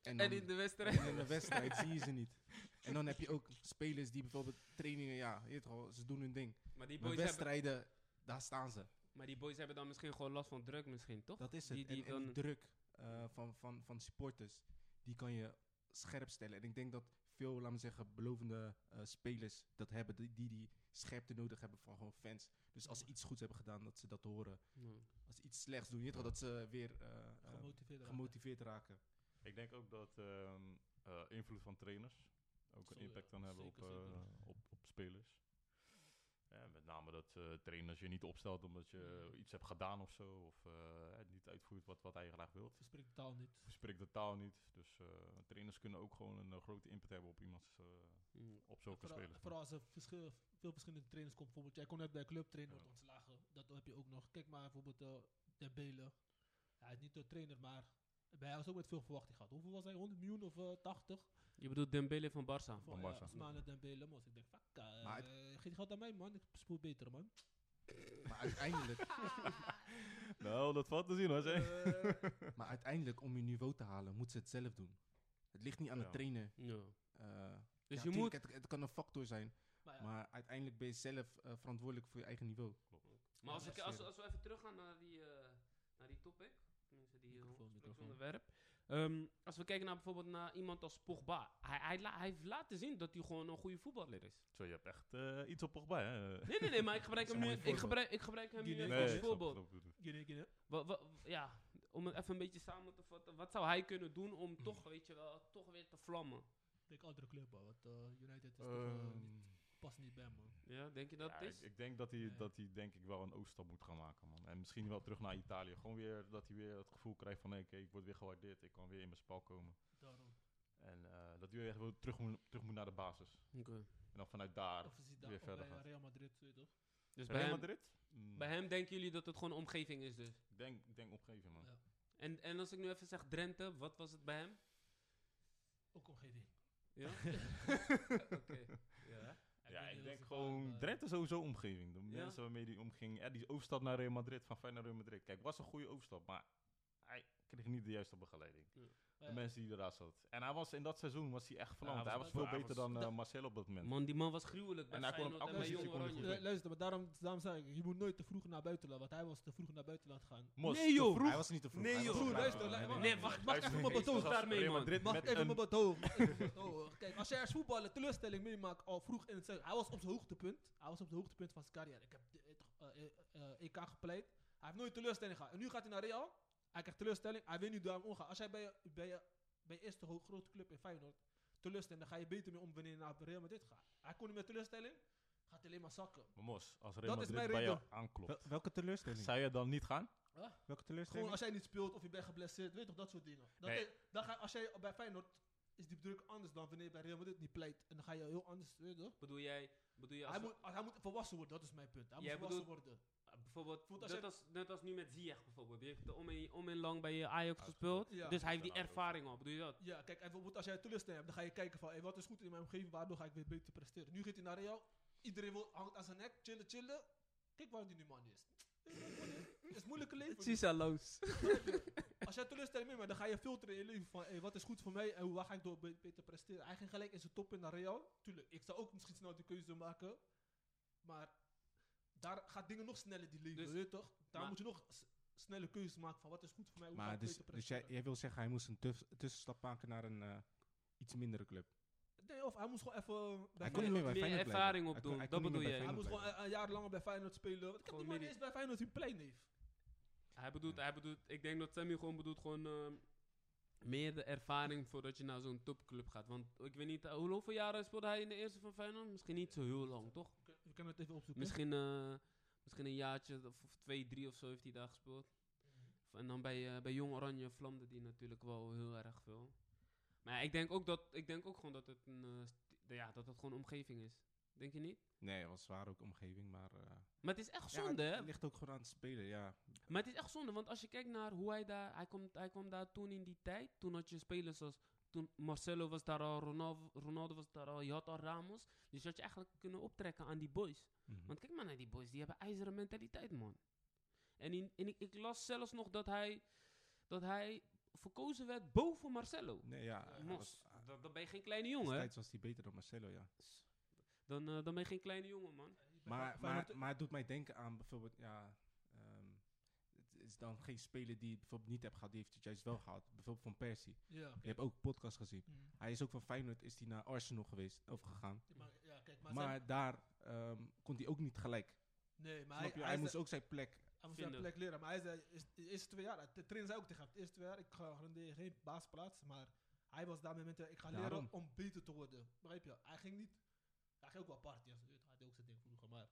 C: En,
B: En
C: dan-
B: in de wedstrijd.
C: en in de wedstrijd zie je ze niet. En dan heb je ook spelers die bijvoorbeeld trainingen, ja, je weet toch, ze doen hun ding.
B: Maar die,
C: Maar
B: boys hebben,
C: wedstrijden, daar staan ze.
B: maar die boys hebben dan misschien gewoon last van druk, misschien, toch?
C: Dat is het.
B: Die- die
C: en, en die
B: dan-
C: druk eh, van, van, van supporters, die kan je scherp stellen. En ik denk dat veel, laten we zeggen, belovende eh, spelers dat hebben. Die, die die scherpte nodig hebben van gewoon fans. Dus als ze iets goeds hebben gedaan, dat ze dat horen. Als ze iets slechts doen, je weet toch, dat ze weer eh, eh,
A: Gemotiveerd. raken.
C: gemotiveerd raken.
D: Ik denk ook dat ehm, eh, invloed van trainers ook een
A: Zo, ja,
D: impact kan hebben
A: zeker,
D: op, eh,
A: zeker.
D: op, op spelers. Ja, met name dat eh, trainers je niet opstelt omdat je iets hebt gedaan of zo. Of eh, niet uitvoert wat, wat hij graag wil.
A: Verspreek de taal niet.
D: Je spreekt de taal niet. Dus eh, trainers kunnen ook gewoon een eh, grote impact hebben op iemands eh,
B: Hm.
D: op zulke
A: Vooral,
D: spelers.
A: vooral als er verschil- veel verschillende trainers komt. Bijvoorbeeld, jij kon net bij een club trainen,
D: Ja.
A: wordt ontslagen. Dat heb je ook nog. Kijk maar bijvoorbeeld eh de Belen. Hij is niet de trainer, maar bij hij was ook met veel verwachting gehad. Hoeveel was hij? 100 miljoen of eh, 80?
B: Je bedoelt Dembele van Barça.
A: Van
D: Van
A: ja,
D: Barca.
A: Ousmane Dembele, man. Dus ik denk, fuck, eh,
C: Maar
A: geef geld aan mij, man. Ik spoel beter, man.
C: Maar uiteindelijk,
D: Nou, dat valt te zien hoor. zeg.
C: maar uiteindelijk, om je niveau te halen, moeten ze het zelf doen. Het ligt niet aan de
D: Ja.
C: trainer.
B: Ja.
C: eh,
B: Dus
C: ja,
B: je
C: tuurlijk,
B: moet...
C: Het, het kan een factor zijn,
A: Maar ja,
C: maar uiteindelijk ben je zelf eh, verantwoordelijk voor je eigen niveau.
B: Maar als, ik, als,
C: presteren.
B: als we even teruggaan naar die, eh, naar die topic, tenminste die eh,
A: Microfoon, microfoon.
B: onderwerp. Ehm, als we kijken naar bijvoorbeeld naar iemand als Pogba. Hij, hij, la- hij heeft laten zien dat hij gewoon een goede voetballer is.
D: Zo, je hebt echt eh, iets op Pogba, hè?
B: Nee, nee, nee, maar ik gebruik
C: Dat
B: hem
C: is
B: nu,
C: een mooi
B: ik gebruik, ik gebruik hem
A: Die
B: nu
A: neemt
B: even
A: ook.
D: ik
B: als
D: snap
B: voorbeeld.
D: wat je bedoelt.
A: Guinea, Guinea.
B: Wa- wa- ja, om het even een beetje samen te vatten. Wat zou hij kunnen doen om toch, weet je wel, toch weer te vlammen?
A: Ik denk andere club, man. Want eh, United is toch, eh,
D: Ehm,
A: niet- past niet bij, man.
B: Ja, denk je dat
D: Ja,
B: het is?
D: ik, ik denk dat hij,
A: Nee.
D: dat hij denk ik wel een ooststap moet gaan maken, man. En misschien wel terug naar Italië. Gewoon weer dat hij weer het gevoel krijgt van... Hey, oké, ik word weer gewaardeerd. Ik kan weer in mijn spel komen.
A: Daarom.
D: En eh, dat hij weer echt wel terug moet, terug moet naar de basis.
B: Oké.
D: En dan vanuit daar...
A: Of is hij daar
D: weer
A: of
D: verder
A: bij
D: gaat.
A: Real Madrid, weet je toch?
B: Dus bij
D: Real
B: hem,
D: Madrid? Mm,
B: bij hem denken jullie dat het gewoon omgeving is dus?
D: Ik denk, ik denk opgeven, man.
A: Ja.
B: En, en als ik nu even zeg Drenthe, wat was het bij hem?
A: Ook omgeving.
B: Ja? Oké. Ja.
A: Ik
D: Ja,
A: weet
D: ik
A: niet
D: denk
A: of ze daar,
D: gewoon...
A: eh,
D: Drenthe is sowieso omgeving. De
B: Ja.
D: mensen waarmee die omging... Ja, die overstap naar Real Madrid. Van Feyenoord naar Real Madrid. Kijk, was een goede overstap, maar... Hij kreeg niet de juiste begeleiding.
A: maar
D: De
A: ja,
D: mensen die ernaar zaten. En hij was in dat seizoen was hij echt
B: hij
D: verlamd.
B: was
D: hij was
B: wel-
D: veel
B: hij
D: beter
B: was-
D: dan eh,
A: Da-
D: Marcel op dat moment.
B: Man, die man was gruwelijk bij
D: En hij kon op
B: Feyenoord en
D: elke
B: bij Jong
D: positie kon hij
B: Oranje.
D: goed
A: Eh, Luister, maar daarom, daarom zei ik, je moet nooit te vroeg naar buiten laten, want hij was te vroeg naar buitenland gaan.
D: Mos,
B: Nee, joh.
D: te vroeg.
C: Hij was niet te vroeg.
B: Nee,
C: hij was
B: joh.
C: te laat.
A: Luister, luister,
B: Nee, wacht, wacht
D: Luister,
B: even mijn
D: nee,
B: betoog
D: zoals
B: daarmee,
D: Real
B: man.
D: Madrid
A: Mag
D: met
A: even
D: een-
A: mijn betoog. mag even mijn betoog. Kijk, als jij als voetballer teleurstelling meemaakt al vroeg in het seizoen. Hij was op zijn hoogtepunt. Hij was op het hoogtepunt van zijn carrière. Ik heb de- het, eh, eh, eh, EK gepleit. Hij heeft nooit teleurstelling gehad. En nu gaat hij naar Real. Hij krijgt teleurstelling. Hij weet niet hoe hij mee omgaat. Als jij bij je, bij je, bij je eerste ho- grote club in Feyenoord teleurstelling, dan ga je beter mee om wanneer je naar Real Madrid gaat. Hij kon niet met teleurstelling. Gaat alleen maar zakken.
D: Maar Mos, als Real
A: Dat is
D: Madrid bij
A: mijn
D: jou
A: reden.
D: aanklopt,
C: Wel- welke teleurstelling?
D: zou je dan niet gaan?
C: welke
A: Gewoon
C: teleurstelling?
A: als jij niet speelt of je bent geblesseerd, weet je toch, dat soort dingen. Dat
D: Nee.
A: is- dan ga, als jij bij Feyenoord is die druk anders dan wanneer je bij Real Madrid niet pleit. En dan ga je heel anders, weet je toch?
B: Bedoel jij, bedoel je als...
A: Hij moet, hij moet volwassen worden, dat is mijn punt. Hij
B: Jij
A: moet volwassen worden.
B: bijvoorbeeld,
A: Voelt als
B: net
A: jij-
B: als, net als nu met Ziyech bijvoorbeeld. Die heeft er om en, om en lang bij eh, Ajax gespeeld.
A: Ja.
B: Dus hij heeft die
D: Daarna ook.
B: ervaring al, bedoel je dat?
A: Ja, kijk, en bijvoorbeeld als jij teleurstelling hebt, dan ga je kijken van, hey, wat is goed in mijn omgeving, waardoor ga ik weer beter presteren. Nu gaat hij naar Real, iedereen wil, hangt aan zijn nek, chillen, chillen. Kijk waar die nu man is. Het is een moeilijke leven. nu.
B: Cisaloos.
A: Als jij teleurstelling meemaakt, dan ga je filteren in je leven van hey, wat is goed voor mij en hoe- waar ga ik door be- beter presteren. Hij ging gelijk in zijn top in naar Real. Tuurlijk, ik zou ook misschien snel die keuze maken. Maar daar gaat dingen nog sneller die leven,
B: Dus-
A: weet je toch? Daar
B: maar-
A: moet je nog s- snelle keuzes maken van wat is goed voor mij, hoe ga
C: Maar
A: ik
C: dus,
A: beter
C: dus jij,
A: presteren.
C: jij wil zeggen, hij moest een tuss- tussenstap maken naar een eh, iets mindere club.
A: Nee, of hij moest gewoon even... bij
C: Hij kon niet meer bij
B: meer
C: Feyenoord blijven.
B: ervaring
C: Hij
B: opdoen,
C: kon- hij
B: dat
C: kon niet meer
B: bedoel
C: bij
B: jij.
A: hij moest
C: Feyenoord
A: gewoon een, een jaar langer bij Feyenoord spelen. Want ik heb
B: Gewoon
A: die man
B: midden-
A: eens bij Feyenoord hun plein heeft.
B: Hij bedoelt, hij bedoelt, ik denk dat Sammy gewoon bedoelt gewoon ehm, meer de ervaring voordat je naar zo'n topclub gaat. Want ik weet niet, eh, hoe- hoeveel jaren speelde hij in de eerste van Feyenoord? Misschien niet zo heel lang, toch?
A: We kunnen- We kunnen het even opzoeken.
B: Misschien, eh, misschien een jaartje of, of twee, drie of zo heeft hij daar gespeeld.
C: Mhm.
B: En dan bij, eh, bij Jong Oranje vlamde die natuurlijk wel heel erg veel. Maar ja, ik denk ook, dat, ik denk ook gewoon dat het, een, eh, st- ja, dat het gewoon omgeving is. Denk je niet?
C: blijven. Nee, het was zwaar ook omgeving, maar... eh,
B: Maar het is echt
C: ja,
B: zonde, hè?
C: Het ligt ook gewoon aan het spelen, ja.
B: Maar het is echt zonde, want als je kijkt naar hoe hij daar... Hij, komt, hij kwam daar toen in die tijd. Toen had je spelers als... Toen Marcelo was daar al, Ronaldo, Ronaldo was daar al, je had al Ramos. Dus je had je eigenlijk kunnen optrekken aan die boys.
C: Mhm.
B: Want kijk maar naar die boys, die hebben ijzeren mentaliteit, man. En, in, en ik, ik las zelfs nog dat hij, dat hij verkozen werd boven Marcelo.
C: Nee, ja. hij
B: Mos,
C: was- ah,
B: dan, dan ben je geen kleine jongen, hè?
C: destijds was hij beter dan Marcelo, ja.
B: Dan, eh, dan ben je geen kleine jongen, man.
A: Bij
C: Maar,
A: Feyenoord-
C: maar, maar het doet mij denken aan bijvoorbeeld, ja... ehm, het- is dan geen speler die het bijvoorbeeld niet hebt gehad, die heeft het juist wel gehad. Bijvoorbeeld van Persie.
A: Ja,
C: Je hebt ook een podcast gezien.
A: mm.
C: Hij is ook van Feyenoord is hij naar Arsenal geweest, of gegaan.
A: Ja, maar, ja, kijk, maar,
C: Maar,
A: zijn-
C: daar ehm, kon hij ook niet gelijk.
A: nee, maar hij,
C: Snap je?
A: hij,
C: Hij
A: is-
C: moest ook zijn plek.
A: Hij moest wel een
B: Vinden.
A: plek leren, maar hij zei, is, de eerste twee jaar, de trainer zei ook tegen hem, de eerste twee jaar, ik ga garandeer geen baasplaats, maar hij was daarmee met, de, ik ga leren
C: Daarom.
A: om beter te worden, begrijp je? Hij ging niet, hij ging ook wel party, als je weet, hij deed ook zijn ding vroeger, maar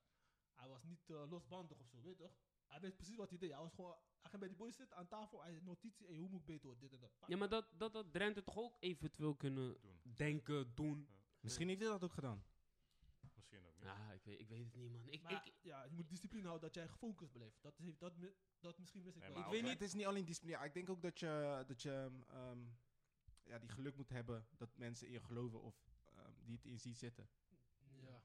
A: hij was niet eh, losbandig of zo, weet je toch? Hij wist precies wat hij deed, hij was gewoon, hij ging bij die boys zitten aan tafel, hij notitie, hey, hoe moet ik beter worden, dit en dat.
B: Ja, maar dat, dat had Drenthe toch ook eventueel kunnen
D: Doen.
B: denken, doen.
C: Misschien heeft hij dat ook gedaan.
D: Misschien ook niet.
B: Ja, ik weet, ik weet het niet, man. Ik,
A: Maar
B: ik,
A: ja, je moet discipline houden dat jij gefocust blijft, dat, heeft- dat, mi- dat misschien mis ik
D: Nee,
A: wel.
D: maar
C: ik
D: als
C: weet niet,
D: hij-
C: het is niet alleen discipline. Ik denk ook dat je, dat je ehm, ja, die geluk moet hebben dat mensen in je geloven of ehm, die het in zien zitten.
A: Ja.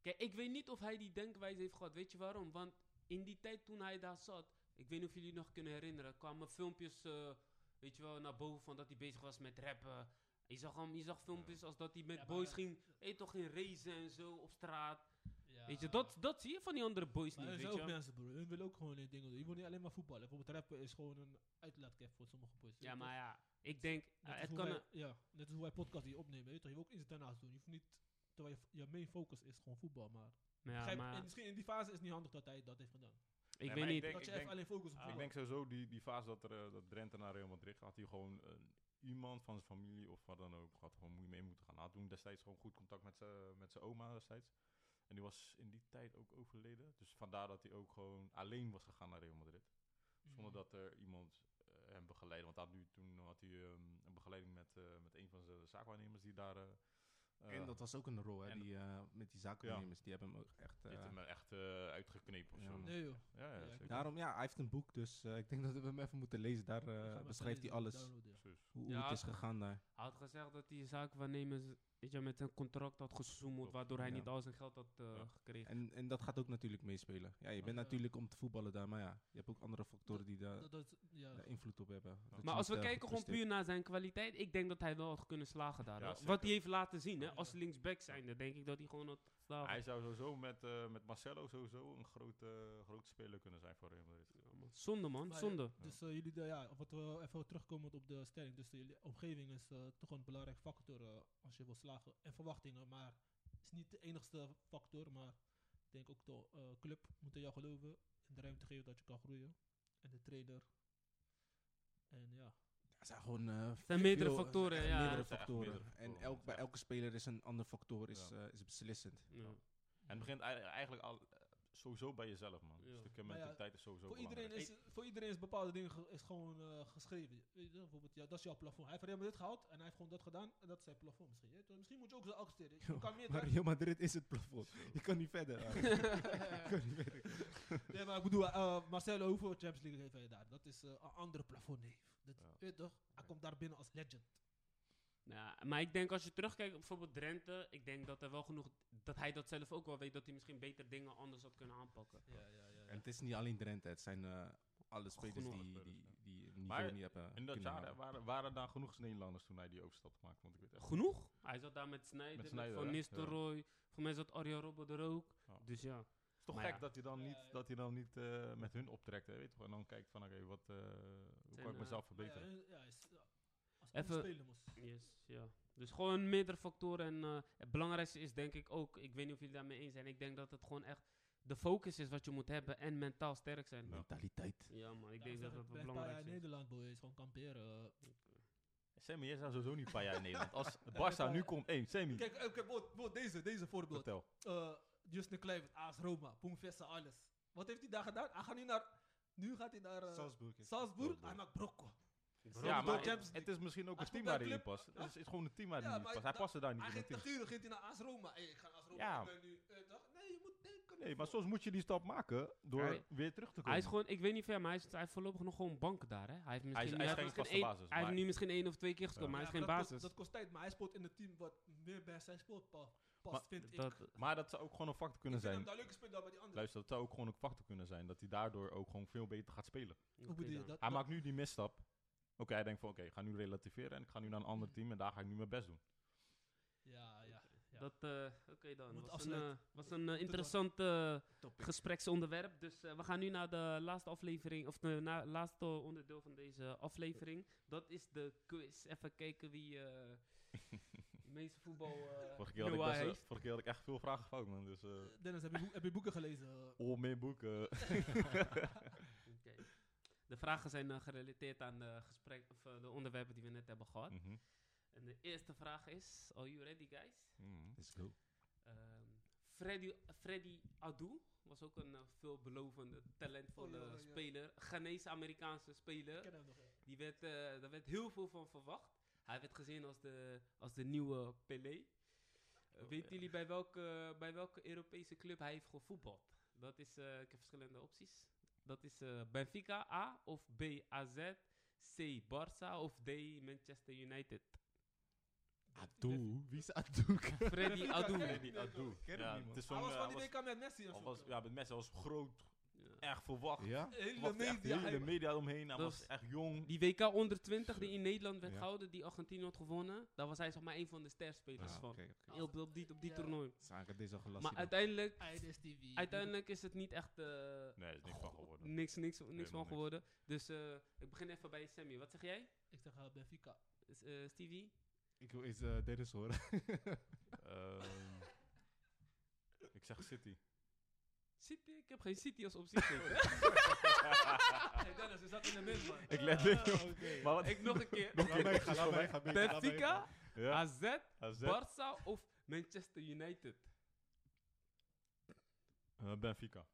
B: Kijk, ik weet niet of hij die denkwijze heeft gehad. Weet je waarom? Want in die tijd toen hij daar zat, ik weet niet of jullie nog kunnen herinneren, kwamen filmpjes, eh, weet je wel, naar boven van dat hij bezig was met rappen. Je zag, hem, je zag filmpjes als dat hij met
A: Ja, maar
B: boys
A: dat-
B: ging, hey, toch ging racen en zo op straat.
A: Ja.
B: Weet je, dat, dat zie je van die andere boys
A: Maar
B: niet,
A: er
B: weet
A: zijn ook
B: je.
A: mensen, broer. Hun willen ook gewoon hun dingen doen. Je wil niet alleen maar voetballen. Bijvoorbeeld rappen is gewoon een uitlaatklep voor sommige boys.
B: Ja, maar ja, ik denk,
A: Net,
B: eh,
A: als
B: het
A: hoe
B: kan...
A: wij, ja, net als hoe wij podcast hier opnemen. Weet je, toch? je wil ook iets daarnaast doen. Je hoeft niet... Terwijl je, je main focus is gewoon voetbal, maar...
B: Ja,
A: begrijp-
B: maar
A: en misschien in die fase is het niet handig dat hij dat heeft gedaan.
B: ik
D: maar
B: weet
D: ik
B: niet.
D: denk-
A: dat je even
D: denk-
A: alleen focus op
B: Ah.
D: Ik
A: voetbal.
D: denk sowieso die, die fase dat, er, eh, dat Drenthe naar Real Madrid gaat, die gewoon eh, iemand van zijn familie of wat dan ook had gewoon moe- mee moeten gaan. Hij had toen destijds gewoon goed contact met zijn eh, met zijn oma destijds. En die was in die tijd ook overleden. Dus vandaar dat hij ook gewoon alleen was gegaan naar Real Madrid.
A: Mm.
D: Zonder
A: Mhm.
D: dat er iemand eh, hem begeleidde. Want hij had nu, toen had hij ehm, een begeleiding met, eh, met een van zijn zaakwaarnemers die daar... eh, eh,
C: en dat was ook een rol, hè,
D: en-
C: die, eh, met die zakennemers. Die hebben hem ook echt...
D: die
C: eh,
D: heeft hem eh, er echt eh, uitgeknepen of
C: Ja,
D: zo.
C: man.
A: Nee, joh.
D: Ja,
A: Ja,
D: ja,
A: ik
D: zeker.
C: daarom, ja, hij heeft een boek, dus eh, ik denk dat we hem even moeten lezen. Daar eh,
A: Ik ga hem even
C: beschrijft hij
A: lezen en
C: alles, hoe,
A: downloaden, ja.
D: Precies.
C: hoe
B: Ja.
C: het is gegaan daar.
B: Hij had gezegd dat die zaakwaarnemer weet je, met zijn contract had gezoemeld,
D: Klopt.
B: waardoor hij
C: Ja.
B: niet al zijn geld had eh,
D: Ja.
B: gekregen.
C: En, en dat gaat ook natuurlijk meespelen. Ja, je
A: Dat,
C: bent
A: eh,
C: natuurlijk om te voetballen daar, maar ja, je hebt ook andere factoren die daar
A: Dat, dat, ja.
C: daar invloed op hebben. Dat je
B: Maar als we
C: niet, eh,
B: kijken gewoon
C: gepresteerd
B: puur naar zijn kwaliteit, ik denk dat hij wel had kunnen slagen daar.
D: Ja,
B: hoor.
D: zeker.
B: Wat hij heeft laten zien, hè,
A: Ja.
B: als linksback zijnde, denk ik dat hij gewoon had slagen.
D: Hij zou sowieso met, eh, met Marcelo sowieso een groot, eh, groot speler kunnen zijn voor Real Madrid.
B: Ja, man. Zonde man,
A: Maar,
B: zonde.
A: Dus eh, jullie, de, ja, wat we even terugkomen op de stelling. Dus de omgeving is eh, toch een belangrijk factor eh, als je wil slagen. En verwachtingen, maar is niet de enigste factor. Maar ik denk ook de eh, club moet in jou geloven. En de ruimte geven dat je kan groeien. En de trainer. En ja.
C: Er zijn gewoon eh,
B: zijn meerdere
C: veel-
B: factoren,
C: echt
B: ja.
C: meerdere
D: Het zijn echt
C: factoren.
D: meerdere
C: En
D: factoren,
C: elk,
D: ja.
C: bij elke speler is een ander factor is,
D: Ja.
C: eh, is beslissend.
B: Ja.
D: En het begint ei- eigenlijk al, eh, sowieso bij jezelf, man.
B: Ja.
D: Een stukje
A: Maar ja,
D: mentaliteit is sowieso
A: Voor iedereen,
D: belangrijk.
A: is, voor iedereen is bepaalde dingen ge- is gewoon eh, geschreven. Weet je, wel, bijvoorbeeld, ja, dat is jouw plafond. Hij heeft Real Madrid gehaald en hij heeft gewoon dat gedaan. En dat is zijn plafond misschien. hè. Dus Misschien moet je ook zo accepteren. Je kan meer
C: Maar
A: dan-
C: Real Madrid is het plafond. Je kan niet verder. eh. Je kan niet verder.
A: Nee, maar ik bedoel, eh, Marcelo, hoeveel Champions League heeft hij daar? Dat is eh, een andere plafond, nee. Dat,
D: Ja.
A: Weet je toch? Hij komt daar binnen als legend.
B: Ja, maar ik denk als je terugkijkt op bijvoorbeeld Drenthe, ik denk dat, er wel genoeg, dat hij dat zelf ook wel weet, dat hij misschien beter dingen anders had kunnen aanpakken.
A: Ja, ja, ja.
C: En het is niet alleen Drenthe. Het zijn eh, alle spelers
B: Genoeg
C: die,
D: spelers,
C: die,
D: ja.
C: die een niveau
D: Maar
C: niet hebben
D: In dat
C: kunnen
D: jaar
C: halen.
D: waren, waren er dan genoeg Nederlanders toen hij die overstap maakte. Want ik weet echt
B: Genoeg? Hij zat daar met Snijder,
D: Met
B: met
D: Sneijder,
B: Van
D: hè?
B: Nistelrooy, voor mij zat Arjen Robben er ook.
D: Ja.
B: Dus ja.
D: Het is toch
B: Maar
D: gek
B: ja.
D: dat hij dan
A: Ja,
D: niet,
A: ja.
D: dat hij dan niet eh, met hun optrekt, hè, weet je toch? En dan kijkt van, oké, wat, eh, hoe
B: Zijn,
D: kan ik
B: eh,
D: mezelf
A: Maar ja,
D: verbeteren?
A: eh, ja, is, ja, als
B: Even-
A: Even spelen moest.
B: Yes, ja. Dus gewoon meerdere factoren. En eh, het belangrijkste is denk ik ook, ik weet niet of jullie daarmee eens zijn, ik denk dat het gewoon echt de focus is wat je moet hebben en mentaal sterk zijn. Ja,
C: Mentaliteit.
B: man, ik
A: Daarom
B: denk
A: zeg
B: dat dat wel
A: blijf een paar jaar
B: belangrijk
A: in
B: is.
A: Nederland, boy, is gewoon kamperen. eh.
D: Sammy, jij zou sowieso niet een paar jaar in Nederland. Als
A: maar-
D: Barca nu komt, één, Sammy,
A: Kijk, eh, kijk, bijvoorbeeld- bijvoorbeeld deze, deze voorbeeld.
D: vertel.
A: Eh, Justin Kluivert, AS Roma, Poemvessa, alles. Wat heeft hij daar gedaan? Hij gaat nu naar... Nu gaat hij naar eh,
C: Salzburg. is-
A: Salzburg. Hij
D: Salzburg.
A: maakt Brocco.
D: Ja,
A: Robben door
D: maar
A: Champions
D: het, het is misschien ook
A: Hij
D: een team
A: speelt bij een
D: waar hij in
A: club.
D: past. Het is, het is gewoon een team waar
A: Ja,
D: hij niet in
A: maar
D: past. Hij
A: da-
D: paste daar niet
A: Hij
D: in het
A: gaat
D: team.
A: tegen Guren, gaat hij naar AS Roma. Hey, ik ga naar AS Roma.
D: Ja.
A: Ik ben nu, eh, toch? Nee, je moet... Nee, kan
D: Nee,
A: niet.
D: maar soms moet je die stap maken door
B: Hij-
D: weer terug te komen.
B: Hij is gewoon, ik weet niet ver, maar hij, is, hij heeft voorlopig nog gewoon bank daar. Hè? Hij heeft misschien,
D: hij is geen
B: misschien
D: vaste
B: één-
D: basis,
B: Hij heeft
D: maar-
B: nu misschien één of twee keer gescoord,
D: Ja.
B: maar hij is
A: Ja,
B: geen
A: maar dat
B: basis.
A: Kost, dat kost tijd, maar hij speelt in een team wat meer bij zijn sport pa- past,
D: Maar
A: vind ik.
B: Dat-
D: maar dat zou ook gewoon een factor kunnen
A: ik vind hem
D: zijn.
A: daar leuke speler dan bij die andere.
D: Luister, dat zou ook gewoon een factor kunnen zijn. Dat hij daardoor ook gewoon veel beter gaat spelen.
A: Hoe
B: oké
A: bedoel je
B: dan.
A: dat?
D: Hij maakt nu die misstap. Oké, hij denkt van oké, ik ga nu relativeren en ik ga nu naar een ander team en daar ga ik nu mijn best doen.
A: Ja, ja. ja, Ja.
B: Dat, eh, Oké dan,
A: Moet
B: was een,
A: afsluiten.
B: eh, was een eh, interessant eh,
C: Topic.
B: gespreksonderwerp. Dus eh, we gaan nu naar de laatste aflevering, of de na- laatste onderdeel van deze aflevering. Dat is de quiz. Even kijken wie eh de meeste voetbal eh
D: Vorige keer, had ik
B: Noah
D: best, eh,
B: heeft.
D: vorige keer had ik echt veel vragen fout, man. Dus eh
A: Dennis, heb je, boek- heb je boeken gelezen?
D: all mijn boeken. eh,
B: Oké. De vragen zijn eh, gerelateerd aan de, gesprek, of, eh, de onderwerpen die we net hebben gehad.
D: Mhm.
B: En de eerste vraag is, are you ready guys?
D: Mhm.
C: Let's go.
B: Ehm, Freddy, Freddy Adu was ook een eh, veelbelovende, talentvolle
A: Oh, ja, ja.
B: speler. Ghanese-Amerikaanse speler.
A: Ik ken hem nog. ja.
B: Die werd, eh, daar werd heel veel van verwacht. Hij werd gezien als de, als de nieuwe Pelé. Eh,
D: Oh,
B: weten
D: ja.
B: jullie bij welke, bij welke Europese club hij heeft gevoetbald? Dat is, eh, ik heb verschillende opties. Dat is eh, Benfica A of B AZ, C Barça of D Manchester United.
C: Adu? Wie is Adu?
B: Freddy Adu.
D: Freddy
A: Nee,
D: Adu.
A: ik
C: ken hem
D: Ja,
C: niet, man.
D: het is zo'n,
A: Hij was
D: eh,
A: van die
D: was-
A: WK met Messi en
D: hij
A: zo.
D: was- Ja, met mensen was groot,
B: Ja.
D: erg verwacht.
C: Ja?
A: Hele
D: Verwachtte echt de
A: media.
D: hele
A: hype.
D: media omheen. Hij
B: Dat
D: was
B: is-
D: echt jong.
B: Die WK onder 20 die in Nederland werd
C: Ja.
B: gehouden, die Argentinië had gewonnen. Daar was hij zeg maar een van de sterspelers
C: Ah,
B: van.
C: oké, oké.
B: Heel- Op die, op die
A: Ja.
B: toernooi.
C: Zaken deze al gelast.
B: Maar uiteindelijk,
A: Ides TV.
B: uiteindelijk is het niet echt... eh,
D: Nee, is niks van geworden.
B: Niks, niks, niks
D: Helemaal
B: van
D: niks.
B: geworden. Dus eh, ik begin even bij Sammy. Wat zeg jij,
A: Ik zeg eh, Benfica.
B: S- eh, Stevie?
C: Ik wil eens eh, Dennis horen.
D: Ehm, ik zeg City.
B: City? Ik heb geen City als optie.
A: Hey Dennis, je zat in de min, man.
D: Ik let niet op. Maar wat
B: Eh, ik nog een keer.
D: Nog
C: Laat mij
D: een
C: gaan,
D: keer.
C: laat mij gaan. Benfica, laat mij
B: Benfica,
D: Ja,
B: AZ,
D: AZ,
B: Barça of Manchester United?
D: eh, Benfica.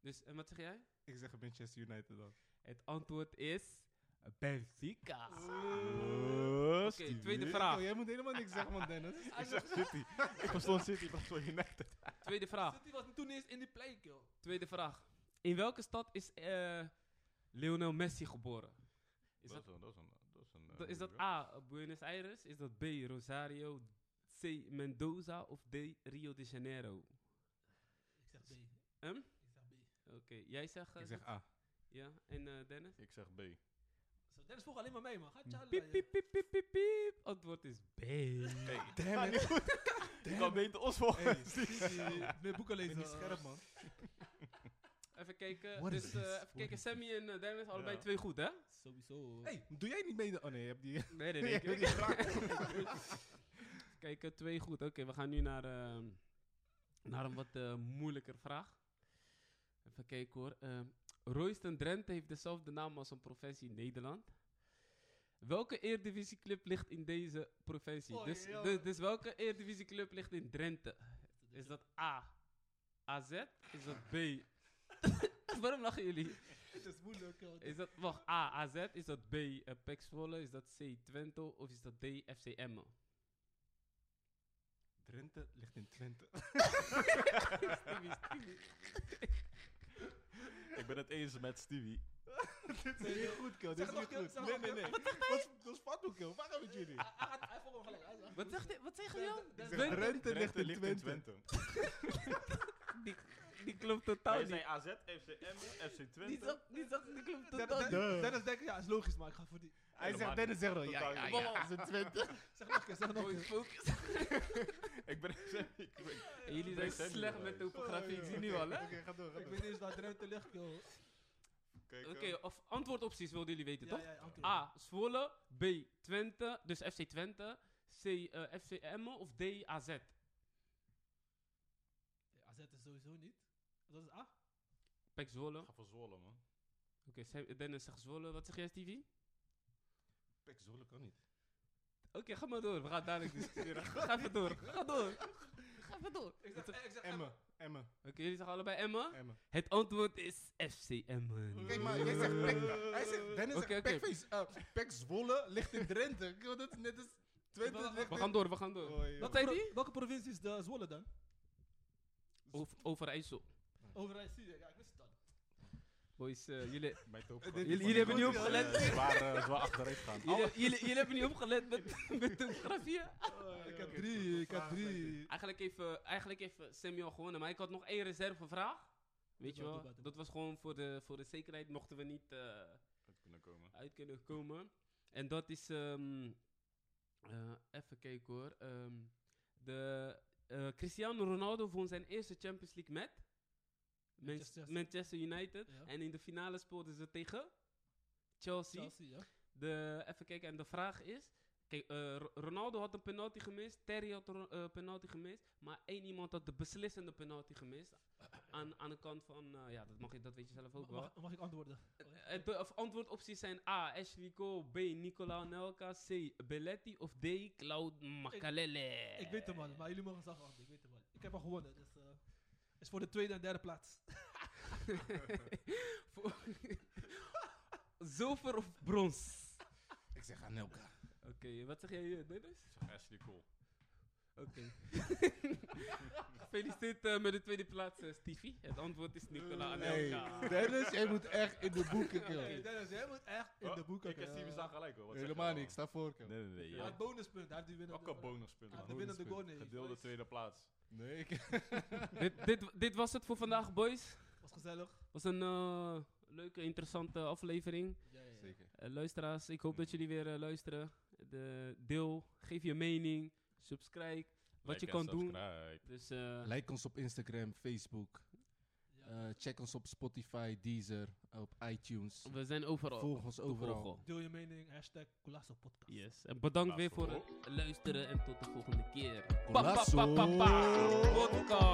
B: Dus, en wat zeg jij?
C: Ik zeg Manchester United dan.
B: Het antwoord is
C: Eh,
B: Benfica.
D: Oké,
B: Oké, tweede vraag.
C: Oh, jij moet helemaal niks zeggen, man, Dennis.
D: Ik zeg City. Ik verstond City, ik verstond United.
B: Tweede vraag.
A: City was toen eens in die play, joh.
B: Tweede vraag. In welke stad is eh, Lionel Messi geboren? Is dat,
D: is een... Dat is een, dat is een, eh,
B: da- is dat
D: moeilijke.
B: A, Buenos Aires? Is dat B, Rosario? C, Mendoza? Of D, Rio de Janeiro?
A: Ik zeg B.
B: Hm?
A: Ik zeg B.
B: Oké, jij zegt... eh,
C: Ik zeg
B: dat-
C: A.
B: Ja, en eh, Dennis?
D: Ik zeg B.
A: Zo, Dennis vroeg alleen maar mee, man. Ga tjallen,
B: Piep,
A: joh.
B: piep, piep, piep, piep, piep. Antwoord is B.
C: Damn it.
D: Ik kan beter ons volgen.
C: Hey,
A: Precies. Meer boeken
C: ik ben
A: lezen. eh.
C: niet scherp, man.
B: Even kijken.
C: What is
B: dus
C: this?
B: eh, even
C: What
B: kijken.
C: is
B: Sammy en eh, Dennis, allebei
D: Ja.
B: twee goed, hè?
A: Sowieso.
C: Hey, doe jij niet mee? Oh nee, je hebt die...
B: Nee, nee,
C: je
B: nee.
C: hebt die vraag.
B: Kijk, eh, twee goed. Oké, we gaan nu naar, ehm, naar een wat eh, moeilijker vraag. Even kijken hoor. Ehm, Royston Drenthe heeft dezelfde naam als een provincie in Nederland. Welke Eerdivisieclub ligt in deze provincie?
A: Oei,
B: dus,
A: joh.
B: dus, dus welke Eerdivisieclub ligt in Drenthe? Is dat A, AZ? Is dat B... Waarom lachen jullie?
A: Het is moeilijk, eh, joh.
B: Is dat, wacht, A, AZ? Is dat B, eh Pek Zwolle? Is dat C, Twente? Of is dat D, FC Emmen?
C: Drenthe ligt in Twente.
B: Stevie, Stevie.
D: Ik ben het eens met Stevie.
C: Dit is niet goed, Kel. Dit
A: Zeg
C: is
A: nog,
C: niet
A: Kel,
C: goed.
A: zeg
C: Nee,
A: nog,
C: nee,
A: Kel.
C: nee. Wat is- Dat is fatsoen, Kel. Waarom met jullie?
A: Hij- hij gaat- Hij volgt hem gelijk. Hij zegt-
B: Wat, zegt, hij- wat zeggen jullie?
A: Drenthe-
C: Ik
B: al?
A: Drenthe-
C: zeg,
B: Drenthe,
C: Drenthe ligt in Twente.
D: Twente.
B: die, die klopt totaal
D: Wij
B: niet.
D: zijn AZ, FC Emmen, FC
B: Die,
D: Twente.
B: zag, die, zag, die klopt
A: Dennis-
B: totaal niet.
A: Dennis- Dennis denkt, ja, is logisch, maar ik ga voor die.
C: Hij
D: Helemaal
C: zegt, Dennis zegt dan.
D: niet.
C: Ja, ja,
D: Totaal niet.
C: ja. Is in Twente.
A: Zeg nog een keer, zeg nog
B: Mooi
A: een keer.
B: focus.
D: Ik ben ik ben-
B: En jullie
D: Wij
B: zijn
D: zijn niet
B: slecht
D: wel
B: met
D: eens.
B: topografie, ik zie nu
C: Oké,
B: al, hè?
C: Oké, ga door, ga
A: Ik
C: door.
A: weet niet eens waar Drenthe ligt, joh.
D: Kijk,
B: Oké,
D: eh,
B: of antwoordopties wilden jullie weten,
A: Ja,
B: toch?
A: ja, ja, antwoord.
B: A, Zwolle. B, Twente, dus FC Twente. C, eh, FC Emmen. Of D, AZ.
A: Ja, AZ is sowieso niet. Dat is A.
B: Pek Zwolle.
D: Ik ga voor Zwolle, man.
B: Oké, Sam- Dennis zegt Zwolle. Wat zeg jij, Stevie?
C: Pek Zwolle kan niet.
B: Oké, ga maar door. We gaan dadelijk discussiëren. ga even door. Ga door. Ga even door.
A: Ik
B: Wat
A: zeg,
B: zeg-
A: ik zeg
C: Emmen, Emmen,
B: Oké, jullie zeggen allebei Emmen.
C: Emmen.
B: Het antwoord is FC Emmen.
C: Kijk maar, jij zegt Pek... Hij zegt, Dennis
B: Oké,
C: zegt
B: oké.
C: Pekface, eh, Pek Zwolle ligt in Drenthe. Ik wil Dat is net als Twente
A: We- we
C: ligt
B: We
C: in...
B: gaan door, we gaan door.
C: Oei,
B: Wat
C: joh.
B: zei
A: Pro-
B: die?
A: Welke provincie is de Zwolle dan?
B: Over, Overijssel.
A: Overal zie je, ja, ik wist het al.
B: Boys, eh, jullie,
D: Mijn
B: Jullie- jullie hebben niet opgelet.
D: Zwaar, eh, zwaar achteruit gaan.
B: jullie, jullie, jullie hebben niet opgelet met, met topografie. hè?
D: Oh,
A: Ik
D: eh,
A: heb drie, ik heb drie.
B: Eigenlijk heeft eh, eigenlijk heeft eh, Samuel gewonnen, maar ik had nog één reservevraag. Weet je
A: Doe maar, doe
B: wel,
A: maar, doe
B: dat was gewoon voor de, voor de zekerheid, mochten we niet eh,
D: Het kunnen komen.
B: uit kunnen komen. En dat is, ehm, eh, even kijken hoor, ehm, de Cristiano Ronaldo won zijn eerste Champions League met Manchester,
A: Manchester.
B: Manchester United.
A: Ja.
B: En in de finale speelden ze tegen Chelsea.
A: Chelsea, ja.
B: De, even kijken, en de vraag is... Kijk, eh, Ro- Ronaldo had een penalty gemist, Terry had een eh, penalty gemist, maar één iemand had de beslissende penalty gemist. Aan, aan de kant van, eh, ja, dat, mag je, dat weet je zelf ook wel.
A: Mag, mag ik antwoorden?
B: Eh, De of- antwoordopties zijn A. Ashley Cole. B. Nicola Nelka. C. Belletti. Of D. Cloud Makalele.
A: Ik weet hem al, maar jullie mogen zelf antwoorden. Ik weet hem al. Ik heb al gewonnen, dus... eh is voor de tweede en derde plaats.
B: Voor- Zilver of brons?
C: Ik zeg aan elkaar.
B: Oké, wat zeg jij, eh, Dennis?
D: Ik zeg Ashley Cole.
B: Oké. Gefeliciteerd eh, met de tweede plaats, eh, Stevie. Het antwoord is Nicola
C: Nee,
B: Anelka.
C: Dennis, jij moet echt in de boeken,
A: Ah. Oké,
C: kill.
A: Dennis, jij moet echt in
D: Oh,
A: de boeken. eh,
D: Ik en Steven staan gelijk hoor. Wat zeg je
C: Helemaal
D: nou?
C: niet, ik sta voor, kill.
D: Nee, nee, nee.
A: Ja,
D: ja.
A: het bonuspunt. Hij heeft die winnende,
D: Ook een bonuspunt.
A: hij heeft
D: man.
A: de winnende goal
C: Bonuspunt.
A: nee.
D: Gedeelde tweede plaats.
C: Nee, ik...
B: dit, dit, dit was het voor vandaag, boys.
A: Was gezellig.
B: was een eh, leuke, interessante aflevering.
A: Ja, ja, ja.
C: Zeker.
B: Eh, luisteraars, ik hoop dat jullie weer eh, luisteren. De, deel, geef je mening, subscribe, wat je
D: Like en
B: kan doen.
D: subscribe.
B: Dus eh,
C: Like ons op Instagram, Facebook.
A: Ja.
C: Eh, check ons op Spotify, Deezer, op iTunes.
B: we zijn overal.
C: Volg ons
B: te
C: overal.
B: volgen.
A: Deel je mening, hashtag Colasso Podcast.
B: Yes. En bedankt weer voor
D: Lasso.
B: het luisteren en tot de volgende keer. Pa, pa,
C: Lasso.
B: pa, pa, pa. Podcast.